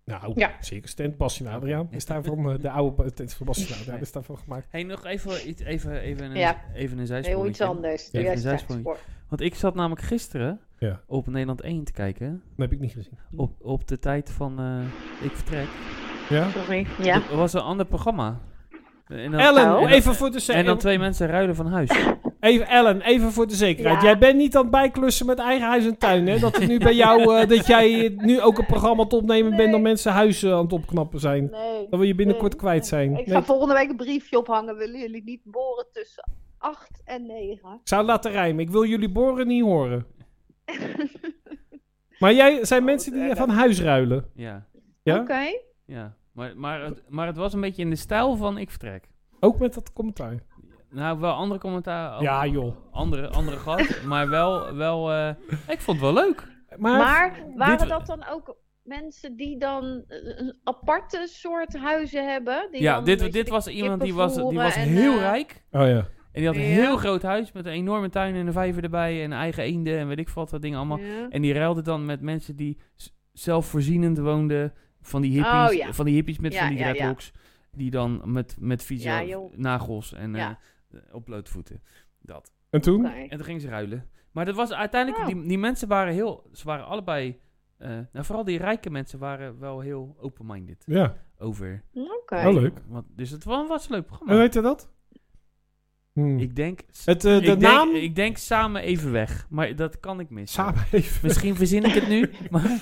Speaker 1: Nou,
Speaker 4: Ja.
Speaker 1: zeker stand. Basje en Adriaan is daarvan eh, de oude tent van Basje en Adriaan is daarvan gemaakt.
Speaker 2: Hey, nog even, iets, even, even een,
Speaker 4: Ja.
Speaker 2: even een
Speaker 4: Heel iets
Speaker 2: zijsprongetje.
Speaker 4: anders.
Speaker 2: Ja,
Speaker 4: Doe jij
Speaker 2: een
Speaker 4: straks
Speaker 2: zijsprong.
Speaker 4: voor.
Speaker 2: Want ik zat namelijk gisteren
Speaker 1: Ja.
Speaker 2: op Nederland 1 te kijken.
Speaker 1: Dat heb ik niet gezien.
Speaker 2: Op, op de tijd van eh, ik vertrek.
Speaker 1: Ja?
Speaker 4: Sorry. Ja.
Speaker 2: Er was een ander programma. En dan,
Speaker 1: Ellen,
Speaker 4: Oh.
Speaker 1: even voor de
Speaker 2: en dan
Speaker 1: zekerheid.
Speaker 2: twee mensen ruilen van huis.
Speaker 1: Even, Ellen, even voor de zekerheid.
Speaker 4: Ja.
Speaker 1: Jij bent niet aan het bijklussen met eigen huis en tuin, hè? Dat het nu bij jou, eh, dat jij eh, nu ook een programma aan het opnemen bent dat mensen huizen aan het opknappen zijn.
Speaker 4: Nee.
Speaker 1: Dat we je binnenkort
Speaker 4: Nee.
Speaker 1: kwijt zijn.
Speaker 4: Ik
Speaker 1: Nee,
Speaker 4: ga volgende week een briefje ophangen. Willen jullie niet boren tussen 8 en 9?
Speaker 1: ik zou het laten rijmen. Ik wil jullie boren niet
Speaker 4: [laughs]
Speaker 1: horen. Maar jij zijn
Speaker 4: Oh,
Speaker 1: mensen die
Speaker 4: wat erg.
Speaker 1: van huis ruilen.
Speaker 2: ja.
Speaker 1: Ja?
Speaker 4: Oké.
Speaker 2: Ja. Maar, maar, het, maar het was een beetje in de stijl van ik vertrek.
Speaker 1: Ook met dat commentaar.
Speaker 2: Nou, wel andere commentaar. ook
Speaker 1: Ja, joh.
Speaker 2: Andere, andere
Speaker 4: [laughs]
Speaker 2: gast. Maar wel, wel eh, ik vond het wel leuk.
Speaker 1: Maar,
Speaker 4: Maar waren
Speaker 1: dit-
Speaker 4: dat dan ook mensen die dan eh, een aparte soort huizen hebben. Die
Speaker 2: Ja,
Speaker 4: dan, weet
Speaker 2: dit,
Speaker 4: je,
Speaker 2: dit
Speaker 4: de
Speaker 2: was iemand die was, die
Speaker 4: kippenvoeren
Speaker 2: was
Speaker 4: en,
Speaker 2: heel
Speaker 4: eh,
Speaker 2: rijk.
Speaker 1: Oh ja.
Speaker 2: En die had een
Speaker 4: Ja.
Speaker 2: heel groot huis met een enorme tuin en een vijver erbij en eigen eenden en weet ik veel wat dat dingen allemaal.
Speaker 4: ja.
Speaker 2: En die ruilde dan met mensen die s- zelfvoorzienend woonden. Van die hippies,
Speaker 4: Oh, ja.
Speaker 2: van die hippies met
Speaker 4: Ja,
Speaker 2: van die
Speaker 4: ja, ja.
Speaker 2: dreadlocks. Die dan met, met vieze
Speaker 4: Ja, joh.
Speaker 2: nagels en eh
Speaker 4: Ja.
Speaker 2: op blootvoeten. Dat.
Speaker 1: En toen?
Speaker 4: Nee.
Speaker 2: En toen ging ze ruilen. Maar dat was uiteindelijk,
Speaker 4: Oh.
Speaker 2: die, die mensen waren heel, ze waren allebei, eh, nou vooral die rijke mensen waren wel heel open-minded
Speaker 1: Ja.
Speaker 2: over.
Speaker 4: Oké.
Speaker 1: Oh, leuk.
Speaker 2: Want, dus het was, was een leuk
Speaker 1: En
Speaker 2: programma.
Speaker 1: weet je dat? Hmm.
Speaker 2: Ik denk, s-
Speaker 1: het, eh, de
Speaker 2: ik, denk,
Speaker 1: naam?
Speaker 2: ik denk samen even weg, maar dat kan ik missen.
Speaker 1: Samen even.
Speaker 2: Misschien verzin ik het
Speaker 1: [laughs]
Speaker 2: nu, maar...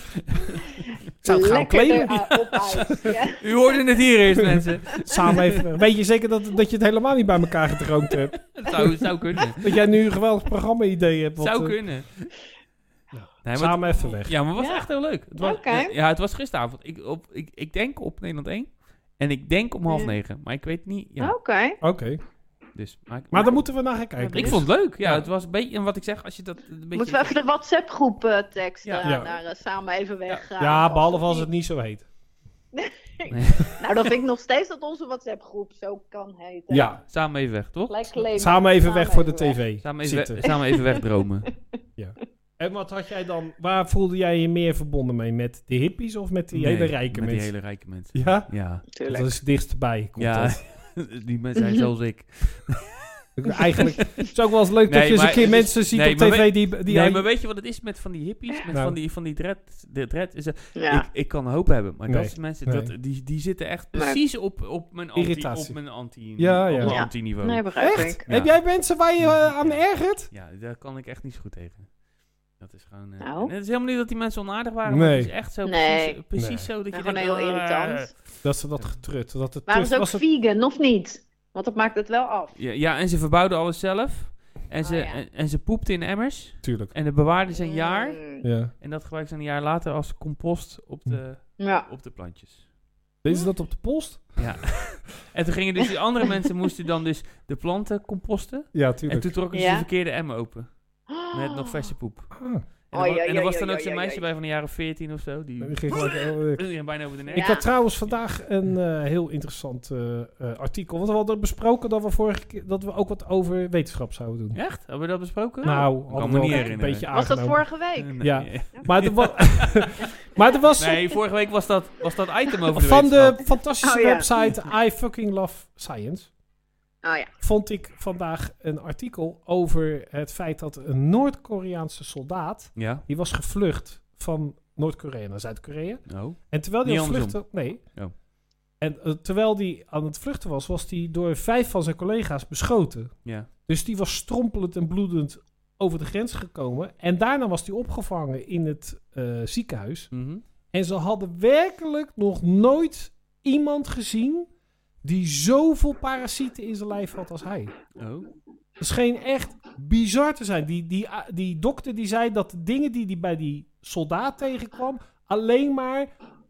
Speaker 1: zou het gaan
Speaker 4: Lekker
Speaker 1: claimen.
Speaker 4: er, eh, op
Speaker 1: [laughs]
Speaker 4: uit. Ja.
Speaker 2: U hoorde het hier eerst, mensen.
Speaker 1: Samen even. [laughs] Weet je zeker dat, dat je het helemaal niet bij elkaar gedroomd hebt?
Speaker 2: Het zou, het zou kunnen.
Speaker 1: Dat jij nu een geweldig programma-idee hebt.
Speaker 2: Het
Speaker 1: wat,
Speaker 2: zou
Speaker 1: eh,
Speaker 2: kunnen. Nee, maar,
Speaker 1: Samen even weg.
Speaker 2: ja, maar het was
Speaker 4: Ja.
Speaker 2: echt heel leuk. Het was,
Speaker 4: Oké.
Speaker 2: Ja, het was gisteravond. Ik, op, ik, ik denk op Nederland 1. En ik denk om half
Speaker 4: Ja.
Speaker 2: negen. Maar ik weet niet. Ja,
Speaker 4: Oké.
Speaker 1: Oké.
Speaker 2: dus, maar ik,
Speaker 1: Maar daar moeten we naar gaan kijken.
Speaker 2: ik
Speaker 1: dus.
Speaker 2: vond het leuk. Ja, het was een beetje. En wat ik zeg, als je dat een beetje.
Speaker 4: Moeten we even de WhatsApp-groep eh, teksten
Speaker 2: Ja.
Speaker 4: eh,
Speaker 1: Ja.
Speaker 4: naar eh, samen even weg? eh,
Speaker 1: Ja, behalve
Speaker 4: of
Speaker 1: als
Speaker 4: die-
Speaker 1: het niet zo heet.
Speaker 4: Nou, dan vind ik nog steeds dat onze WhatsApp-groep zo kan heten.
Speaker 1: Ja.
Speaker 2: Samen even weg, toch?
Speaker 4: Gelijk claimen.
Speaker 1: Samen even weg voor de
Speaker 4: even weg.
Speaker 1: tv.
Speaker 2: Samen even, we-
Speaker 1: Zitten.
Speaker 2: samen even
Speaker 1: [laughs]
Speaker 2: wegdromen.
Speaker 1: En wat had jij dan, waar voelde jij je meer verbonden mee? Met de hippies of met die
Speaker 2: Nee,
Speaker 1: hele rijke
Speaker 2: met
Speaker 1: mensen?
Speaker 2: Die hele rijke mensen.
Speaker 1: Ja,
Speaker 2: Ja.
Speaker 1: dat
Speaker 4: Tuurlijk.
Speaker 1: is dichtstbij. Komt
Speaker 2: Ja.
Speaker 1: dat. [laughs]
Speaker 2: [laughs] die mensen zijn zoals ik.
Speaker 1: Eigenlijk het is ook wel eens leuk
Speaker 2: Nee,
Speaker 1: dat je eens een
Speaker 2: maar
Speaker 1: keer
Speaker 2: het is-
Speaker 1: mensen ziet
Speaker 2: nee,
Speaker 1: op
Speaker 2: maar
Speaker 1: tv [laughs]
Speaker 2: weet-
Speaker 1: die... die
Speaker 2: nee, maar weet je wat het is met van die hippies? Met
Speaker 1: Nou.
Speaker 2: van die, van die dread, de dread is dat-
Speaker 4: Ja.
Speaker 2: ik, ik kan hoop hebben, maar
Speaker 1: Nee,
Speaker 2: dat is mensen,
Speaker 1: nee.
Speaker 2: dat, die, die zitten echt
Speaker 4: Nee.
Speaker 2: precies op, op mijn anti,
Speaker 1: Irritatie.
Speaker 2: op mijn anti,
Speaker 1: Ja,
Speaker 2: op
Speaker 1: ja.
Speaker 2: mijn
Speaker 4: Ja.
Speaker 2: anti-niveau.
Speaker 4: Nee, begrijp
Speaker 1: Echt?
Speaker 4: ik.
Speaker 2: Ja.
Speaker 1: Heb jij mensen waar je eh, aan ergert?
Speaker 2: Ja, daar kan ik echt niet zo goed tegen. Dat is gewoon... eh,
Speaker 4: Nou.
Speaker 2: en Het is helemaal niet dat die mensen onaardig waren, maar
Speaker 1: Nee.
Speaker 2: het is echt zo
Speaker 4: Nee.
Speaker 2: precies, precies
Speaker 1: Nee.
Speaker 2: zo dat
Speaker 4: Ja,
Speaker 2: je
Speaker 4: gewoon
Speaker 2: denkt...
Speaker 4: heel
Speaker 2: "Ah."
Speaker 4: irritant.
Speaker 1: Dat ze dat getrut. Dat het
Speaker 4: Waren
Speaker 1: tuf-
Speaker 4: ze ook
Speaker 1: was het-
Speaker 4: vegan of niet? Want dat maakt het wel af.
Speaker 2: Ja, ja, en ze verbouwden alles zelf. En
Speaker 4: Oh,
Speaker 2: ze,
Speaker 4: ja.
Speaker 2: en, en ze poepten in emmers.
Speaker 1: Tuurlijk.
Speaker 2: En dat bewaarden ze een jaar.
Speaker 4: Mm.
Speaker 1: Ja.
Speaker 2: En dat gebruikten ze een jaar later als compost op de,
Speaker 4: Ja.
Speaker 2: op de plantjes.
Speaker 1: Deed ze dat op de post?
Speaker 2: Ja. en toen gingen dus die andere
Speaker 4: [laughs]
Speaker 2: mensen moesten dan dus de planten composten.
Speaker 1: Ja,
Speaker 2: En
Speaker 1: tuurlijk.
Speaker 2: toen trokken ze
Speaker 4: Ja.
Speaker 2: de verkeerde emmen open. Met nog
Speaker 4: [gasps]
Speaker 2: verse poep.
Speaker 1: Ah,
Speaker 2: En, er,
Speaker 4: Oei,
Speaker 2: wa- en
Speaker 4: oei,
Speaker 2: er
Speaker 4: oei,
Speaker 2: was dan
Speaker 4: oei,
Speaker 2: ook zo'n
Speaker 4: oei,
Speaker 2: meisje
Speaker 4: oei.
Speaker 2: bij van de jaren 14 of zo. Die
Speaker 1: dan ging gelijk, eh,
Speaker 2: die ging bijna over de nek.
Speaker 1: Ik
Speaker 4: Ja.
Speaker 1: had trouwens vandaag een eh, heel interessant eh, eh, artikel. Want we hadden besproken dat we vorige keer dat we ook wat over wetenschap zouden doen.
Speaker 2: Echt? Hebben we dat besproken?
Speaker 1: Nou,
Speaker 2: me
Speaker 1: hadden
Speaker 2: niet
Speaker 1: we wel een
Speaker 2: herinneren.
Speaker 1: beetje
Speaker 4: Was dat
Speaker 1: aangenomen.
Speaker 4: vorige week?
Speaker 2: Nee.
Speaker 1: Ja. Maar er,
Speaker 4: [laughs]
Speaker 1: wa- [laughs] maar er was
Speaker 2: Nee, vorige week was dat, was dat item over de
Speaker 1: van de
Speaker 2: wetenschap.
Speaker 1: fantastische
Speaker 4: Oh, ja.
Speaker 1: website I fucking love science.
Speaker 4: Oh ja.
Speaker 1: Vond ik vandaag een artikel over het feit dat een Noord-Koreaanse soldaat.
Speaker 2: Ja.
Speaker 1: die was gevlucht van Noord-Korea naar Zuid-Korea.
Speaker 2: Nou.
Speaker 1: En terwijl die
Speaker 2: Niet
Speaker 1: aan het
Speaker 2: andersom.
Speaker 1: vluchten... Nee.
Speaker 2: Oh.
Speaker 1: En eh, terwijl die aan het vluchten was, was die door vijf van zijn collega's beschoten.
Speaker 2: Ja.
Speaker 1: Dus die was strompelend en bloedend over de grens gekomen. En daarna was die opgevangen in het eh, ziekenhuis.
Speaker 2: Mhm.
Speaker 1: En ze hadden werkelijk nog nooit iemand gezien die zoveel parasieten in zijn lijf had als hij.
Speaker 2: Oh.
Speaker 1: Het scheen echt bizar te zijn. Die, die, ah, die dokter die zei dat de dingen die hij bij die soldaat tegenkwam... alleen maar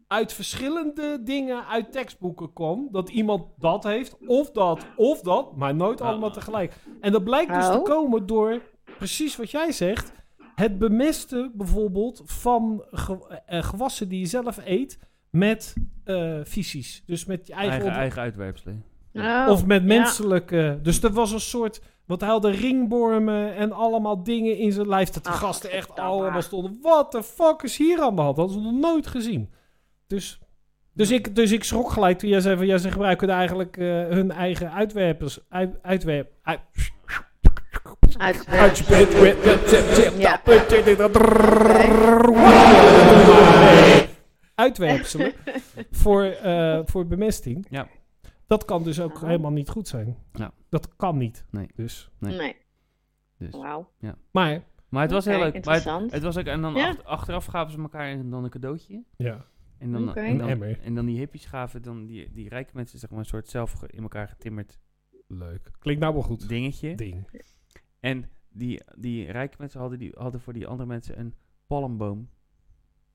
Speaker 1: uit verschillende dingen uit tekstboeken kwam. Dat iemand dat heeft, of dat, of dat, maar nooit allemaal tegelijk. En dat blijkt dus te
Speaker 4: Oh.
Speaker 1: komen door, precies wat jij zegt... het bemesten bijvoorbeeld van ge- eh, gewassen die je zelf eet... met eh visies. Dus met je eigen,
Speaker 2: Eigen,
Speaker 1: op-
Speaker 2: eigen uitwerpselen.
Speaker 4: Oh,
Speaker 1: of met
Speaker 4: ja.
Speaker 1: menselijke. Dus er was een soort. Want hij had ringbormen en allemaal dingen in zijn lijf. Dat de
Speaker 4: Ach,
Speaker 1: gasten echt
Speaker 4: godverdamme.
Speaker 1: allemaal stonden. Wat de fuck is hier aan de hand? Dat hadden ze nog nooit gezien. Dus, dus, ik, dus ik schrok gelijk toen jij zei van ja, ze gebruiken eigenlijk eh, hun eigen uitwerpers. Uit, uitwerp. Uit,
Speaker 4: Uit- Ja.
Speaker 1: Uitwerpselen.
Speaker 4: [laughs]
Speaker 1: Uitwerpselen voor, eh, voor bemesting.
Speaker 2: Ja.
Speaker 1: Dat kan dus ook
Speaker 4: Oh.
Speaker 1: helemaal niet goed zijn.
Speaker 2: Ja.
Speaker 1: Dat kan niet.
Speaker 2: Nee.
Speaker 1: Dus.
Speaker 2: Nee.
Speaker 4: Nee.
Speaker 2: Dus.
Speaker 4: Wauw.
Speaker 1: Maar,
Speaker 2: Maar het was
Speaker 4: Oké,
Speaker 2: heel leuk. Maar het,
Speaker 4: interessant.
Speaker 2: het was ook, en dan
Speaker 4: Ja.
Speaker 2: acht- achteraf gaven ze elkaar en dan een cadeautje.
Speaker 1: ja.
Speaker 2: En dan,
Speaker 4: Oké.
Speaker 2: en,
Speaker 1: Een
Speaker 2: dan,
Speaker 1: emmer.
Speaker 2: en dan die hippies gaven dan die, die rijke mensen zeg maar een soort zelf ge- in elkaar getimmerd
Speaker 1: Leuk. Klinkt nou wel goed.
Speaker 2: dingetje.
Speaker 1: Ding.
Speaker 2: En die, die rijke mensen hadden, die, hadden voor die andere mensen een palmboom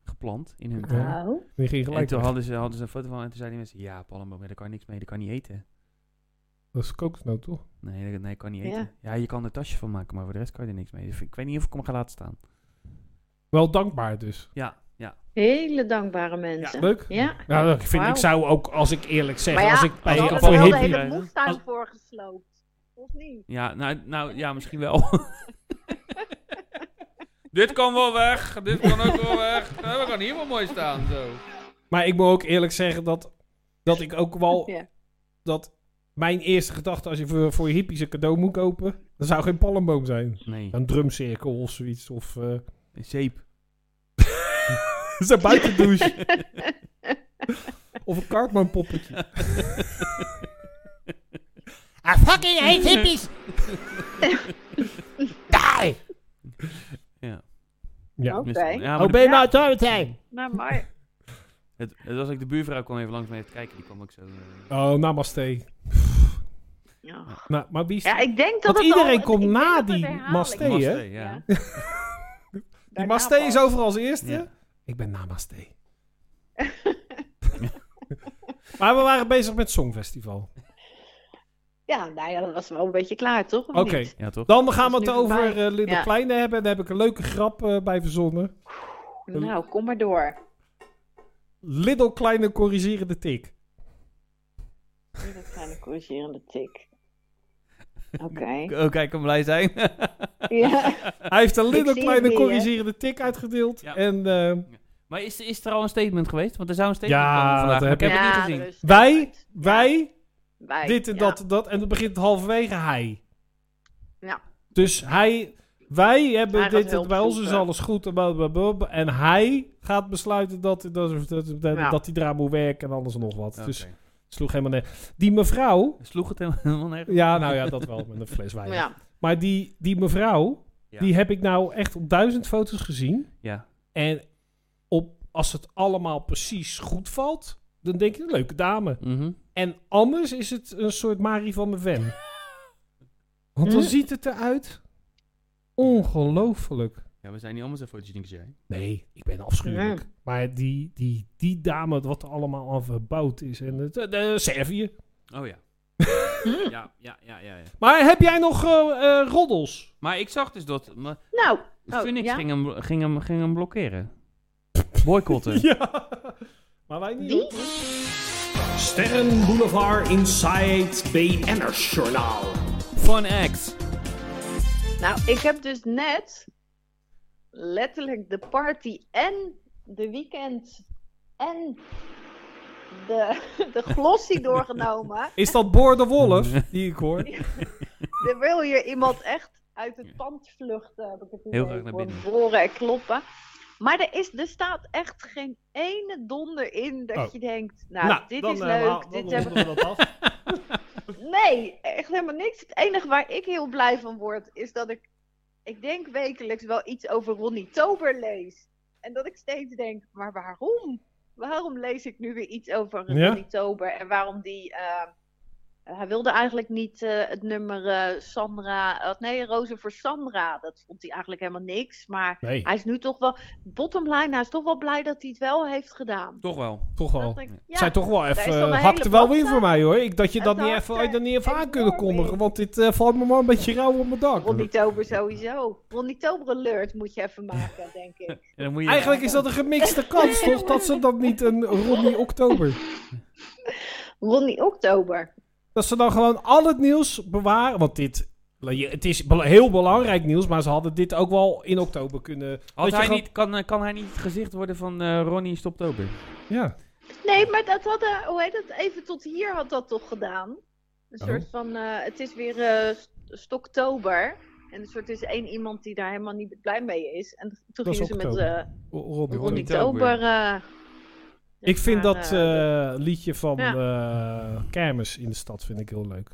Speaker 2: geplant in hun
Speaker 1: Ja.
Speaker 2: tuin.
Speaker 4: Oh.
Speaker 1: Die ging
Speaker 2: En
Speaker 1: gelijk
Speaker 2: toen
Speaker 1: weg.
Speaker 2: hadden ze, hadden ze een foto van en toen zeiden die mensen, ja palmboom, ja, daar kan je niks mee, daar kan je niet eten.
Speaker 1: Dat is kokosnoot, toch?
Speaker 2: Nee, dat- nee, kan niet
Speaker 4: Ja.
Speaker 2: eten. Ja. je kan er tasje van maken, maar voor de rest kan je er niks mee. Dus ik weet niet of ik hem ga laten staan.
Speaker 1: Wel dankbaar dus.
Speaker 2: Ja,
Speaker 4: Hele dankbare mensen.
Speaker 1: Leuk.
Speaker 4: Ja.
Speaker 1: Nou, ik, vind,
Speaker 4: Wauw.
Speaker 1: ik zou ook, als ik eerlijk zeg,
Speaker 4: Maar ja,
Speaker 1: als ik
Speaker 2: als
Speaker 1: bij
Speaker 2: ik
Speaker 4: Dan
Speaker 2: kan
Speaker 1: voor
Speaker 4: hadden we
Speaker 2: wel
Speaker 4: de
Speaker 1: hippie...
Speaker 2: hippie
Speaker 4: hele
Speaker 2: rijden.
Speaker 4: moestuin
Speaker 1: Als-
Speaker 4: voor gesloopt. Of niet? [laughs]
Speaker 2: Ja, nou, nou ja, misschien wel. Dit kan wel weg, dit kan ook wel weg. Nou, we gaan hier wel mooi staan, zo.
Speaker 1: Maar ik moet ook eerlijk zeggen dat, dat ik ook wel...
Speaker 4: Ja.
Speaker 1: Dat mijn eerste gedachte, als je voor, voor hippies een cadeau moet kopen... Dan zou geen palmboom zijn.
Speaker 2: [laughs] Nee,
Speaker 1: Een drumcirkel of zoiets. Of eh [laughs]
Speaker 2: een zeep.
Speaker 1: zijn
Speaker 4: [laughs]
Speaker 1: buitendouche. of een Cartman poppetje.
Speaker 5: I fucking hate hippies! Die!
Speaker 1: Ja.
Speaker 4: Oké.
Speaker 2: Ja, maar
Speaker 5: Oh,
Speaker 2: de-
Speaker 5: ben je nou door meteen?
Speaker 4: Maar, maar
Speaker 2: het, het was ook de buurvrouw kwam even langs mee te kijken, die kwam ook zo. eh,
Speaker 1: Oh, namaste.
Speaker 4: ja.
Speaker 1: Nou, maar wie is...
Speaker 4: ja, ik denk dat
Speaker 1: Want
Speaker 4: het
Speaker 1: iedereen
Speaker 4: al,
Speaker 1: komt
Speaker 4: ik denk
Speaker 1: na
Speaker 4: dat het
Speaker 1: die
Speaker 4: herhaling
Speaker 1: Mastee,
Speaker 4: is.
Speaker 1: hè?
Speaker 2: Mastee,
Speaker 1: [laughs]
Speaker 2: ja.
Speaker 1: Die
Speaker 4: Daarna
Speaker 1: Maste
Speaker 4: pas.
Speaker 1: is overal als eerste.
Speaker 2: Ja.
Speaker 1: Ik ben namaste.
Speaker 4: [laughs]
Speaker 1: [laughs] maar we waren bezig met Songfestival.
Speaker 4: Ja, nou ja, dat was wel een beetje klaar, toch? Of
Speaker 1: Oké,
Speaker 4: niet?
Speaker 2: Ja, toch?
Speaker 1: dan gaan we
Speaker 4: Dat
Speaker 1: het
Speaker 4: is nu
Speaker 1: over
Speaker 4: voorbij.
Speaker 1: eh Linda
Speaker 4: Ja.
Speaker 1: Kleine hebben. Daar heb ik een leuke grap eh, bij verzonnen.
Speaker 4: Nou, kom maar door.
Speaker 1: Little Kleine corrigeren de tik.
Speaker 4: Dat zijn de corrigerende tik. Oké.
Speaker 2: [laughs] Oh, kijk, kan blij zijn. [laughs]
Speaker 4: Ja.
Speaker 1: Hij heeft een Little
Speaker 4: zie
Speaker 1: Kleine
Speaker 4: het niet, hè?
Speaker 1: corrigerende tik uitgedeeld.
Speaker 2: Ja.
Speaker 1: En eh,
Speaker 2: maar is, is er al een statement geweest? Want er zou een statement
Speaker 1: Ja,
Speaker 2: komen vandaag,
Speaker 1: dat
Speaker 2: maar
Speaker 1: heb
Speaker 2: ik heb
Speaker 4: Ja,
Speaker 2: het niet gezien.
Speaker 4: er is-
Speaker 1: wij, wij,
Speaker 4: Wij,
Speaker 1: dit en
Speaker 4: ja.
Speaker 1: dat en dat. En dan begint halverwege hij.
Speaker 4: Ja.
Speaker 1: Dus hij, wij hebben
Speaker 4: Hij gaat
Speaker 1: dit, en
Speaker 4: hulp
Speaker 1: bij ons is
Speaker 4: zoeken.
Speaker 1: alles goed. En, blablabla. en hij gaat besluiten dat, dat, dat, dat,
Speaker 4: Ja.
Speaker 1: dat hij eraan moet werken en alles en nog wat. Dus
Speaker 2: Oké.
Speaker 1: sloeg helemaal neer. Die mevrouw,
Speaker 2: Sloeg het [laughs] helemaal nergens.
Speaker 1: ja nou ja, dat wel met een fles wijn.
Speaker 4: Ja.
Speaker 1: Maar die, die mevrouw,
Speaker 2: Ja.
Speaker 1: die heb ik nou echt op duizend foto's gezien.
Speaker 2: Ja.
Speaker 1: En op, als het allemaal precies goed valt, dan denk je, leuke dame.
Speaker 2: Mhm.
Speaker 1: En anders is het een soort Marie van mijn Ven.
Speaker 4: [laughs]
Speaker 1: Want dan
Speaker 4: Hm?
Speaker 1: ziet het eruit. Ongelooflijk.
Speaker 2: ja, we zijn niet allemaal zo fotogeniek als jij.
Speaker 1: Nee, ik ben afschuwelijk. Maar die, die, die dame, wat er allemaal aan verbouwd is. En het, eh, eh, Servië.
Speaker 2: Oh [laughs] ja. ja, ja, ja, ja, ja.
Speaker 1: Maar heb jij nog eh, eh, roddels?
Speaker 2: Maar ik zag dus dat... maar
Speaker 4: Nou, Oh,
Speaker 2: Phoenix
Speaker 4: ja?
Speaker 2: ging, hem, blo- ging, hem, ging hem blokkeren. Boycotten.
Speaker 1: [laughs] Ja. Maar wij niet.
Speaker 4: die?
Speaker 3: Sterren Boulevard Inside BN'ers Journaal.
Speaker 2: Fun X.
Speaker 4: Nou, ik heb dus net letterlijk de party en de weekend en de, [laughs] de glossy
Speaker 2: [laughs]
Speaker 4: doorgenomen.
Speaker 1: Is dat Boor de Wolf, die ik hoor?
Speaker 4: [laughs] Er wil hier iemand echt uit het pand vluchten. Heb ik het idee,
Speaker 2: Heel graag naar
Speaker 4: voor
Speaker 2: binnen.
Speaker 4: boren en kloppen. Maar er, is, er staat echt geen ene donder in dat
Speaker 1: Oh.
Speaker 4: je denkt, nou, dit is
Speaker 1: eh,
Speaker 4: leuk,
Speaker 1: haal- dan
Speaker 4: dit
Speaker 1: ronden
Speaker 4: hebben
Speaker 1: we dat af.
Speaker 4: [laughs] Nee, echt helemaal niks. Het enige waar ik heel blij van word, is dat ik, ik denk wekelijks wel iets over Ronnie Tober lees. En dat ik steeds denk, maar waarom? Waarom lees ik nu weer iets over
Speaker 1: Ja.
Speaker 4: Ronnie Tober? En waarom die, eh, hij wilde eigenlijk niet eh, het nummer eh, Sandra, eh, nee, Rozen voor Sandra. Dat vond hij eigenlijk helemaal niks. Maar
Speaker 1: Nee,
Speaker 4: hij is nu toch wel, bottom line, hij is toch wel blij dat hij het wel heeft gedaan.
Speaker 2: Toch wel.
Speaker 1: toch wel.
Speaker 4: Dat ik- ja.
Speaker 1: Zij toch wel
Speaker 4: is dan
Speaker 1: even,
Speaker 4: een
Speaker 1: hakt
Speaker 4: hele
Speaker 1: er wel in
Speaker 4: platte.
Speaker 1: voor mij hoor. Ik dat je
Speaker 4: Het
Speaker 1: dat niet
Speaker 4: hakt
Speaker 1: even,
Speaker 4: er
Speaker 1: had je dat niet even aan
Speaker 4: enorm
Speaker 1: kunnen
Speaker 4: in.
Speaker 1: kondigen, want dit eh, valt me maar een beetje rauw op mijn dak.
Speaker 4: Ronnie Tober sowieso. Ronnie Tober alert moet je even
Speaker 1: [laughs]
Speaker 4: maken, denk ik.
Speaker 2: En dan moet je
Speaker 1: Eigenlijk is dat een gemixte
Speaker 4: [laughs]
Speaker 1: kans, toch? Dat ze dan niet een Ronnie Oktober.
Speaker 4: Ronnie Oktober.
Speaker 1: Dat ze dan gewoon al het nieuws bewaren. Want dit. Het is bela- heel belangrijk nieuws, maar ze hadden dit ook wel in oktober kunnen.
Speaker 2: Had
Speaker 1: dat je
Speaker 2: hij
Speaker 1: gewoon-
Speaker 2: niet, kan, eh, kan hij niet het gezicht worden van eh, Ronnie Stoptober?
Speaker 1: Ja.
Speaker 4: Nee, maar dat hadden, hoe heet het, even tot hier had dat toch gedaan. Een
Speaker 1: Oh.
Speaker 4: soort van, eh, het is weer eh, st- stoktober. En een soort is één iemand die daar helemaal niet blij mee is. En toen
Speaker 1: Dat is
Speaker 4: gingen ze met
Speaker 1: oktober.
Speaker 4: eh
Speaker 1: O- Ronnie.
Speaker 2: Ronnie
Speaker 4: Ronnie
Speaker 1: Oktober.
Speaker 2: Tober.
Speaker 4: Tober. eh,
Speaker 1: Ik vind
Speaker 4: maar,
Speaker 1: dat
Speaker 4: eh,
Speaker 1: eh, liedje van
Speaker 4: Ja.
Speaker 1: eh, Kermis in de stad vind ik heel leuk.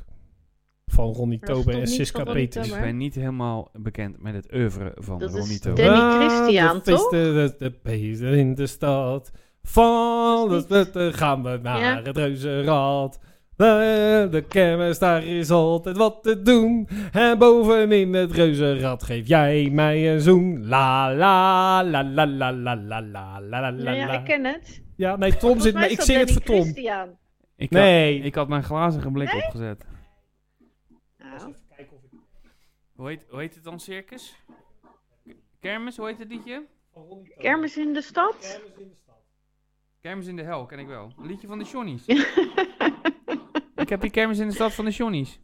Speaker 1: Van Ronnie
Speaker 4: Maar dat
Speaker 1: Tober
Speaker 4: is
Speaker 1: en
Speaker 4: toch niet
Speaker 1: Siska
Speaker 4: van Ronnie
Speaker 1: Peters.
Speaker 4: Tober?
Speaker 2: Ik ben niet helemaal bekend met het oeuvre van
Speaker 4: Dat is
Speaker 2: Ronnie
Speaker 4: de-
Speaker 2: Tober.
Speaker 4: Danny
Speaker 1: Ah,
Speaker 4: Christian,
Speaker 1: de feesten,
Speaker 4: toch?
Speaker 1: De, de feesten in de stad. Van
Speaker 4: Dat is
Speaker 1: de, de- gaan we naar
Speaker 4: Ja.
Speaker 1: het reuzenrad. De, de kermis, daar is altijd wat te doen. En bovenin het reuzenrad geef jij mij een zoen. La la la la la la la la la la
Speaker 4: nou ja,
Speaker 1: la.
Speaker 4: ik ken het.
Speaker 1: Ja, nee, Tom zit me. Ik zing het voor Tom.
Speaker 4: Christian.
Speaker 2: Ik had,
Speaker 1: Nee.
Speaker 2: ik had mijn glazen blik opgezet.
Speaker 4: Nou,
Speaker 2: Hoe heet, hoe heet het dan, Circus? Kermis, hoe heet het liedje?
Speaker 4: Kermis in de stad?
Speaker 1: Kermis in de stad.
Speaker 2: Kermis in de hel, ken ik wel. Een liedje van de Johnny's. ik heb die kermis in de stad van de Johnny's.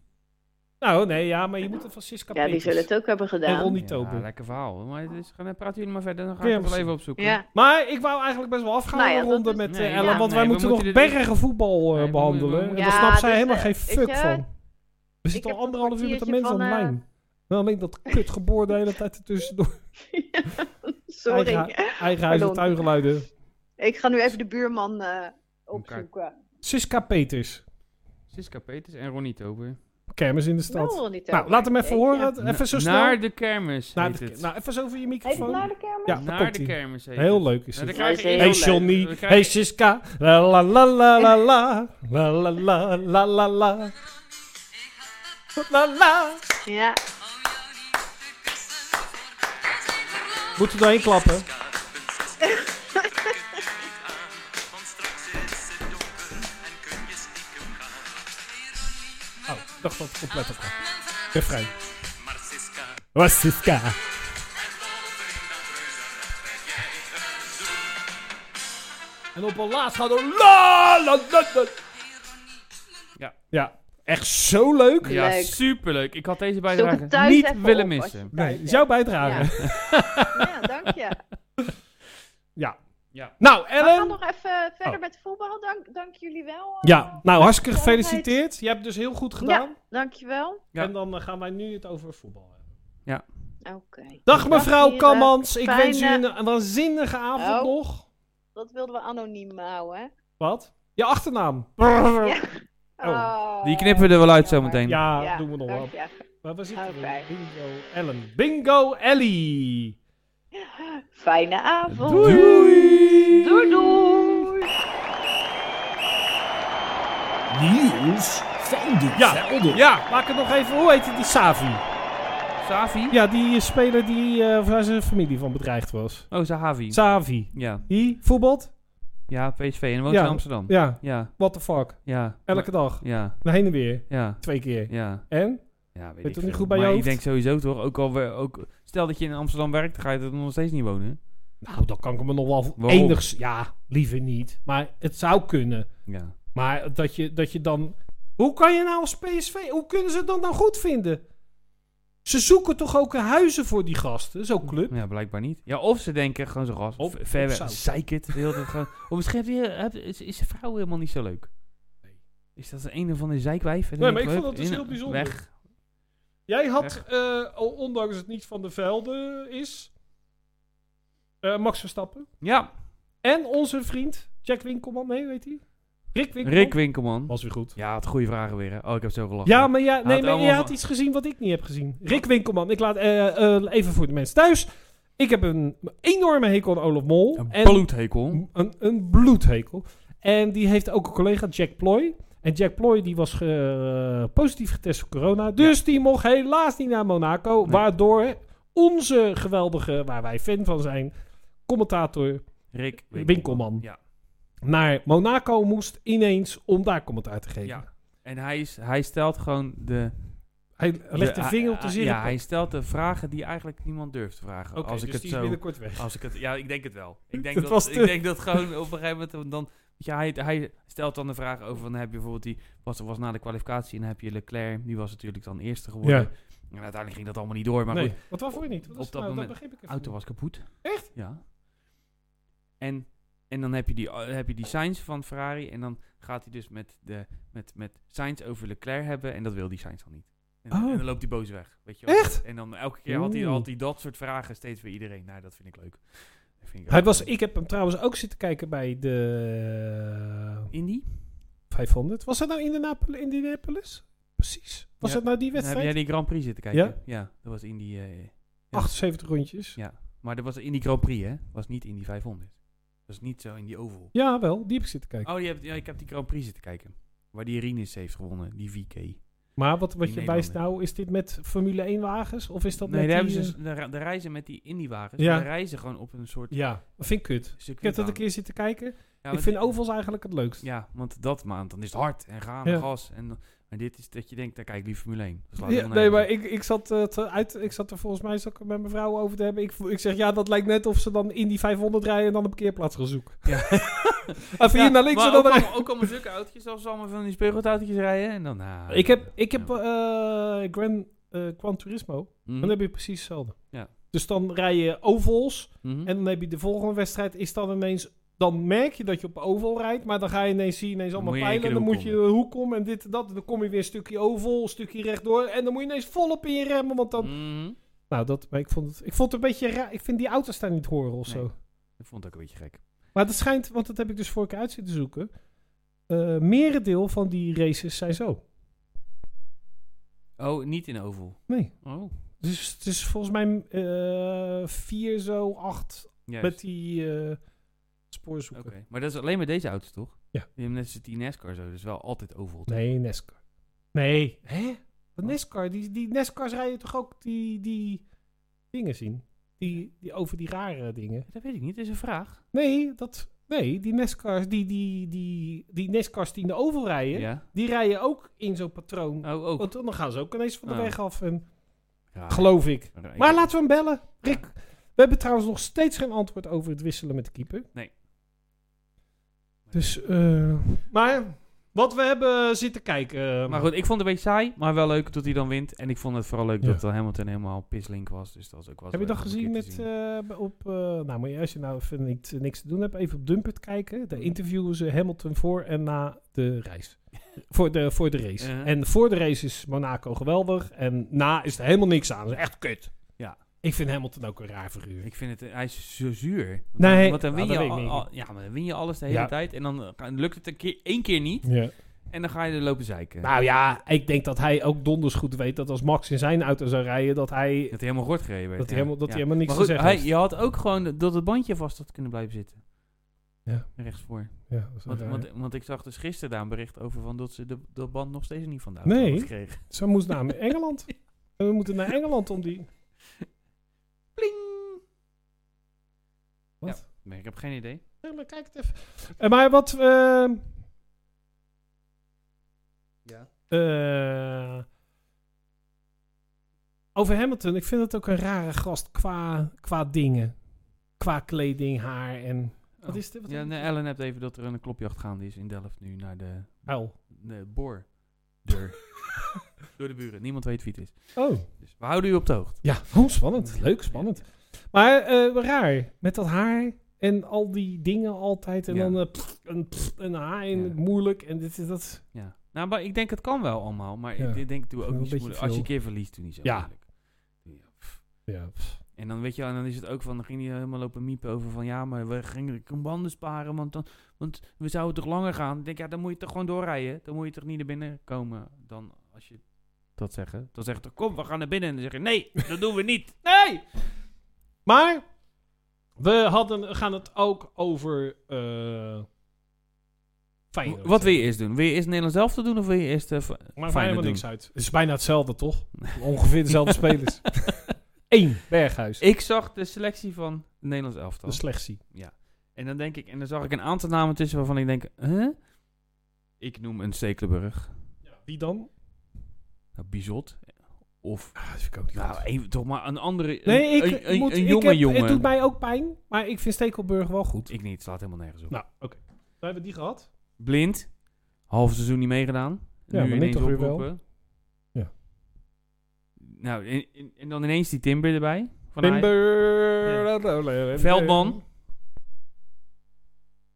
Speaker 1: Nou, nee, ja, maar je moet het van Siska
Speaker 4: [laughs] ja, die
Speaker 1: Peters.
Speaker 4: zullen het ook hebben
Speaker 1: En
Speaker 4: gedaan.
Speaker 1: [laughs] Ronnie Tober.
Speaker 2: Ja, lekker verhaal. Maar het is, gaan, dan praten jullie maar verder, dan ga ik het wel
Speaker 1: Kermis.
Speaker 2: even opzoeken.
Speaker 4: Ja. [laughs]
Speaker 1: Maar ik wou eigenlijk best wel afgaan
Speaker 4: Nou ja,
Speaker 1: een
Speaker 4: dat
Speaker 1: ronde
Speaker 4: is-
Speaker 1: met eh,
Speaker 2: Nee,
Speaker 1: Ellen,
Speaker 4: ja.
Speaker 1: want wij
Speaker 2: Nee, we
Speaker 1: moeten nog
Speaker 2: moeten dit-
Speaker 1: bergen voetbal eh,
Speaker 2: Nee, we
Speaker 1: behandelen.
Speaker 2: moeten- we
Speaker 1: en daar
Speaker 4: moeten-
Speaker 1: snapt
Speaker 4: Ja,
Speaker 1: zij
Speaker 4: dus,
Speaker 1: helemaal
Speaker 4: eh,
Speaker 1: geen
Speaker 4: weet
Speaker 1: fuck
Speaker 4: je,
Speaker 1: van. We zitten
Speaker 4: heb
Speaker 1: al
Speaker 4: nog
Speaker 1: anderhalf
Speaker 4: een
Speaker 1: uur met de
Speaker 4: kwartiertje
Speaker 1: mensen aan de
Speaker 4: van, eh,
Speaker 1: lijn. Wel ben ik
Speaker 4: [laughs]
Speaker 1: dat kutgeboor de hele tijd ertussendoor.
Speaker 4: Sorry.
Speaker 1: Eigen, eigen huis en
Speaker 4: Pardon.
Speaker 1: tuingeluiden.
Speaker 4: Ik ga nu even de buurman eh, opzoeken.
Speaker 1: Siska Peters.
Speaker 2: Siska Peters en Ronnie Tober.
Speaker 1: Kermis in de stad.
Speaker 4: Nou, Ronnie Tober.
Speaker 1: nou, laat hem even
Speaker 4: Jeetje.
Speaker 1: horen. Even zo snel.
Speaker 2: Naar de kermis
Speaker 1: Naar
Speaker 2: heet
Speaker 1: de-
Speaker 2: het.
Speaker 1: nou, even zo over je
Speaker 4: Even
Speaker 1: microfoon.
Speaker 4: naar de kermis?
Speaker 1: ja, daar
Speaker 2: Naar de
Speaker 1: komt hij.
Speaker 2: kermis heet
Speaker 1: Heel
Speaker 2: het.
Speaker 1: leuk is
Speaker 2: Nou,
Speaker 1: het.
Speaker 2: dan krijg je
Speaker 4: Ja,
Speaker 2: eerst-
Speaker 4: heel
Speaker 1: Hey
Speaker 4: leuk.
Speaker 1: Johnny,
Speaker 2: We krijgen-
Speaker 1: hey Siska, la la la la la la, la la la la la la. La la.
Speaker 4: Ja.
Speaker 1: Moeten we doorheen klappen? Oh, ik dacht dat het compleet op was. Refrein. Was Siska. En op een laatst gaat er la la la la.
Speaker 2: Ja.
Speaker 1: Ja, echt zo leuk.
Speaker 2: Ja,
Speaker 4: Leuk.
Speaker 2: superleuk. Ik had deze
Speaker 4: Zoek
Speaker 2: bijdrage
Speaker 4: het thuis
Speaker 2: niet
Speaker 4: even
Speaker 2: willen
Speaker 4: op als je
Speaker 2: missen.
Speaker 4: thuis
Speaker 1: Nee,
Speaker 4: bent.
Speaker 1: jouw bijdrage.
Speaker 4: Ja.
Speaker 1: [laughs]
Speaker 4: Ja, dank je.
Speaker 1: Ja.
Speaker 2: Ja.
Speaker 1: Nou,
Speaker 4: We gaan
Speaker 1: Ellen.
Speaker 4: nog even verder
Speaker 1: Oh.
Speaker 4: met voetbal. Dank, dank jullie wel. eh.
Speaker 1: Ja, nou hartstikke
Speaker 4: Gezelligheid.
Speaker 1: gefeliciteerd. Je hebt het dus heel goed gedaan.
Speaker 4: Ja, dankjewel.
Speaker 2: Ja.
Speaker 1: En dan eh, gaan wij nu het over voetbal hebben.
Speaker 4: Oké.
Speaker 1: Dag mevrouw
Speaker 4: heren.
Speaker 1: Kammans. Ik wens u
Speaker 4: Fijne-
Speaker 1: een, een waanzinnige avond
Speaker 4: Oh.
Speaker 1: nog.
Speaker 4: Dat wilden we anoniem houden, hè?
Speaker 1: Wat? Je achternaam.
Speaker 4: Ja.
Speaker 1: Oh.
Speaker 2: Die knippen we er wel uit
Speaker 4: Jammer.
Speaker 2: zometeen.
Speaker 1: Ja,
Speaker 4: Ja,
Speaker 1: doen we nog wel.
Speaker 4: dank je.
Speaker 1: Maar waar zitten we?
Speaker 4: Oké.
Speaker 1: Bingo Ellen. Bingo Ellie.
Speaker 4: Fijne avond.
Speaker 1: Doei.
Speaker 4: Doei, doei.
Speaker 3: Nieuws van de
Speaker 1: Ja.
Speaker 3: velden.
Speaker 1: Ja, maak het nog even. Hoe heet die? Die Savi.
Speaker 2: Savi?
Speaker 1: Ja, die eh, speler die eh, waar zijn familie van bedreigd was.
Speaker 2: Oh, Zahavi.
Speaker 1: Savi.
Speaker 2: ja.
Speaker 1: Die voetbalt?
Speaker 2: Ja, PSV. En dan woont
Speaker 1: Ja.
Speaker 2: in Amsterdam.
Speaker 1: Ja,
Speaker 2: Ja.
Speaker 1: what the fuck.
Speaker 2: Ja.
Speaker 1: Elke dag.
Speaker 2: Ja.
Speaker 1: Heen en weer.
Speaker 2: Ja.
Speaker 1: Twee keer.
Speaker 2: Ja.
Speaker 1: En?
Speaker 2: Ja, weet
Speaker 1: het toch
Speaker 2: ik veel.
Speaker 1: niet goed bij je
Speaker 2: maar
Speaker 1: hoofd?
Speaker 2: ik denk sowieso toch, ook al we, ook, stel dat je in Amsterdam werkt, dan ga je er nog steeds niet wonen.
Speaker 1: Nou, dan kan ik me nog wel
Speaker 2: Waarom?
Speaker 1: enigs... Ja, liever niet. Maar het zou kunnen.
Speaker 2: Ja.
Speaker 1: Maar dat je, dat je dan... Hoe kan je nou als PSV... Hoe kunnen ze het dan nou goed vinden? Ze zoeken toch ook huizen voor die gasten? Zo'n club?
Speaker 2: Ja, blijkbaar niet. Ja, of ze denken gewoon zo gast,
Speaker 1: Op-
Speaker 2: ver- ver
Speaker 1: op
Speaker 2: weg,
Speaker 1: zout.
Speaker 2: zeikert, de hele tijd
Speaker 1: [laughs]
Speaker 2: gewoon. Of misschien heb je- heb- is, is de vrouw helemaal niet zo leuk. Is dat een of andere zeikwijf? En dan
Speaker 1: Nee, maar
Speaker 2: denk
Speaker 1: ik
Speaker 2: hup,
Speaker 1: vond dat dus
Speaker 2: in-
Speaker 1: heel bijzonder.
Speaker 2: Weg.
Speaker 1: Jij had, eh, o- ondanks het niet van de velden is... eh, Max Verstappen.
Speaker 2: Ja,
Speaker 1: En onze vriend... Jack Winkelman, nee, weet hij? Rick Winkelman.
Speaker 2: Rick Winkelman.
Speaker 1: Was weer goed.
Speaker 2: Ja, het goede vragen weer. Hè. Oh, ik heb zo gelachen.
Speaker 1: Ja, maar, ja, nee, maar
Speaker 2: allemaal
Speaker 1: je
Speaker 2: van-
Speaker 1: had iets gezien wat ik niet heb gezien. Rick Winkelman, ik laat eh, eh, even voor de mensen thuis. Ik heb een enorme hekel aan Olaf Mol.
Speaker 2: Een
Speaker 1: en
Speaker 2: bloedhekel.
Speaker 1: Een, een bloedhekel. En die heeft ook een collega, Jack Ploy. En Jack Ploy die was ge- eh, positief getest voor corona. Dus die mocht helaas niet naar Monaco.
Speaker 2: Nee.
Speaker 1: Waardoor onze geweldige, waar wij fan van zijn, commentator
Speaker 2: Rick Winkelman.
Speaker 1: Winkelman.
Speaker 2: Ja.
Speaker 1: naar Monaco moest ineens om daar commentaar te geven.
Speaker 2: ja. En hij, is, hij stelt gewoon de...
Speaker 1: Hij legt de, vinger op de zin.
Speaker 2: Ja, hij stelt de vragen die eigenlijk niemand durft te vragen. als ik
Speaker 1: dus
Speaker 2: het
Speaker 1: die
Speaker 2: zo...
Speaker 1: is binnenkort weg.
Speaker 2: Als ik het, ja, ik denk het wel. Ik
Speaker 1: [laughs]
Speaker 2: denk
Speaker 1: Dat
Speaker 2: dat,
Speaker 1: was te-
Speaker 2: ik denk dat gewoon op een gegeven moment dan. weet je, hij, hij stelt dan de vraag over: van, heb je bijvoorbeeld die. Was, was na de kwalificatie en dan heb je Leclerc. Die was natuurlijk dan eerste geworden.
Speaker 1: Ja.
Speaker 2: En uiteindelijk ging dat allemaal niet door. Maar
Speaker 1: nee,
Speaker 2: goed,
Speaker 1: wat waarvoor niet? Wat
Speaker 2: op
Speaker 1: is het
Speaker 2: dat
Speaker 1: nou?
Speaker 2: moment-
Speaker 1: begreep ik
Speaker 2: de
Speaker 1: even
Speaker 2: auto
Speaker 1: niet.
Speaker 2: was kapot.
Speaker 1: Echt?
Speaker 2: Ja. En, en dan heb je, die, eh, heb je die Sainz van Ferrari. En dan gaat hij dus met, de, met, met Sainz over Leclerc hebben. En dat wil die Sainz dan niet. En,
Speaker 1: Oh.
Speaker 2: en dan loopt hij boos weg. Weet je wel.
Speaker 1: Echt?
Speaker 2: En dan elke keer had hij,
Speaker 1: Oeh.
Speaker 2: had hij dat soort vragen steeds voor iedereen. Nou, dat vind ik leuk. Dat vind ik
Speaker 1: Hij
Speaker 2: ook
Speaker 1: was,
Speaker 2: leuk.
Speaker 1: ik heb hem trouwens ook zitten kijken bij de
Speaker 2: Indy?
Speaker 1: 500. Was dat nou Indianapolis? Indianapolis? Precies. Was
Speaker 2: Ja.
Speaker 1: dat nou die
Speaker 2: Heb
Speaker 1: wedstrijd?
Speaker 2: jij die Grand Prix zitten kijken? Ja. dat was in die... eh, ja.
Speaker 1: 78 rondjes. Ja.
Speaker 2: ja, maar dat was in die Grand Prix, hè? was niet in die 500. Dat was niet zo in die oval.
Speaker 1: wel. Die heb ik zitten kijken.
Speaker 2: Oh, die hebt, ja, ik heb die Grand Prix zitten kijken. Waar die Rinus heeft gewonnen, die VK.
Speaker 1: Maar wat, wat
Speaker 2: die
Speaker 1: je wijst
Speaker 2: Nederlander.
Speaker 1: nou, is dit met Formule 1 wagens? Of is dat
Speaker 2: nee,
Speaker 1: met
Speaker 2: daar
Speaker 1: die,
Speaker 2: hebben ze
Speaker 1: eh,
Speaker 2: de, re- de reizen met die Indy-wagens.
Speaker 1: Ja.
Speaker 2: Ja. De reizen gewoon op een soort
Speaker 1: Ja, dat vind ik kut. Ik
Speaker 2: circuit
Speaker 1: heb dat een
Speaker 2: aan.
Speaker 1: keer zitten kijken. ik
Speaker 2: want-
Speaker 1: vind ovals eigenlijk het leukst.
Speaker 2: Ja, want dat maand, dan is het hard en gaan
Speaker 1: Ja.
Speaker 2: en gas. En, maar dit is dat je denkt, daar kijk ik liever Formule 1. Dat slaat
Speaker 1: Ja,
Speaker 2: helemaal
Speaker 1: nee, maar
Speaker 2: nergens op.
Speaker 1: ik, ik, zat, eh, te uit, ik zat er volgens mij zat ik er met mijn vrouw over te hebben. Ik, vo- ik zeg, ja, dat lijkt net of ze dan in die 500 rijden en dan een parkeerplaats gaan zoeken.
Speaker 2: Ja.
Speaker 1: [laughs] Even hier naar links
Speaker 2: maar
Speaker 1: en dan
Speaker 2: ook
Speaker 1: naar
Speaker 2: allemaal, ook allemaal zulke autootjes, als ze allemaal van die speelgoedautootjes rijden. En dan, ah,
Speaker 1: Ik heb,
Speaker 2: ja.
Speaker 1: ik heb
Speaker 2: Ja.
Speaker 1: eh, Gran, eh, Gran Turismo.
Speaker 2: Mhm.
Speaker 1: Dan heb je precies hetzelfde.
Speaker 2: Ja.
Speaker 1: Dus dan rij je ovals
Speaker 2: Mhm.
Speaker 1: en dan heb je de volgende wedstrijd is dan ineens... Dan merk je dat je op oval rijdt, maar dan ga je ineens zien ineens
Speaker 2: Dan
Speaker 1: allemaal
Speaker 2: moet je in één
Speaker 1: pijlen. Dan
Speaker 2: keer de
Speaker 1: moet je de hoek om en dit en dat. Dan kom je weer een stukje oval, een stukje rechtdoor. En dan moet je ineens volop in je remmen, want dan...
Speaker 2: Mhm.
Speaker 1: Nou, dat, maar ik, vond het, ik vond het een beetje raar. Ik vind die auto's daar niet horen of
Speaker 2: Nee.
Speaker 1: zo.
Speaker 2: Ik vond het ook een beetje gek.
Speaker 1: Maar dat schijnt, want dat heb ik dus voor ik uit zitten zoeken. eh, merendeel van die races zijn zo.
Speaker 2: Oh, niet in oval.
Speaker 1: Nee.
Speaker 2: Oh,
Speaker 1: Dus het is volgens mij eh vier zo, acht
Speaker 2: juist.
Speaker 1: met die eh
Speaker 2: Oké,
Speaker 1: spoorzoeken.
Speaker 2: maar dat is alleen met deze auto's, toch?
Speaker 1: Ja.
Speaker 2: Je hebt net zoals die NASCAR zo, dus wel altijd oval. toch?
Speaker 1: Nee, E NASCAR. Nee. Hè? E Wat NASCAR? Die, die NASCAR's rijden toch ook die, die dingen zien? Die, die, over die rare dingen.
Speaker 2: Dat weet ik niet, dat is een vraag.
Speaker 1: Nee, dat, nee die E NASCAR's die, die, die, die, E NASCAR's die in de oval rijden,
Speaker 2: Ja.
Speaker 1: die rijden ook in zo'n patroon.
Speaker 2: Oh, ook.
Speaker 1: Want dan gaan ze ook ineens van de
Speaker 2: Ah.
Speaker 1: weg af. En,
Speaker 2: Raar.
Speaker 1: geloof ik.
Speaker 2: Maar ik-
Speaker 1: Maar laten we hem bellen. Rick, we hebben trouwens nog steeds geen antwoord over het wisselen met de keeper.
Speaker 2: Nee.
Speaker 1: Dus, eh, maar wat we hebben zitten kijken. eh,
Speaker 2: Maar goed, ik vond het een beetje saai, maar wel leuk dat hij dan wint. En ik vond het vooral leuk
Speaker 1: Ja.
Speaker 2: dat dan Hamilton helemaal pislink was. Dus dat was ook wel
Speaker 1: heb je
Speaker 2: leuk
Speaker 1: dat
Speaker 2: om een keer
Speaker 1: gezien
Speaker 2: te
Speaker 1: met,
Speaker 2: zien.
Speaker 1: eh, op, eh, nou maar als je nou even niks, niks te doen hebt, even op Dumpert kijken. Daar interviewen ze Hamilton voor en na de
Speaker 2: [laughs]
Speaker 1: reis. voor, de, voor de race.
Speaker 2: Ja.
Speaker 1: En voor de race is Monaco geweldig en na is er helemaal niks aan. Dat is echt kut.
Speaker 2: Ja.
Speaker 1: Ik vind Hamilton ook een raar figuur.
Speaker 2: Ik vind het, eh, hij is zo zuur. Want
Speaker 1: Nee,
Speaker 2: dan, want dan
Speaker 1: nou,
Speaker 2: win
Speaker 1: dat
Speaker 2: je
Speaker 1: weet ik
Speaker 2: al-
Speaker 1: niet.
Speaker 2: al- ja, maar dan win je alles de hele
Speaker 1: Ja.
Speaker 2: tijd. En dan eh, kan- lukt het een keer, één keer niet.
Speaker 1: Ja.
Speaker 2: En dan ga je er lopen zeiken.
Speaker 1: Nou ja, ik denk dat hij ook donders goed weet dat als Max in zijn auto zou rijden, dat hij,
Speaker 2: dat hij helemaal rot gereden werd.
Speaker 1: dat hij,
Speaker 2: ja.
Speaker 1: helemaal, dat
Speaker 2: Ja.
Speaker 1: hij helemaal niks
Speaker 2: Maar
Speaker 1: te
Speaker 2: goed,
Speaker 1: zeggen
Speaker 2: hij,
Speaker 1: heeft.
Speaker 2: je had ook gewoon dat het bandje vast had kunnen blijven zitten.
Speaker 1: Ja.
Speaker 2: Rechtsvoor.
Speaker 1: Ja, dat is
Speaker 2: Want,
Speaker 1: raar.
Speaker 2: want, want ik zag dus gisteren daar een bericht over van dat ze de, de band nog steeds niet van de
Speaker 1: Nee. [laughs]
Speaker 2: auto kregen.
Speaker 1: Zo moest naar
Speaker 2: [laughs]
Speaker 1: Engeland. En we moeten naar Engeland om die...
Speaker 2: Pling!
Speaker 1: Wat?
Speaker 2: Nee, ik heb geen idee.
Speaker 1: Ja, maar Kijk het even. Eh, maar wat... ehm,
Speaker 2: Ja.
Speaker 1: eh, over Hamilton, ik vind het ook een rare gast qua, qua dingen. Qua kleding, haar en... Wat is dit? Wat
Speaker 2: Oh. Ja,
Speaker 1: is
Speaker 2: nee, Ellen hebt even dat er een klopjacht gaande is in Delft nu naar de,
Speaker 1: Uil.
Speaker 2: de boor. Deur. [laughs] Door de buren. Niemand weet wie het is.
Speaker 1: Oh.
Speaker 2: Dus we houden u op de hoogte.
Speaker 1: Ja, [laughs] oh, spannend. Leuk, spannend. Maar eh, raar, met dat haar en al die dingen altijd. En
Speaker 2: Ja.
Speaker 1: dan eh, pff, een, pff, een haar en
Speaker 2: Ja.
Speaker 1: moeilijk. En dit is dat.
Speaker 2: Ja. Nou, maar ik denk het kan wel allemaal. Maar
Speaker 1: Ja.
Speaker 2: ik denk, doe
Speaker 1: Vind
Speaker 2: ook
Speaker 1: ik
Speaker 2: niet
Speaker 1: een
Speaker 2: zo
Speaker 1: beetje
Speaker 2: moeilijk. Als je een
Speaker 1: veel.
Speaker 2: keer verliest, doe niet zo
Speaker 1: Ja.
Speaker 2: moeilijk. Ja, pff.
Speaker 1: Ja.
Speaker 2: En dan weet je, wel, en dan is het ook van, dan ging hij helemaal lopen miepen over van, ja, maar we gingen de banden sparen, want, dan, want we zouden toch langer gaan. Ik denk, ja, dan moet je toch gewoon doorrijden. Dan moet je toch niet naar binnen komen dan als je dat zeggen. Dan zegt er, kom, we gaan naar binnen. En dan zeg je, nee, dat doen we [laughs] niet.
Speaker 1: Nee! Maar we hadden, gaan het ook over. eh Feyenoord.
Speaker 2: Wat wil je eerst doen? Wil je eerst Nederland zelf te doen of wil je eerst eh, Fe-
Speaker 1: Maakt mij
Speaker 2: Feyenoord
Speaker 1: helemaal
Speaker 2: doen?
Speaker 1: niks uit. Het is bijna hetzelfde, toch? Ongeveer
Speaker 2: [laughs]
Speaker 1: dezelfde spelers. Eén, Berghuis.
Speaker 2: Ik zag de selectie van het Nederlands elftal.
Speaker 1: De slechtsie.
Speaker 2: En dan denk ik, en dan zag ik een aantal namen tussen waarvan ik denk, huh? Ik noem een Stekelenburg.
Speaker 1: Wie dan?
Speaker 2: Nou, Bizot. Of,
Speaker 1: Ah, dat vind ik ook niet
Speaker 2: nou,
Speaker 1: goed.
Speaker 2: even, toch maar een andere, een,
Speaker 1: Nee, ik
Speaker 2: een, een-
Speaker 1: moet,
Speaker 2: een
Speaker 1: ik
Speaker 2: jonge
Speaker 1: heb-
Speaker 2: jongen.
Speaker 1: Het doet mij ook pijn, maar ik vind Stekelburg wel goed.
Speaker 2: Ik niet, het slaat helemaal nergens op.
Speaker 1: Nou, oké. We hebben die gehad.
Speaker 2: Blind, half seizoen niet meegedaan.
Speaker 1: Ja, maar nu
Speaker 2: ineens
Speaker 1: toch weer wel.
Speaker 2: oproepen.
Speaker 1: Ja.
Speaker 2: Nou, en, en- en dan ineens die Timber erbij. Van Ajax.
Speaker 1: Timber.
Speaker 2: Veldman.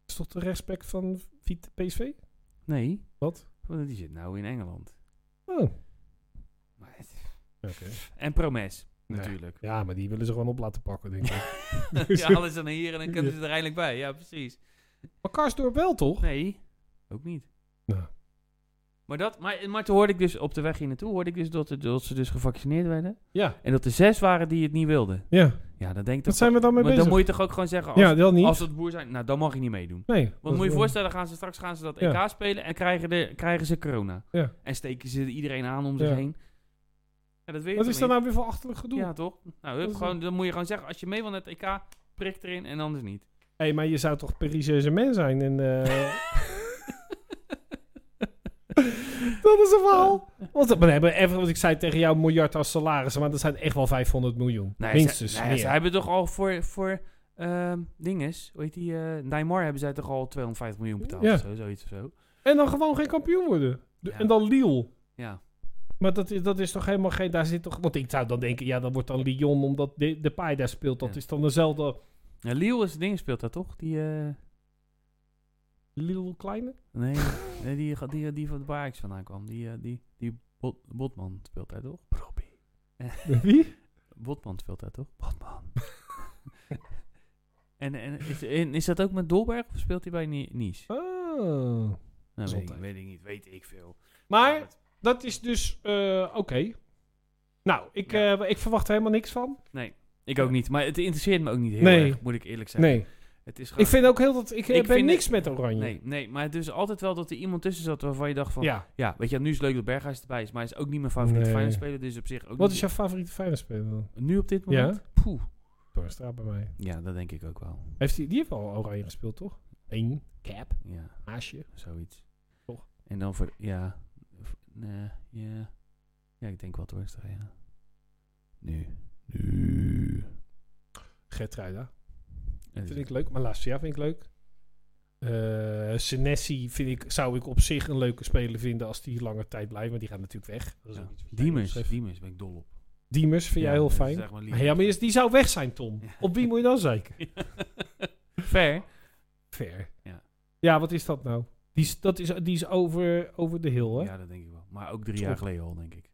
Speaker 1: Is toch de respect van Viet- PSV?
Speaker 2: Nee.
Speaker 1: Wat?
Speaker 2: Want die zit nou in Engeland.
Speaker 1: Oh.
Speaker 2: Maar het- En Promes, natuurlijk.
Speaker 1: [laughs] Ja, maar die willen ze gewoon op laten pakken, denk
Speaker 2: [laughs]
Speaker 1: ik.
Speaker 2: ja, alles dan hier en dan kunnen ze er eindelijk bij. Ja, precies.
Speaker 1: maar Karsdorp wel, toch?
Speaker 2: Nee, ook niet.
Speaker 1: Nou.
Speaker 2: Maar, dat, maar, maar toen hoorde ik dus op de weg hier naartoe, hoorde ik dus dat, er- dat ze dus gevaccineerd werden.
Speaker 1: Ja.
Speaker 2: En dat er zes waren die het niet wilden.
Speaker 1: Ja.
Speaker 2: Ja, dan denk
Speaker 1: Wat
Speaker 2: ik toch...
Speaker 1: zijn we dan mee
Speaker 2: maar dan
Speaker 1: bezig?
Speaker 2: moet je toch ook gewoon zeggen, als,
Speaker 1: ja, dat niet.
Speaker 2: als het boer zijn, nou dan mag je niet meedoen.
Speaker 1: nee. dat- eh,
Speaker 2: Want moet je je voorstellen, gaan ze, straks gaan ze dat EK
Speaker 1: Ja.
Speaker 2: spelen en krijgen, de, krijgen ze corona.
Speaker 1: Ja.
Speaker 2: En steken ze iedereen aan om zich
Speaker 1: Ja.
Speaker 2: heen. Ja, dat weet je
Speaker 1: Wat
Speaker 2: toch
Speaker 1: is daar
Speaker 2: niet?
Speaker 1: nou weer voor achterlijk gedoe?
Speaker 2: Ja, toch? Nou, hup,
Speaker 1: Dat is
Speaker 2: gewoon, dan moet je gewoon zeggen, als je mee wil naar het EK, prik erin en anders niet.
Speaker 1: Hé, maar je zou toch Pariseuze man zijn? En, eh,
Speaker 2: [laughs]
Speaker 1: dat is een verhaal. Want we hebben even, want ik zei tegen jou, een miljard als salaris, maar dat zijn echt wel 500 miljoen.
Speaker 2: Nee,
Speaker 1: Minstens.
Speaker 2: Ze, nee,
Speaker 1: meer.
Speaker 2: ze hebben toch al voor, voor ehm, dinges, hoe heet die, eh, Neymar hebben zij toch al 250 miljoen betaald
Speaker 1: Ja.
Speaker 2: of zo, zoiets of zo.
Speaker 1: En dan gewoon geen kampioen worden. De-
Speaker 2: Ja.
Speaker 1: En dan Lille.
Speaker 2: Ja.
Speaker 1: Maar dat is, dat is toch helemaal geen... Daar zit toch, want ik zou dan denken, ja, dan wordt dan Lyon omdat de, de Pai daar speelt. Dat
Speaker 2: Ja.
Speaker 1: is dan dezelfde
Speaker 2: ja Lille is ding speelt daar toch? Die, eh,
Speaker 1: Lille Kleine.
Speaker 2: nee, nee, die, die, die, die van de waar ik vandaan kwam. Die, eh, die, die Bot- Botman speelt daar toch? Robbie.
Speaker 1: [laughs] Wie?
Speaker 2: Botman speelt daar toch? Botman. [laughs] en en is, en is dat ook met Dolberg of speelt hij bij Ni- Nice?
Speaker 1: Oh.
Speaker 2: Nou, weet, ik,
Speaker 1: Zonde.
Speaker 2: weet ik niet, weet ik veel.
Speaker 1: Maar dat is dus... eh, Oké. Nou, ik,
Speaker 2: Ja.
Speaker 1: eh, ik verwacht er helemaal niks van.
Speaker 2: Ik ook niet, maar het interesseert me ook niet heel
Speaker 1: Nee.
Speaker 2: erg, moet ik eerlijk zeggen.
Speaker 1: Nee.
Speaker 2: Het is gewoon...
Speaker 1: Ik vind ook heel dat... Ik, eh,
Speaker 2: Ik
Speaker 1: ben
Speaker 2: vind
Speaker 1: niks met Oranje.
Speaker 2: Nee, nee, maar het is altijd wel dat er iemand tussen zat waarvan je dacht van... Ja,
Speaker 1: Ja.
Speaker 2: weet je, nu is het leuk dat Berghuis erbij is, maar hij is ook niet mijn favoriete
Speaker 1: Nee.
Speaker 2: finance speler, dus op zich ook
Speaker 1: Wat
Speaker 2: niet-
Speaker 1: is jouw favoriete Feyenoordspeler dan?
Speaker 2: Nu op dit
Speaker 1: Ja?
Speaker 2: moment? Ja? Poeh.
Speaker 1: Torstra bij mij.
Speaker 2: Ja, dat denk ik ook wel.
Speaker 1: Heeft die, die heeft al Oranje gespeeld, toch? Eén. Cap.
Speaker 2: Ja,
Speaker 1: Haasje.
Speaker 2: zoiets.
Speaker 1: Toch?
Speaker 2: En dan voor... Ja. v- Nee, ja. Ja, ik denk wel Torstra, ja. Nu. Nu.
Speaker 1: Gertruida.
Speaker 2: En-
Speaker 1: Vind ik leuk. Maar Malasia vind ik leuk. Eh Senesi vind ik, zou ik op zich een leuke speler vinden als die langer tijd blijft. Maar die gaat natuurlijk weg. Dat is
Speaker 2: Ja.
Speaker 1: ook iets wat jij
Speaker 2: Diemers,
Speaker 1: opschreef.
Speaker 2: Diemers ben ik dol op.
Speaker 1: Diemers vind jij
Speaker 2: Ja,
Speaker 1: heel
Speaker 2: dat is
Speaker 1: fijn.
Speaker 2: echt
Speaker 1: Maar
Speaker 2: mijn
Speaker 1: ja, maar
Speaker 2: [laughs] lieveling.
Speaker 1: is- die zou weg zijn, Tom.
Speaker 2: Ja.
Speaker 1: Op wie moet je dan zeiken?
Speaker 2: Fair.
Speaker 1: Ver.
Speaker 2: Ja.
Speaker 1: Ja, wat is dat nou? Die is, dat is, die is over, over de hill, hè?
Speaker 2: Ja, dat denk ik wel. Maar ook drie jaar
Speaker 1: Top.
Speaker 2: geleden al, denk ik.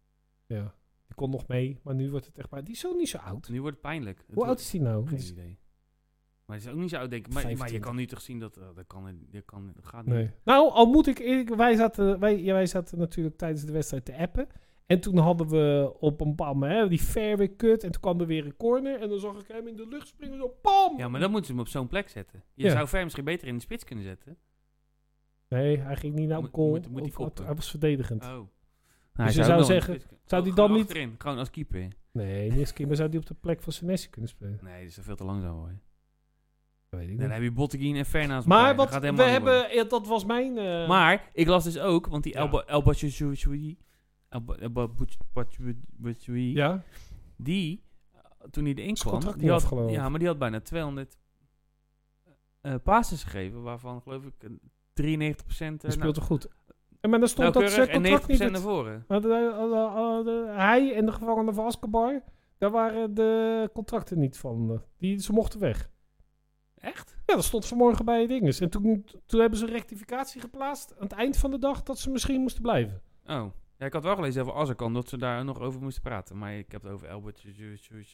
Speaker 1: Ja. Die kon nog mee, maar nu wordt het echt... Maar die is zo niet zo oud.
Speaker 2: Nu wordt het pijnlijk. Het
Speaker 1: Hoe
Speaker 2: wordt-
Speaker 1: oud is die nou?
Speaker 2: Geen idee. Maar het is ook niet zo oud, denk ik. Maar, maar je
Speaker 1: 25.
Speaker 2: kan nu toch zien dat eh, dat, kan, dat, kan, dat gaat niet.
Speaker 1: Nee. Nou, al moet ik eerlijk... Wij zaten, wij, ja, wij zaten natuurlijk tijdens de wedstrijd te appen. En toen hadden we op een bam, hè, die fairway cut. En toen kwam er weer een corner. En dan zag ik hem in de lucht springen. Zo, pam!
Speaker 2: Ja, maar dan moeten ze hem op zo'n plek zetten. Je
Speaker 1: Ja.
Speaker 2: zou Ver misschien beter in de spits kunnen zetten.
Speaker 1: Nee, hij ging niet naar een
Speaker 2: Moet-
Speaker 1: goal.
Speaker 2: moet- moet die
Speaker 1: Of-
Speaker 2: koppen.
Speaker 1: hij was verdedigend.
Speaker 2: Oh. Nou,
Speaker 1: je
Speaker 2: hij
Speaker 1: zou
Speaker 2: ook nog
Speaker 1: zeggen,
Speaker 2: in de spits-
Speaker 1: zou
Speaker 2: Oh,
Speaker 1: die
Speaker 2: gewoon
Speaker 1: dan niet-
Speaker 2: achterin, gewoon als keeper.
Speaker 1: Nee, misschien maar zou die op de plek van Senesi kunnen spelen.
Speaker 2: Nee, dat is veel te langzaam hoor.
Speaker 1: Dat weet ik
Speaker 2: Dan
Speaker 1: niet.
Speaker 2: heb je Botteguin en Ver naast elkaar.
Speaker 1: Maar
Speaker 2: Dat
Speaker 1: wat
Speaker 2: gaat
Speaker 1: we
Speaker 2: helemaal niet worden.
Speaker 1: hebben, ja, dat was mijn. eh,
Speaker 2: Maar ik las dus ook, want die
Speaker 1: Ja.
Speaker 2: Elba El Batshuayi, El Ba- El Ba- Butch- Butch- Batshuayi,
Speaker 1: Ja,
Speaker 2: die, eh, toen hij erin
Speaker 1: Is
Speaker 2: kwam,
Speaker 1: contract
Speaker 2: die
Speaker 1: niet
Speaker 2: had,
Speaker 1: afgelopen.
Speaker 2: ja, maar die had bijna 200 eh passes gegeven, waarvan geloof ik eh, 93 procent eh, nou,
Speaker 1: dat speelt toch goed. En nou. maar dan stond dat ze
Speaker 2: en 90
Speaker 1: contract niet.
Speaker 2: naar
Speaker 1: het-
Speaker 2: voren.
Speaker 1: Maar de- eh, eh, de- hij en de gevangenen van Askebar, daar waren de contracten niet van. eh, Die, ze mochten weg.
Speaker 2: Echt?
Speaker 1: Ja, dat stond vanmorgen bij dinges. En toen, toen hebben ze een rectificatie geplaatst aan het eind van de dag dat ze misschien moesten blijven.
Speaker 2: Oh. Ja, ik had wel gelezen over Azarkan dat ze daar nog over moesten praten. Maar ik heb het over Albert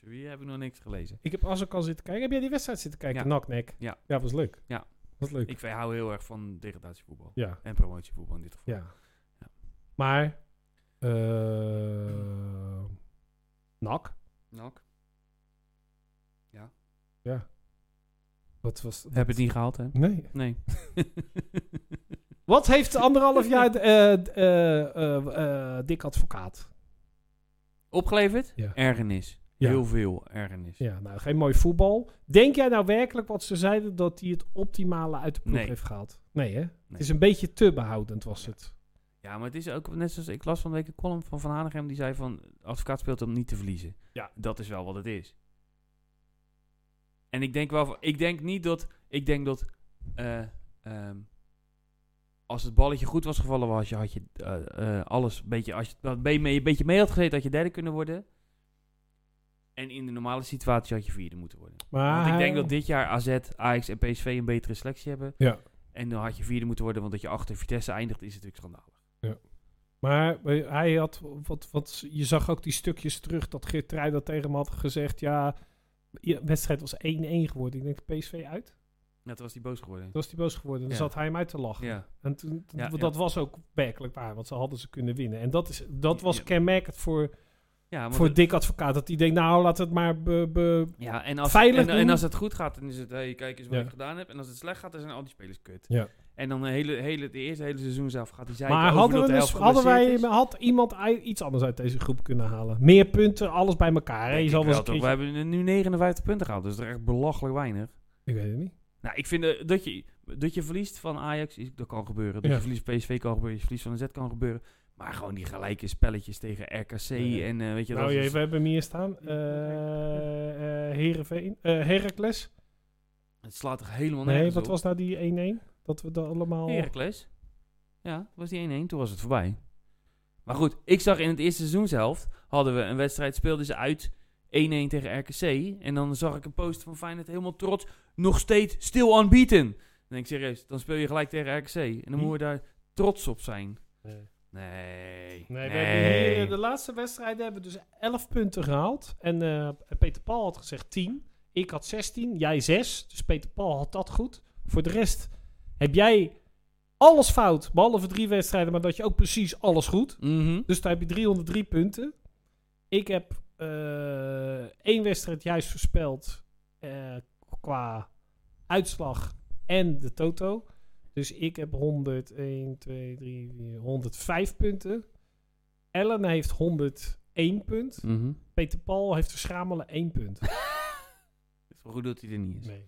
Speaker 2: Wie heb ik nog niks gelezen.
Speaker 1: Ik heb Askebar zitten kijken. Heb jij die wedstrijd zitten kijken?
Speaker 2: Ja.
Speaker 1: Naknek.
Speaker 2: Ja.
Speaker 1: Ja, was leuk.
Speaker 2: Ja.
Speaker 1: Was leuk.
Speaker 2: Ik hou heel erg van degradatievoetbal.
Speaker 1: Ja.
Speaker 2: En promotievoetbal in dit geval.
Speaker 1: Ja.
Speaker 2: Ja.
Speaker 1: Maar. eh Nak.
Speaker 2: Nak. Ja.
Speaker 1: Wat was.
Speaker 2: Heb het niet gehaald, hè?
Speaker 1: Nee. [laughs]
Speaker 2: Nee.
Speaker 1: Wat heeft anderhalf jaar eh eh eh, eh, Dick Advocaat?
Speaker 2: Opgeleverd?
Speaker 1: Ja.
Speaker 2: Ergernis.
Speaker 1: Ja.
Speaker 2: Heel veel ergernis.
Speaker 1: Ja, nou, geen mooi voetbal. Denk jij nou werkelijk wat ze zeiden dat hij het optimale uit de ploeg
Speaker 2: Nee.
Speaker 1: heeft gehaald? Nee, hè? Het is een beetje te behoudend, was het.
Speaker 2: Ja, maar het is ook net zoals ik las van de week een column van Van Hanegem. Die zei van, advocaat speelt om niet te verliezen.
Speaker 1: Ja.
Speaker 2: Dat is wel wat het is. En ik denk wel, van- ik denk niet dat, ik denk dat, eh, ehm, als het balletje goed was gevallen, was je, had je eh, eh, alles een beetje, als je dat mee, mee- een beetje mee had gezeten, had je derde kunnen worden. En in de normale situatie had je vierde moeten worden.
Speaker 1: Maar
Speaker 2: Want ik denk
Speaker 1: hij-
Speaker 2: dat dit jaar AZ, Ajax en PSV een betere selectie hebben.
Speaker 1: Ja.
Speaker 2: En dan had je vierde moeten worden, want dat je achter Vitesse eindigt, is natuurlijk schandalig.
Speaker 1: Maar eh, hij had, wat, wat, je zag ook die stukjes terug dat Geert dat tegen hem had gezegd. Ja, de wedstrijd was 1-1 geworden. Ik denk PSV uit.
Speaker 2: Net was hij boos geworden.
Speaker 1: Toen was hij boos geworden. Dan
Speaker 2: Ja.
Speaker 1: zat hij hem uit te lachen.
Speaker 2: Ja.
Speaker 1: En toen,
Speaker 2: Ja,
Speaker 1: want
Speaker 2: ja.
Speaker 1: dat was ook werkelijk waar. Want ze hadden ze kunnen winnen. En dat, is, dat was
Speaker 2: Ja.
Speaker 1: kenmerkend voor,
Speaker 2: Ja, want
Speaker 1: voor
Speaker 2: het-
Speaker 1: Dick Advocaat. Dat hij denkt, nou, laat het maar... Be, be-
Speaker 2: ja, en als,
Speaker 1: veilig
Speaker 2: en, en
Speaker 1: doen.
Speaker 2: als het goed gaat, dan is het, hey, kijk eens wat
Speaker 1: Ja.
Speaker 2: ik gedaan heb. En als het slecht gaat, dan zijn al die spelers kut.
Speaker 1: Ja.
Speaker 2: En dan de, hele, hele, de eerste hele seizoen zelf gaat hij zeiken
Speaker 1: Maar
Speaker 2: over
Speaker 1: hadden,
Speaker 2: dat
Speaker 1: we
Speaker 2: de
Speaker 1: dus-
Speaker 2: helft
Speaker 1: hadden wij,
Speaker 2: geblesseerd is.
Speaker 1: had iemand ei- iets anders uit deze groep kunnen halen? Meer punten, alles bij elkaar. hè? Je
Speaker 2: Denk
Speaker 1: zal
Speaker 2: ik
Speaker 1: wel eens
Speaker 2: wel,
Speaker 1: een
Speaker 2: toch? We
Speaker 1: keertje-
Speaker 2: hebben nu 59 punten gehaald, dus dat is echt belachelijk weinig.
Speaker 1: Ik weet het niet.
Speaker 2: Nou, ik vind eh, dat, je, dat je verliest van Ajax, is, dat kan gebeuren.
Speaker 1: Ja.
Speaker 2: Dat je verliest van PSV kan gebeuren, dat je verliest van de Z kan gebeuren. Maar gewoon die gelijke spelletjes tegen RKC
Speaker 1: Ja.
Speaker 2: en eh, weet je...
Speaker 1: nou
Speaker 2: dat
Speaker 1: jee,
Speaker 2: is-
Speaker 1: we hebben hem hier staan. Eh eh, Heerenveen. eh Heracles.
Speaker 2: Het slaat toch helemaal nergens
Speaker 1: Nee, wat
Speaker 2: op?
Speaker 1: was nou die 1-1? Dat we dat allemaal...
Speaker 2: Heracles. Ja, was die 1-1. Toen was het voorbij. Maar goed, ik zag in het eerste seizoenshelft... hadden we een wedstrijd, speelden ze uit 1-1 tegen RKC. En dan zag ik een post van Feyenoord helemaal trots... nog steeds still unbeaten. Dan denk ik serieus, dan speel je gelijk tegen RKC. En dan
Speaker 1: Hm.
Speaker 2: moet je daar trots op zijn.
Speaker 1: Nee.
Speaker 2: Nee.
Speaker 1: Nee, we hebben hier, eh, de laatste wedstrijden hebben we dus 11 punten gehaald. En eh, Peter Paul had gezegd 10. Ik had 16, jij 6. Dus Peter Paul had dat goed. Voor de rest heb jij alles fout, behalve drie wedstrijden, maar dat je ook precies alles goed.
Speaker 2: Mhm.
Speaker 1: Dus daar heb je 303 punten. Ik heb eh, één wedstrijd juist voorspeld eh, qua uitslag en de toto. Dus ik heb 100, 1, 2, 3, 4, 105 punten. Ellen heeft 101 punt.
Speaker 2: Mhm.
Speaker 1: Peter Paul heeft verschamelen 1 punt.
Speaker 2: Het is wel goed dat hij er niet is.
Speaker 1: Nee.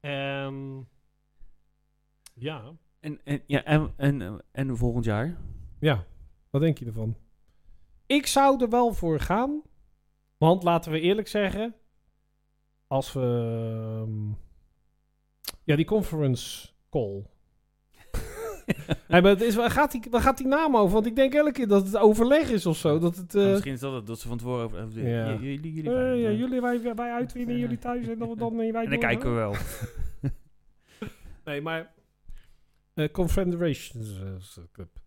Speaker 1: Ehm, ja.
Speaker 2: En, en, ja, en, en, en volgend jaar?
Speaker 1: Ja, wat denk je ervan? Ik zou er wel voor gaan. Want laten we eerlijk zeggen. Als we. ehm, ja, die conference
Speaker 2: [laughs]
Speaker 1: call. nee, maar het is, waar, gaat die, waar gaat die naam over? Want ik denk elke keer dat het overleg is of zo. Dat het. eh,
Speaker 2: Misschien is dat het, dat ze van tevoren... Over, over-
Speaker 1: Ja.
Speaker 2: J- jullie, jullie,
Speaker 1: eh, ja,
Speaker 2: ja.
Speaker 1: jullie, wij, wij uitwinnen, jullie thuis en dan, dan eh, wij
Speaker 2: En dan kijken we wel.
Speaker 1: Nee, maar. eh Confederations eh, Cup.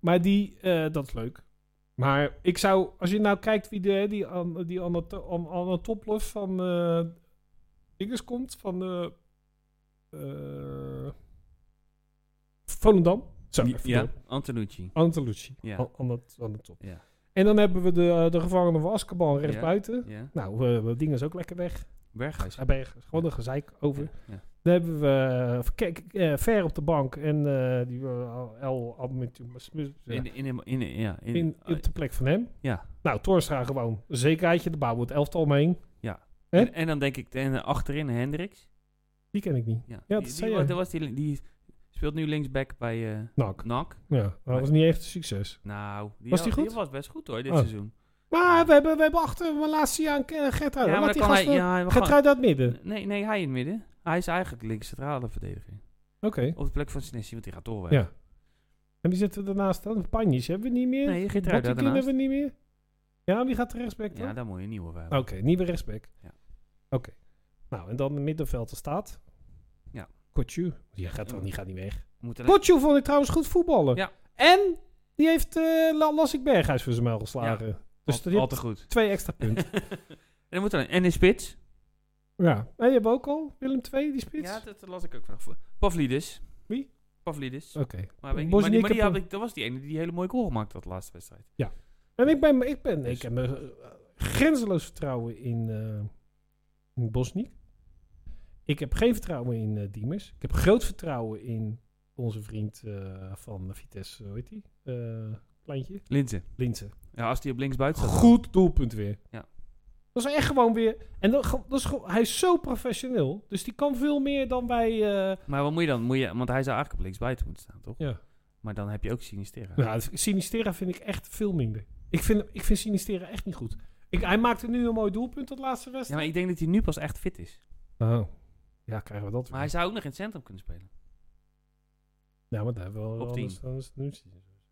Speaker 1: Maar die, eh, dat is leuk. Maar ik zou, als je nou kijkt wie de, die, an, die Anna- An- Anna Toplef van eh Dinges komt, van eh eh, Volendam. Zo,
Speaker 2: Ja,
Speaker 1: even
Speaker 2: ja,
Speaker 1: door. Oh.
Speaker 2: Antonucci.
Speaker 1: Antelucci.
Speaker 2: Ja.
Speaker 1: An- Anna, Anna Top.
Speaker 2: Ja.
Speaker 1: En dan hebben we de, eh, de gevangenen van Askeban rechts
Speaker 2: Ja.
Speaker 1: buiten.
Speaker 2: Ja.
Speaker 1: Nou, eh, dat ding is ook lekker weg.
Speaker 2: Berghuis.
Speaker 1: Daar ben je gewoon een gezeik over.
Speaker 2: Ja.
Speaker 1: Dan hebben we eh, kijk, Ver op de bank en eh, die eh, El Abmitje-
Speaker 2: In, in, in, in, ja, in,
Speaker 1: in
Speaker 2: eh,
Speaker 1: op de plek van hem.
Speaker 2: ja.
Speaker 1: Nou, Torstra gewoon. een Zekerheidje, de bouwen we het elftal omheen. hè?
Speaker 2: En, en dan denk ik en, eh, achterin Hendricks.
Speaker 1: Die ken ik niet.
Speaker 2: Ja,
Speaker 1: dat
Speaker 2: die,
Speaker 1: zei
Speaker 2: die,
Speaker 1: jij.
Speaker 2: dat was die, die speelt nu linksback bij eh
Speaker 1: Nak.
Speaker 2: NAC.
Speaker 1: Ja, dat was niet echt een succes.
Speaker 2: Nou, die,
Speaker 1: Was die
Speaker 2: had-
Speaker 1: goed?
Speaker 2: was best goed hoor, dit
Speaker 1: Oh.
Speaker 2: seizoen.
Speaker 1: Maar we hebben, we hebben achter mijn laatste jaar een Gert uit. eh, Laat die
Speaker 2: dan
Speaker 1: gasten,
Speaker 2: ja, hij mag
Speaker 1: Gert uit het midden.
Speaker 2: gewoon- Nee, nee, hij in het midden. Hij is eigenlijk links centrale verdediger.
Speaker 1: Oké.
Speaker 2: Op de plek van Sinessi, want die gaat door weg.
Speaker 1: Ja. En wie zitten we daarnaast dan? Panjes hebben we niet meer.
Speaker 2: Nee, Geert Ruida
Speaker 1: Bottekin
Speaker 2: daarnaast.
Speaker 1: hebben we niet meer. Ja, wie gaat er rechtsback dan?
Speaker 2: Ja, daar moet je een nieuwe voor hebben.
Speaker 1: Oké, nieuwe rechtsback.
Speaker 2: Ja.
Speaker 1: Oké. Nou, en dan de middenveld er staat.
Speaker 2: Ja.
Speaker 1: Kotju. Die gaat, dan, die gaat niet weg.
Speaker 2: Moet er-
Speaker 1: Kotju vond ik trouwens goed voetballen.
Speaker 2: Ja.
Speaker 1: En die heeft eh La- Lassik Berghuis voor zijn muil geslagen. Dus
Speaker 2: al,
Speaker 1: die
Speaker 2: al
Speaker 1: heeft
Speaker 2: te goed.
Speaker 1: twee extra punten.
Speaker 2: [laughs] en, moet er, en in spits.
Speaker 1: ja. En je hebt ook al Willem II, die spits.
Speaker 2: Ja, dat, dat las ik ook vanaf. eh, Pavlidis.
Speaker 1: Wie?
Speaker 2: Pavlidis.
Speaker 1: Oké.
Speaker 2: Maar, weet ik, niet. maar, die,
Speaker 1: Bosnië
Speaker 2: maar die
Speaker 1: kapot.
Speaker 2: had ik, dat was die ene die die hele mooie goal gemaakt had de laatste wedstrijd.
Speaker 1: En ik ben, ik ben,
Speaker 2: Dus-
Speaker 1: ik heb eh, grenzeloos vertrouwen in, eh in Bosnië. Ik heb geen vertrouwen in eh, Diemers. Ik heb groot vertrouwen in onze vriend eh, van Vitesse, hoe heet die? Eh, kleintje,
Speaker 2: Linzen.
Speaker 1: Linsen.
Speaker 2: Ja, als die op links buiten staat.
Speaker 1: Goed doelpunt weer.
Speaker 2: Ja.
Speaker 1: Dat is echt gewoon weer... En dat, ge- dat is, gewoon- hij is zo professioneel. Dus die kan veel meer dan wij... eh,
Speaker 2: Maar wat moet je dan? Moet je, want hij zou eigenlijk op links buiten moeten staan, toch?
Speaker 1: ja.
Speaker 2: Maar dan heb je ook Sinistera.
Speaker 1: Nou, Sinistera vind ik echt veel minder. Ik vind, ik vind Sinistera echt niet goed. Ik, hij maakte nu een mooi doelpunt, dat laatste wedstrijd.
Speaker 2: Ja, maar ik denk dat hij nu pas echt fit is.
Speaker 1: Oh. Ja, krijgen we dat weer.
Speaker 2: Maar hij zou ook nog in het centrum kunnen spelen.
Speaker 1: Ja, maar daar hebben we wel
Speaker 2: Op
Speaker 1: anders, anders nu